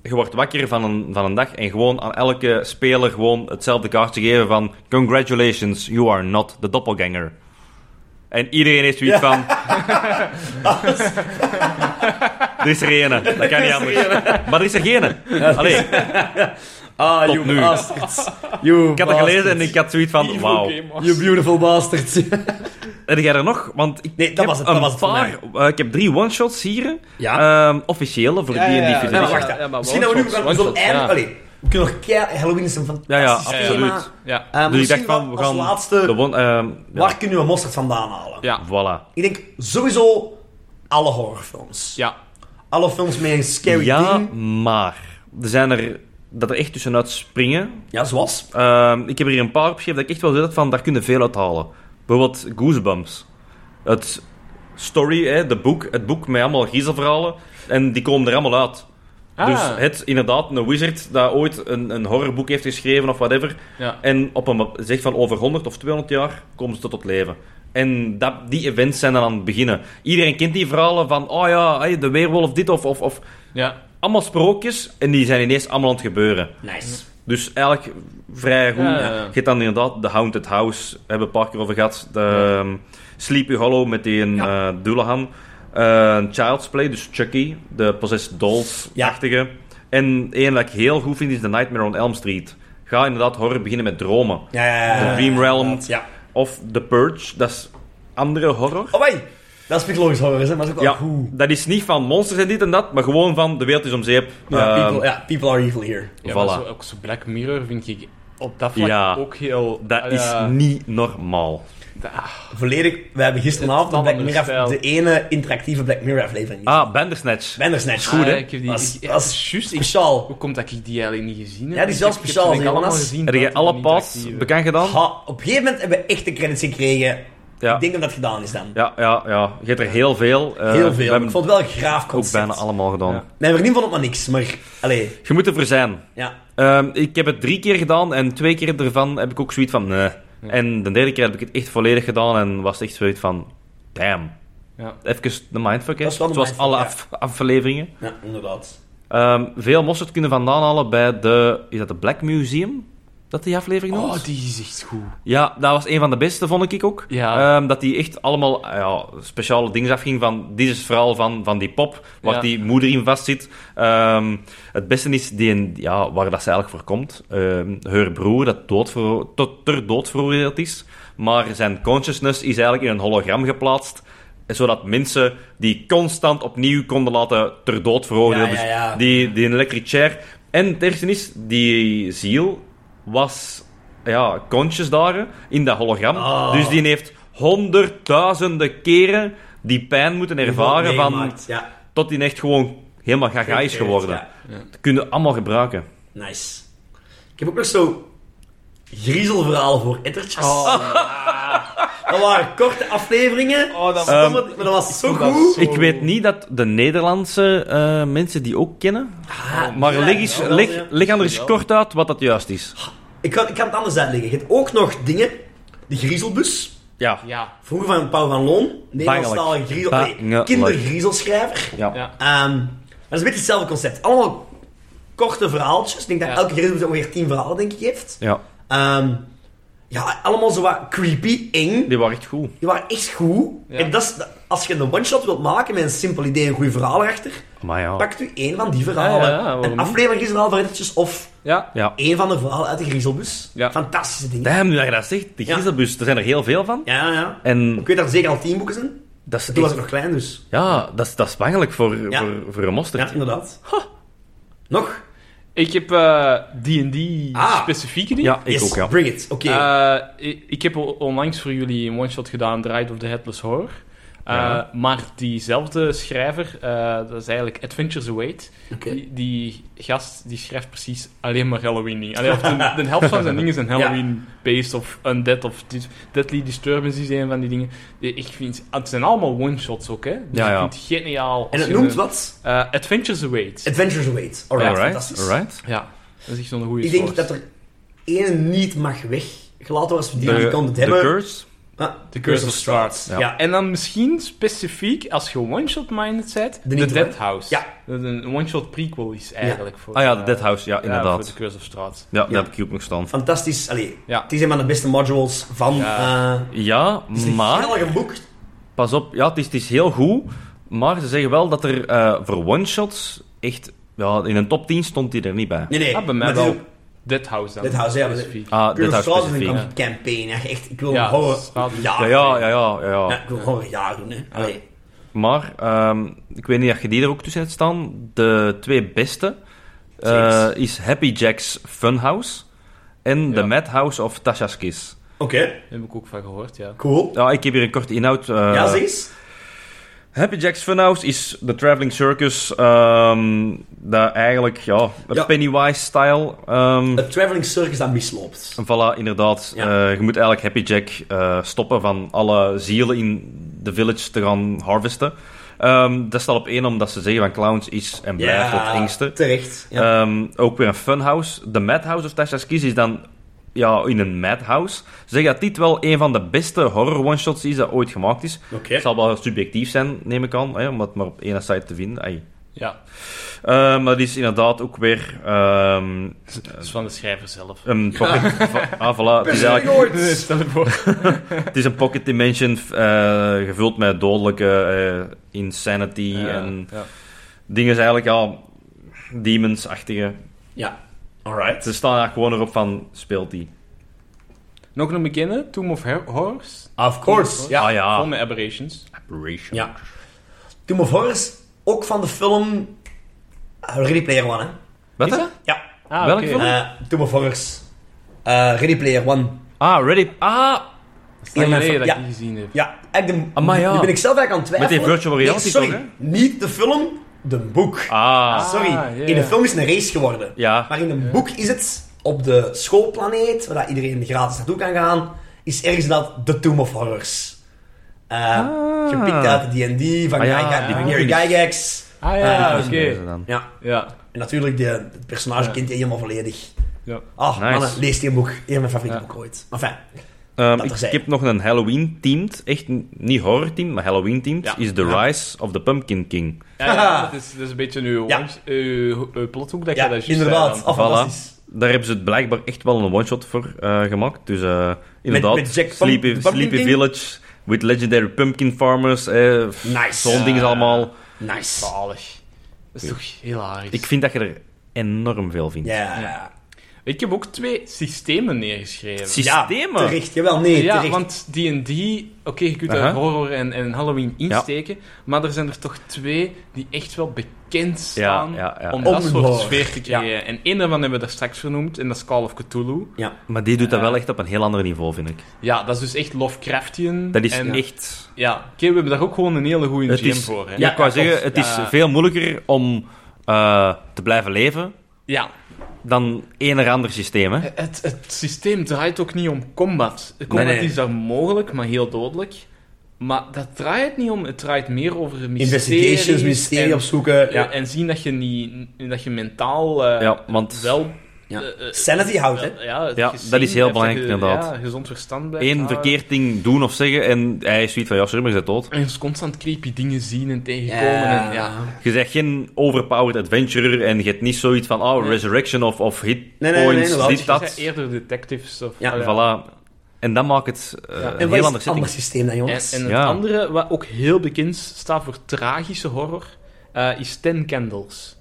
[SPEAKER 4] je wordt wakker van een, van een dag en gewoon aan elke speler gewoon hetzelfde kaartje geven van Congratulations, you are not the doppelganger. En iedereen heeft zoiets van... er is er ene. Dat kan niet anders. Maar er is er geen. Allee,
[SPEAKER 2] Ah,
[SPEAKER 4] tot nu.
[SPEAKER 2] bastards. You
[SPEAKER 4] ik had dat gelezen en ik had zoiets van... Wauw.
[SPEAKER 2] You beautiful bastards.
[SPEAKER 4] Heb jij er nog? Want ik
[SPEAKER 2] Nee, dat
[SPEAKER 4] heb
[SPEAKER 2] was het, dat
[SPEAKER 4] een
[SPEAKER 2] was het voor
[SPEAKER 4] paar... eh, ik heb drie one-shots hier.
[SPEAKER 2] Ja.
[SPEAKER 4] Ehm, officiële voor
[SPEAKER 3] Ja,
[SPEAKER 4] die en die
[SPEAKER 3] ja, ja.
[SPEAKER 2] Nee, maar
[SPEAKER 4] versie.
[SPEAKER 2] wacht.
[SPEAKER 3] Ja,
[SPEAKER 2] hè.
[SPEAKER 3] maar
[SPEAKER 2] misschien dat we nu...
[SPEAKER 3] one-shots,
[SPEAKER 2] we zullen
[SPEAKER 3] one-shots,
[SPEAKER 2] eigenlijk...
[SPEAKER 3] ja.
[SPEAKER 2] Allee, we kunnen nog kei... Halloween is een
[SPEAKER 4] Ja, ja,
[SPEAKER 2] fantastisch
[SPEAKER 4] absoluut.
[SPEAKER 2] thema.
[SPEAKER 3] Ja.
[SPEAKER 2] Eh, maar
[SPEAKER 4] Dus ik dacht
[SPEAKER 2] misschien
[SPEAKER 4] van, we
[SPEAKER 2] als
[SPEAKER 4] gaan...
[SPEAKER 2] laatste,
[SPEAKER 4] De one, ehm, ja,
[SPEAKER 2] waar kunnen we mosterd vandaan halen?
[SPEAKER 3] Ja.
[SPEAKER 4] Voilà.
[SPEAKER 2] Ik denk sowieso alle horrorfilms.
[SPEAKER 3] Ja.
[SPEAKER 2] Alle films met een scary
[SPEAKER 4] Ja,
[SPEAKER 2] theme.
[SPEAKER 4] maar... Er zijn er... Dat er echt tussenuit springen.
[SPEAKER 2] Ja, zoals?
[SPEAKER 4] Ehm, ik heb hier een paar opgeschreven dat ik echt wel zet van... Daar kunnen veel uit halen. Bijvoorbeeld Goosebumps. Het story, hè, de boek, het boek met allemaal giezelverhalen. En die komen er allemaal uit.
[SPEAKER 3] Ah.
[SPEAKER 4] Dus het, inderdaad, een wizard dat ooit een, een horrorboek heeft geschreven of whatever.
[SPEAKER 3] Ja.
[SPEAKER 4] En op een zeg van over 100 of 200 jaar komen ze tot het leven. En dat, die events zijn dan aan het beginnen. Iedereen kent die verhalen van, oh ja, hey, de weerwolf dit of, of, of...
[SPEAKER 3] Ja.
[SPEAKER 4] Allemaal sprookjes en die zijn ineens allemaal aan het gebeuren.
[SPEAKER 2] Nice.
[SPEAKER 4] Dus eigenlijk vrij goed.
[SPEAKER 3] Ja, ja, ja.
[SPEAKER 4] Je hebt dan inderdaad The Haunted House, daar hebben we een paar keer over gehad. De, ehm, Sleepy Hollow met die een
[SPEAKER 2] Ja.
[SPEAKER 4] eh, Dullahan. Eh, Child's Play, dus Chucky, de Possessed Dolls-achtige. En één dat ik heel goed vind is The Nightmare on Elm Street. Ga inderdaad horror beginnen met dromen.
[SPEAKER 2] Ja, ja,
[SPEAKER 3] Eh,
[SPEAKER 2] ja, ja.
[SPEAKER 4] The Dream Realm
[SPEAKER 2] Ja.
[SPEAKER 4] of The Purge, dat is andere horror.
[SPEAKER 2] Oh, wait. Dat is psychologisch horror, hè, maar dat is ook
[SPEAKER 3] Oh,
[SPEAKER 2] wel
[SPEAKER 4] Ja,
[SPEAKER 2] goed.
[SPEAKER 4] dat is niet van monsters en dit en dat, maar gewoon van de wereld is om zeep.
[SPEAKER 2] Ja,
[SPEAKER 4] Ehm,
[SPEAKER 2] people, ja, people are evil here.
[SPEAKER 3] ja
[SPEAKER 4] Voilà.
[SPEAKER 3] maar zo, ook zo Black Mirror vind ik op dat vlak
[SPEAKER 4] Ja.
[SPEAKER 3] ook heel... Ah,
[SPEAKER 4] Dat is
[SPEAKER 3] Ja.
[SPEAKER 4] niet normaal.
[SPEAKER 3] Ah,
[SPEAKER 2] Volledig, we hebben gisteravond
[SPEAKER 3] Het
[SPEAKER 2] de,
[SPEAKER 3] is
[SPEAKER 2] Black
[SPEAKER 3] een
[SPEAKER 2] Mirror,
[SPEAKER 3] andere
[SPEAKER 2] de ene interactieve Black Mirror aflevering. gezien.
[SPEAKER 4] Ah, Bandersnatch.
[SPEAKER 2] Bandersnatch.
[SPEAKER 3] ah,
[SPEAKER 2] hè?
[SPEAKER 3] ik heb die...
[SPEAKER 2] Dat is-
[SPEAKER 3] ik- ja,
[SPEAKER 2] dat
[SPEAKER 3] dat
[SPEAKER 2] is
[SPEAKER 3] is juist. Ik-
[SPEAKER 2] speciaal.
[SPEAKER 3] Hoe komt dat ik die eigenlijk niet gezien heb?
[SPEAKER 2] Ja, die is wel
[SPEAKER 3] Ik heb- ik
[SPEAKER 2] speciaal,
[SPEAKER 3] heb ze denk ik allemaal
[SPEAKER 2] Jonas.
[SPEAKER 3] gezien.
[SPEAKER 4] Heb jij
[SPEAKER 3] buiten
[SPEAKER 4] alle
[SPEAKER 3] die
[SPEAKER 4] paas
[SPEAKER 3] interactieve.
[SPEAKER 4] bekend gedaan?
[SPEAKER 2] Ha, op een gegeven moment hebben we echt de credits gekregen.
[SPEAKER 4] Ja.
[SPEAKER 2] Ik denk dat dat gedaan is dan.
[SPEAKER 4] Ja, ja, ja. Je hebt er heel veel. Eh,
[SPEAKER 2] Heel
[SPEAKER 4] We
[SPEAKER 2] veel.
[SPEAKER 4] hebben
[SPEAKER 2] Ik vond het wel een graaf
[SPEAKER 4] ook
[SPEAKER 2] concept.
[SPEAKER 4] bijna allemaal gedaan.
[SPEAKER 3] Ja.
[SPEAKER 2] Mijn vriendin vond het maar niks, maar... Allee,
[SPEAKER 4] Je moet ervoor zijn.
[SPEAKER 2] ja.
[SPEAKER 4] Ehm, ik heb het drie keer gedaan en twee keer ervan heb ik ook zoiets van... Nee. En de derde keer heb ik het echt volledig gedaan en was het echt zoiets van... Damn.
[SPEAKER 3] Ja.
[SPEAKER 4] Even de mindfuck, hè.
[SPEAKER 2] Dat is wel een
[SPEAKER 4] Zoals
[SPEAKER 2] mindfuck,
[SPEAKER 4] alle
[SPEAKER 2] ja.
[SPEAKER 4] af- afleveringen.
[SPEAKER 2] Ja, inderdaad.
[SPEAKER 4] Ehm, veel mosterd kunnen vandaan halen bij de... Is dat de Black Museum? Dat die aflevering noemt?
[SPEAKER 3] Oh, die is echt goed.
[SPEAKER 4] Ja, dat was een van de beste, vond ik ook.
[SPEAKER 3] Ja.
[SPEAKER 4] Ehm, dat die echt allemaal ah ja, speciale dingen afging van... Dit is het verhaal van, van die pop, waar
[SPEAKER 3] Ja.
[SPEAKER 4] die moeder in vastzit. Ehm, het beste is die, een- ja, waar dat ze eigenlijk voor komt. Ehm, haar broer, dat dood vero- tot ter dood veroordeeld is. Maar zijn consciousness is eigenlijk in een hologram geplaatst. Zodat mensen die constant opnieuw konden laten ter dood veroordelen.
[SPEAKER 2] Ja, ja, ja.
[SPEAKER 4] Dus die, die een electric chair. En het eerste is, die ziel was ja, conscious daar in dat hologram.
[SPEAKER 2] Ah.
[SPEAKER 4] Dus die heeft honderdduizenden keren die pijn moeten ervaren van,
[SPEAKER 2] Meegemaakt, Ja,
[SPEAKER 4] tot die echt gewoon helemaal gaga is geworden.
[SPEAKER 2] Ja.
[SPEAKER 4] Dat kunnen we allemaal gebruiken.
[SPEAKER 2] Nice. Ik heb ook nog zo griezelverhalen voor ettertjes. Dat waren korte afleveringen.
[SPEAKER 3] Oh, dat-
[SPEAKER 2] Stomme- maar dat was zo goed.
[SPEAKER 4] Ik weet niet dat de Nederlandse eh, mensen die ook kennen. eh,
[SPEAKER 2] Ah,
[SPEAKER 4] Maar
[SPEAKER 2] ja,
[SPEAKER 4] leg, eens,
[SPEAKER 2] ja, wel, ja.
[SPEAKER 4] leg, leg anders eens kort uit wat dat juist is.
[SPEAKER 2] Ik, kan, ik kan het anders uitleggen. Je hebt ook nog dingen. De griezelbus.
[SPEAKER 4] Ja.
[SPEAKER 3] Ja.
[SPEAKER 2] Vroeger van Paul van Loon. Nederlandstalige griezel... Nee,
[SPEAKER 4] Bangelijk.
[SPEAKER 2] kindergriezelschrijver.
[SPEAKER 4] Ja.
[SPEAKER 3] Ja.
[SPEAKER 2] Ehm, maar dat is een beetje hetzelfde concept. Allemaal korte verhaaltjes. Ik denk dat
[SPEAKER 3] Ja.
[SPEAKER 2] elke griezelbus ongeveer 10 verhalen denk ik heeft.
[SPEAKER 4] Ja.
[SPEAKER 2] Ehm, Ja, allemaal zo wat creepy, eng.
[SPEAKER 4] Die waren echt goed.
[SPEAKER 2] Die waren echt goed.
[SPEAKER 3] Ja.
[SPEAKER 2] En dat is, dat- als je een one-shot wilt maken met een simpel idee en een goed verhaal erachter,
[SPEAKER 4] Maar ja.
[SPEAKER 2] pakt u één van die
[SPEAKER 3] Ja,
[SPEAKER 2] verhalen.
[SPEAKER 3] ja, waarom
[SPEAKER 2] een
[SPEAKER 3] niet?
[SPEAKER 2] aflevering is een half uurtjes of
[SPEAKER 3] Ja.
[SPEAKER 4] ja.
[SPEAKER 2] één van de verhalen uit de griezelbus.
[SPEAKER 3] Ja.
[SPEAKER 2] Fantastische dingen.
[SPEAKER 4] Damn, nu dat je dat zegt, die
[SPEAKER 2] Ja.
[SPEAKER 4] Giezelbus, er zijn er heel veel van.
[SPEAKER 2] Ja, ja.
[SPEAKER 4] En
[SPEAKER 2] Ik weet dat er zeker al tien boeken zijn.
[SPEAKER 4] dat is,
[SPEAKER 2] Toen was
[SPEAKER 4] echt-
[SPEAKER 2] ik nog klein, dus.
[SPEAKER 4] ja, dat is, dat is bangelijk voor,
[SPEAKER 2] Ja.
[SPEAKER 4] voor, voor een
[SPEAKER 2] Ja,
[SPEAKER 4] mosterd.
[SPEAKER 2] inderdaad. Nog?
[SPEAKER 3] Ik heb eh, D&D
[SPEAKER 2] Ah.
[SPEAKER 3] specifieke dingen.
[SPEAKER 4] Ja, ik
[SPEAKER 2] yes,
[SPEAKER 4] ook, ja.
[SPEAKER 2] bring it. Oké.
[SPEAKER 3] Eh, ik, ik heb o- onlangs voor jullie een one-shot gedaan, Dried of the Headless Horror. Eh,
[SPEAKER 4] Ja.
[SPEAKER 3] Maar diezelfde schrijver, eh, dat is eigenlijk Adventures Await,
[SPEAKER 2] Oké.
[SPEAKER 3] die, die gast die schrijft precies alleen maar Halloween dingen. Allee, of de, de helft van zijn dingen zijn Halloween-based of Undead of dis- Deadly Disturbance is een van die dingen. Die- Ik vind, het zijn allemaal one-shots ook, hè. Dus
[SPEAKER 4] Ja, ja.
[SPEAKER 3] ik vind het geniaal. als
[SPEAKER 2] en het
[SPEAKER 3] je
[SPEAKER 2] noemt
[SPEAKER 3] een-
[SPEAKER 2] wat?
[SPEAKER 3] eh, Adventures Await.
[SPEAKER 2] Adventures Await. Alright,
[SPEAKER 4] Alright,
[SPEAKER 2] fantastisch.
[SPEAKER 4] alright.
[SPEAKER 3] ja, dat is echt zo'n goede
[SPEAKER 2] Ik denk dat er één niet mag weggelaten worden als we die niet konden hebben.
[SPEAKER 4] Curse?
[SPEAKER 2] Ah,
[SPEAKER 3] The Curse of Strahd.
[SPEAKER 2] Ja.
[SPEAKER 4] Ja.
[SPEAKER 2] ja.
[SPEAKER 3] En dan misschien specifiek, als je one-shot-minded bent,
[SPEAKER 2] De
[SPEAKER 3] The,
[SPEAKER 2] Ninth
[SPEAKER 3] Dead
[SPEAKER 2] One.
[SPEAKER 3] House.
[SPEAKER 2] Ja.
[SPEAKER 3] Dat een one-shot prequel is eigenlijk. Voor,
[SPEAKER 4] Ah ja,
[SPEAKER 3] eh,
[SPEAKER 4] de Dead House, ja,
[SPEAKER 3] Ja, voor The
[SPEAKER 4] inderdaad.
[SPEAKER 3] Curse of Strahd.
[SPEAKER 4] Ja,
[SPEAKER 2] Ja.
[SPEAKER 4] dat heb ik ook nog staan.
[SPEAKER 2] Fantastisch. Allee,
[SPEAKER 3] Ja.
[SPEAKER 2] het is een van de beste modules van...
[SPEAKER 3] Ja.
[SPEAKER 2] eh,
[SPEAKER 4] Ja,
[SPEAKER 2] het is een
[SPEAKER 4] maar...
[SPEAKER 2] geweldige boek.
[SPEAKER 4] Pas op, ja, het is, het is heel goed. Maar ze zeggen wel dat er eh, voor one-shots echt... Ja, in een top 10 stond hij er niet bij.
[SPEAKER 2] Nee, nee.
[SPEAKER 3] Ah, bij mij
[SPEAKER 2] maar het is
[SPEAKER 3] wel.
[SPEAKER 2] ook-
[SPEAKER 3] Dead House dan.
[SPEAKER 2] Dead House, ja, maar-
[SPEAKER 3] Specifiek.
[SPEAKER 4] Ah,
[SPEAKER 2] Curse
[SPEAKER 4] dit
[SPEAKER 2] of
[SPEAKER 4] houdt
[SPEAKER 2] Strahd is
[SPEAKER 4] specifiek.
[SPEAKER 2] een
[SPEAKER 4] Ja,
[SPEAKER 2] cam- campaign. Ja, echt, ik wil
[SPEAKER 3] Ja,
[SPEAKER 2] een horror
[SPEAKER 3] Strahd is-
[SPEAKER 2] jaar.
[SPEAKER 4] ja, ja, ja. ja.
[SPEAKER 2] Ja, ik wil een horror jaar doen, hè. Allee.
[SPEAKER 4] Maar, ehm, ik weet niet of je die er ook tussen hebt staan. De twee beste eh,
[SPEAKER 2] Zeker.
[SPEAKER 4] is Happy Jack's Funhouse en The
[SPEAKER 3] Ja.
[SPEAKER 4] Madhouse of Tasha's Kiss.
[SPEAKER 2] Oké,
[SPEAKER 3] Daar heb ik ook van gehoord, ja.
[SPEAKER 2] cool.
[SPEAKER 4] Ja, ik heb hier een korte inhoud. eh,
[SPEAKER 2] ja, zeg eens.
[SPEAKER 4] Happy Jack's Funhouse is de traveling circus. ehm dat eigenlijk, ja, een
[SPEAKER 2] Ja.
[SPEAKER 4] Pennywise-style. ehm,
[SPEAKER 2] Het traveling circus dat misloopt.
[SPEAKER 4] Voilà, inderdaad.
[SPEAKER 2] Ja.
[SPEAKER 4] Eh, je moet eigenlijk Happy Jack eh, stoppen van alle zielen in de village te gaan harvesten. Ehm, dat staat op één omdat ze zeggen van clowns is en blijft het engste.
[SPEAKER 2] terecht. Ja.
[SPEAKER 4] Ehm, ook weer een funhouse. De Madhouse of Tasha's Kiss is dan ja, in een madhouse. Ze zeggen dat dit wel een van de beste horror one-shots is dat ooit gemaakt is.
[SPEAKER 2] Oké.
[SPEAKER 4] Het zal wel subjectief zijn, neem ik aan, hè, om het maar op één site te vinden. Ai.
[SPEAKER 3] Ja,
[SPEAKER 4] Ehm, maar het is inderdaad ook weer ehm,
[SPEAKER 3] dat is van de schrijver zelf.
[SPEAKER 4] een pocket... Ah, voilà. Het is eigenlijk
[SPEAKER 3] Nee, Stel je voor.
[SPEAKER 4] Het is een pocket dimension eh, gevuld met dodelijke eh, insanity en
[SPEAKER 3] Ja.
[SPEAKER 4] dingen zijn eigenlijk al demons-achtige.
[SPEAKER 2] Ja.
[SPEAKER 4] Ze
[SPEAKER 2] Alright.
[SPEAKER 4] staan eigenlijk gewoon erop van, speelt die?
[SPEAKER 3] Nog een bekende, Tomb of Her- Horrors.
[SPEAKER 2] Of course. Ja.
[SPEAKER 4] Ah, ja.
[SPEAKER 3] Vol met aberrations.
[SPEAKER 4] Aberration.
[SPEAKER 2] ja. Tomb of Horror is ook van de film eh, Ready Player One, hè.
[SPEAKER 4] Wat?
[SPEAKER 3] Is
[SPEAKER 4] hè?
[SPEAKER 3] dat?
[SPEAKER 2] Ja.
[SPEAKER 3] Ah,
[SPEAKER 4] Welk
[SPEAKER 3] oké.
[SPEAKER 4] film?
[SPEAKER 2] eh Tomb of Horrors. Eh, Ready Player One.
[SPEAKER 4] Ah, ready. Ah,
[SPEAKER 3] Dat is lang
[SPEAKER 2] Ja,
[SPEAKER 3] geleden dat ik
[SPEAKER 2] ja.
[SPEAKER 3] die gezien heb.
[SPEAKER 2] Ja, eigenlijk de,
[SPEAKER 4] Amai, ja.
[SPEAKER 2] nu ben ik zelf eigenlijk aan het
[SPEAKER 4] Met
[SPEAKER 2] twijfelen.
[SPEAKER 4] die virtual reality
[SPEAKER 2] nee, sorry,
[SPEAKER 4] toch, hè?
[SPEAKER 2] niet de film, de boek.
[SPEAKER 4] ah.
[SPEAKER 2] sorry,
[SPEAKER 3] Ah, ja.
[SPEAKER 2] in de film is het een race geworden.
[SPEAKER 4] Ja,
[SPEAKER 2] Maar in een boek is het op de schoolplaneet, waar dat iedereen gratis naartoe kan gaan, is ergens dat The Tomb of Horrors. Eh,
[SPEAKER 3] Ah.
[SPEAKER 2] Gepikt uit de D&D van
[SPEAKER 4] Ah, ja,
[SPEAKER 2] Gyga-
[SPEAKER 4] die
[SPEAKER 2] Gary
[SPEAKER 4] boeken.
[SPEAKER 2] Gygax.
[SPEAKER 3] Ah ja,
[SPEAKER 2] Ah,
[SPEAKER 3] oké.
[SPEAKER 4] Deze dan.
[SPEAKER 2] Ja,
[SPEAKER 3] Ja,
[SPEAKER 2] en natuurlijk, de, het personage
[SPEAKER 3] Ja.
[SPEAKER 2] kent je helemaal volledig.
[SPEAKER 3] ja.
[SPEAKER 2] Ah,
[SPEAKER 4] Nice.
[SPEAKER 2] mannen, lees die boek. Een van mijn favoriete
[SPEAKER 3] Ja.
[SPEAKER 2] boeken ooit. Maar fijn.
[SPEAKER 4] Ehm,
[SPEAKER 2] Dat
[SPEAKER 4] ik,
[SPEAKER 2] terzijde.
[SPEAKER 4] ik heb nog een Halloween-themed, echt n- niet horror-themed, maar Halloween-themed,
[SPEAKER 3] Ja.
[SPEAKER 4] is The
[SPEAKER 3] Ja.
[SPEAKER 4] Rise of the Pumpkin King.
[SPEAKER 3] Ja, ja, dat, is, dat is een beetje uw,
[SPEAKER 2] Ja.
[SPEAKER 3] ons- uw, uw eh, plothoek dat je
[SPEAKER 2] Ja,
[SPEAKER 3] dat juist eh,
[SPEAKER 2] inderdaad.
[SPEAKER 3] zei
[SPEAKER 2] Ah,
[SPEAKER 3] dan.
[SPEAKER 2] fantastisch.
[SPEAKER 4] Daar hebben ze het blijkbaar echt wel een one-shot voor eh, gemaakt. Dus eh, inderdaad,
[SPEAKER 2] met Jack Pump-
[SPEAKER 4] Sleepy,
[SPEAKER 2] de Pumpkin
[SPEAKER 4] Sleepy
[SPEAKER 2] King?
[SPEAKER 4] Village with legendary pumpkin farmers. eh, pff,
[SPEAKER 2] Nice.
[SPEAKER 4] Zo'n ding is allemaal.
[SPEAKER 2] Nice.
[SPEAKER 3] Zalig. Dat is toch hilarisch.
[SPEAKER 4] Ik vind dat je er enorm veel vindt.
[SPEAKER 2] Ja.
[SPEAKER 3] Ik heb ook twee systemen neergeschreven.
[SPEAKER 4] Systemen?
[SPEAKER 2] Terecht, jawel, nee,
[SPEAKER 3] ja,
[SPEAKER 2] terecht.
[SPEAKER 3] want D&D... Oké, je kunt
[SPEAKER 4] Aha.
[SPEAKER 3] daar horror en, en Halloween
[SPEAKER 4] Ja.
[SPEAKER 3] insteken, maar er zijn er toch twee die echt wel bekend staan
[SPEAKER 4] ja, ja.
[SPEAKER 3] om
[SPEAKER 2] Om
[SPEAKER 3] dat
[SPEAKER 2] hun
[SPEAKER 3] soort
[SPEAKER 2] horror.
[SPEAKER 3] sfeer te creëren. En één daarvan hebben we daar straks vernoemd, en dat is Call of Cthulhu.
[SPEAKER 4] Maar die doet dat wel echt op een heel ander niveau, vind ik.
[SPEAKER 3] Ja, dat is dus echt Lovecraftian.
[SPEAKER 4] Dat is
[SPEAKER 3] en,
[SPEAKER 4] echt...
[SPEAKER 3] Ja, oké, we hebben daar ook gewoon een hele goede
[SPEAKER 4] Het
[SPEAKER 3] gem
[SPEAKER 4] is,
[SPEAKER 3] voor. Hè?
[SPEAKER 4] ja, ik wou zeggen, het is
[SPEAKER 3] Ja.
[SPEAKER 4] veel moeilijker om eh, te blijven leven
[SPEAKER 3] ja,
[SPEAKER 4] dan een of ander systeem. Hè?
[SPEAKER 3] Eh, Het, het systeem draait ook niet om combat. Combat
[SPEAKER 2] Nee, nee.
[SPEAKER 3] is daar mogelijk, maar heel dodelijk. Maar dat draait niet om. Het draait meer over mysteries.
[SPEAKER 2] Investigations, mysterie
[SPEAKER 3] en, eh,
[SPEAKER 2] opzoeken. Ja.
[SPEAKER 3] En zien dat je, niet, dat je mentaal eh,
[SPEAKER 4] Ja, want-
[SPEAKER 3] wel...
[SPEAKER 2] Ja.
[SPEAKER 3] eh, eh,
[SPEAKER 2] Sanity houdt, hè?
[SPEAKER 3] wel- ja, het
[SPEAKER 4] Ja,
[SPEAKER 3] gezien
[SPEAKER 4] dat is heel
[SPEAKER 3] hebt,
[SPEAKER 4] belangrijk,
[SPEAKER 3] je,
[SPEAKER 4] inderdaad.
[SPEAKER 3] Ja, gezond verstand blijft
[SPEAKER 4] Eén
[SPEAKER 3] houden.
[SPEAKER 4] verkeerd ding doen of zeggen en hij is zoiets van, ja, sorry, maar je bent dood.
[SPEAKER 3] En dus constant creepy dingen zien en tegenkomen.
[SPEAKER 2] Ja.
[SPEAKER 3] En, ja.
[SPEAKER 4] Je bent geen overpowered adventurer en je hebt niet zoiets van, oh,
[SPEAKER 3] Nee.
[SPEAKER 4] resurrection of, of hit
[SPEAKER 2] nee, nee,
[SPEAKER 4] points,
[SPEAKER 2] inderdaad.
[SPEAKER 4] dit,
[SPEAKER 3] Je bent
[SPEAKER 4] dat.
[SPEAKER 3] eerder detectives of...
[SPEAKER 2] Ja,
[SPEAKER 3] ah,
[SPEAKER 4] Voilà. En dat maakt het eh,
[SPEAKER 3] En
[SPEAKER 4] een
[SPEAKER 2] En
[SPEAKER 4] heel
[SPEAKER 2] wat
[SPEAKER 4] ander
[SPEAKER 2] is het
[SPEAKER 4] setting.
[SPEAKER 2] ander systeem dan,
[SPEAKER 3] En,
[SPEAKER 2] jongens?
[SPEAKER 3] en het
[SPEAKER 4] Ja.
[SPEAKER 3] andere, wat ook heel bekend staat voor tragische horror, eh, is Ten Candles.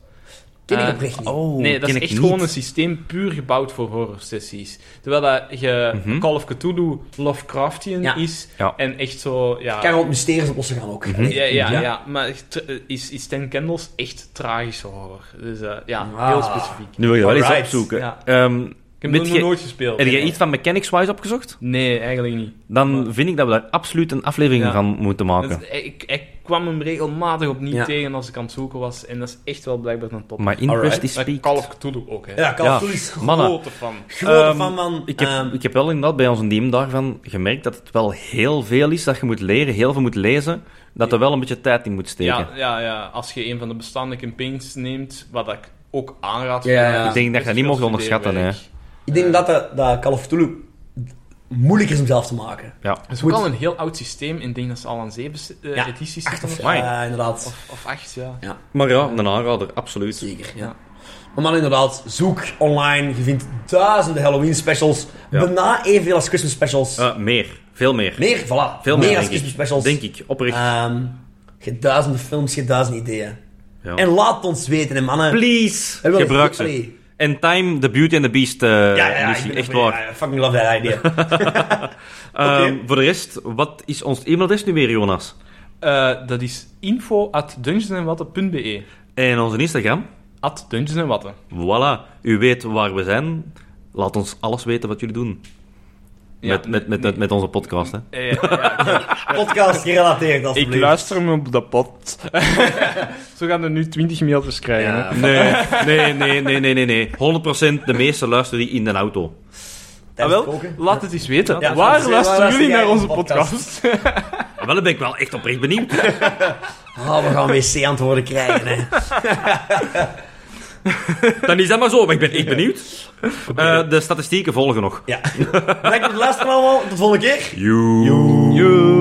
[SPEAKER 2] Ken ik
[SPEAKER 3] eh,
[SPEAKER 2] oprecht niet.
[SPEAKER 4] Oh,
[SPEAKER 3] nee,
[SPEAKER 4] ken
[SPEAKER 3] dat is
[SPEAKER 4] ik
[SPEAKER 3] echt
[SPEAKER 4] niet.
[SPEAKER 3] gewoon een systeem puur gebouwd voor horror-sessies. Terwijl dat je
[SPEAKER 4] Mhm.
[SPEAKER 3] Call of Cthulhu Lovecraftian
[SPEAKER 2] Ja.
[SPEAKER 3] is
[SPEAKER 4] Ja.
[SPEAKER 3] en echt zo... Ja,
[SPEAKER 2] Kan ook mysteries oplossen gaan ook.
[SPEAKER 4] Mhm.
[SPEAKER 3] ja, ja, ja. maar echt, eh, is, is Ten Candles echt tragische horror. Dus eh, ja,
[SPEAKER 2] Ah.
[SPEAKER 3] heel specifiek.
[SPEAKER 4] Nu wil je wel eens
[SPEAKER 2] Alright.
[SPEAKER 4] opzoeken.
[SPEAKER 3] Ja.
[SPEAKER 4] Ehm,
[SPEAKER 3] Ik heb
[SPEAKER 4] weet
[SPEAKER 3] het nog
[SPEAKER 4] je-
[SPEAKER 3] nooit gespeeld.
[SPEAKER 4] heb jij
[SPEAKER 3] Nee.
[SPEAKER 4] iets van Mechanics-wise opgezocht?
[SPEAKER 3] Nee, eigenlijk niet.
[SPEAKER 4] Dan
[SPEAKER 3] Maar-
[SPEAKER 4] vind ik dat we daar absoluut een aflevering
[SPEAKER 3] Ja.
[SPEAKER 4] van moeten maken.
[SPEAKER 3] Dat is- ik, ik kwam hem regelmatig opnieuw
[SPEAKER 2] Ja.
[SPEAKER 3] tegen als ik aan het zoeken was. En dat is echt wel blijkbaar een top.
[SPEAKER 4] Maar interest
[SPEAKER 2] Alright.
[SPEAKER 4] is
[SPEAKER 3] Maar
[SPEAKER 4] peaked.
[SPEAKER 3] Call of Cthulhu ook, hè.
[SPEAKER 2] Ja, kan
[SPEAKER 4] Ja.
[SPEAKER 2] ja. is
[SPEAKER 4] Mannen.
[SPEAKER 3] Grote fan.
[SPEAKER 2] Gewoon
[SPEAKER 4] Ehm,
[SPEAKER 2] van, man.
[SPEAKER 4] Ik heb,
[SPEAKER 2] ehm,
[SPEAKER 4] ik heb wel inderdaad bij onze team daarvan gemerkt dat het wel heel veel is dat je moet leren, heel veel moet lezen, dat er wel een beetje tijd in moet steken.
[SPEAKER 3] Ja, ja, ja, als je een van de bestaande campaigns neemt, wat ik ook aanraad.
[SPEAKER 2] Ja,
[SPEAKER 3] voor-
[SPEAKER 2] ja.
[SPEAKER 4] Ik denk dat je dat niet
[SPEAKER 3] veel
[SPEAKER 4] mocht onderschatten, hè.
[SPEAKER 3] studeerwerk.
[SPEAKER 2] ik denk dat, dat, dat Call of Cthulhu moeilijk is om zelf te maken.
[SPEAKER 4] Ja.
[SPEAKER 3] Het is
[SPEAKER 2] Moet-
[SPEAKER 3] ook al een heel oud systeem. en Ik denk dat ze al aan zeven eh,
[SPEAKER 2] Ja,
[SPEAKER 3] edities
[SPEAKER 2] Acht
[SPEAKER 3] zitten.
[SPEAKER 2] of,
[SPEAKER 3] Of,
[SPEAKER 4] Amai.
[SPEAKER 2] ja, inderdaad.
[SPEAKER 3] of, of acht, ja.
[SPEAKER 4] Maar ja, een aanrader, absoluut.
[SPEAKER 2] Zeker, ja.
[SPEAKER 3] Ja.
[SPEAKER 2] Maar man, inderdaad, zoek online. Je vindt duizenden Halloween specials.
[SPEAKER 4] Ja.
[SPEAKER 2] Bijna evenveel als Christmas specials.
[SPEAKER 4] Eh, meer, veel meer.
[SPEAKER 2] meer, voilà.
[SPEAKER 4] Veel meer,
[SPEAKER 2] als
[SPEAKER 4] denk,
[SPEAKER 2] Christmas
[SPEAKER 4] ik.
[SPEAKER 2] specials.
[SPEAKER 4] denk ik, oprecht.
[SPEAKER 2] Ehm, je hebt duizenden films, je hebt duizend ideeën.
[SPEAKER 4] Ja.
[SPEAKER 2] En laat ons weten, hè, mannen.
[SPEAKER 4] Please,
[SPEAKER 2] We willen-
[SPEAKER 4] gebruik ze.
[SPEAKER 2] Allee.
[SPEAKER 4] En Time, The Beauty and the Beast eh
[SPEAKER 2] Ja, ja, ja, ik
[SPEAKER 4] editie,
[SPEAKER 2] ben
[SPEAKER 4] echt
[SPEAKER 2] ervoor.
[SPEAKER 4] waar.
[SPEAKER 2] Ja, ja, fucking love that idea.
[SPEAKER 4] Ehm, Voor de rest, wat is ons e-mailadres nu weer, Jonas?
[SPEAKER 3] Eh, dat is info at dungeonsandwatten.be.
[SPEAKER 4] En onze Instagram?
[SPEAKER 3] At dungeonsandwatten.
[SPEAKER 4] Voilà, u weet waar we zijn. Laat ons alles weten wat jullie doen.
[SPEAKER 3] Ja,
[SPEAKER 4] met, met, met,
[SPEAKER 3] nee.
[SPEAKER 4] met, met onze podcast, hè.
[SPEAKER 3] Eh, ja, ja, ik-
[SPEAKER 2] Podcast gerelateerd, alsjeblieft.
[SPEAKER 3] ik luister me op de pot. Zo gaan er nu 20 mailtjes krijgen. hè.
[SPEAKER 2] Ja,
[SPEAKER 4] Nee, nee, nee, nee, nee, nee, nee. 100% de meeste luisteren die in de auto.
[SPEAKER 3] Ah,
[SPEAKER 2] tijdens het
[SPEAKER 3] wel,
[SPEAKER 2] koken.
[SPEAKER 3] laat het eens weten.
[SPEAKER 2] Ja,
[SPEAKER 3] Waar
[SPEAKER 2] waar
[SPEAKER 3] luisteren
[SPEAKER 2] luister
[SPEAKER 3] jullie
[SPEAKER 2] jij
[SPEAKER 3] naar onze
[SPEAKER 2] onze podcast?
[SPEAKER 3] podcast?
[SPEAKER 4] Ah, Wel, dan ben ik wel echt oprecht benieuwd.
[SPEAKER 2] Ah, we gaan wc-antwoorden krijgen, hè.
[SPEAKER 4] Dan is dat maar zo, maar ik ben echt benieuwd. Eh, de statistieken volgen nog.
[SPEAKER 2] Ja. Bedankt voor het luisteren allemaal. Tot de volgende keer.
[SPEAKER 4] Joe.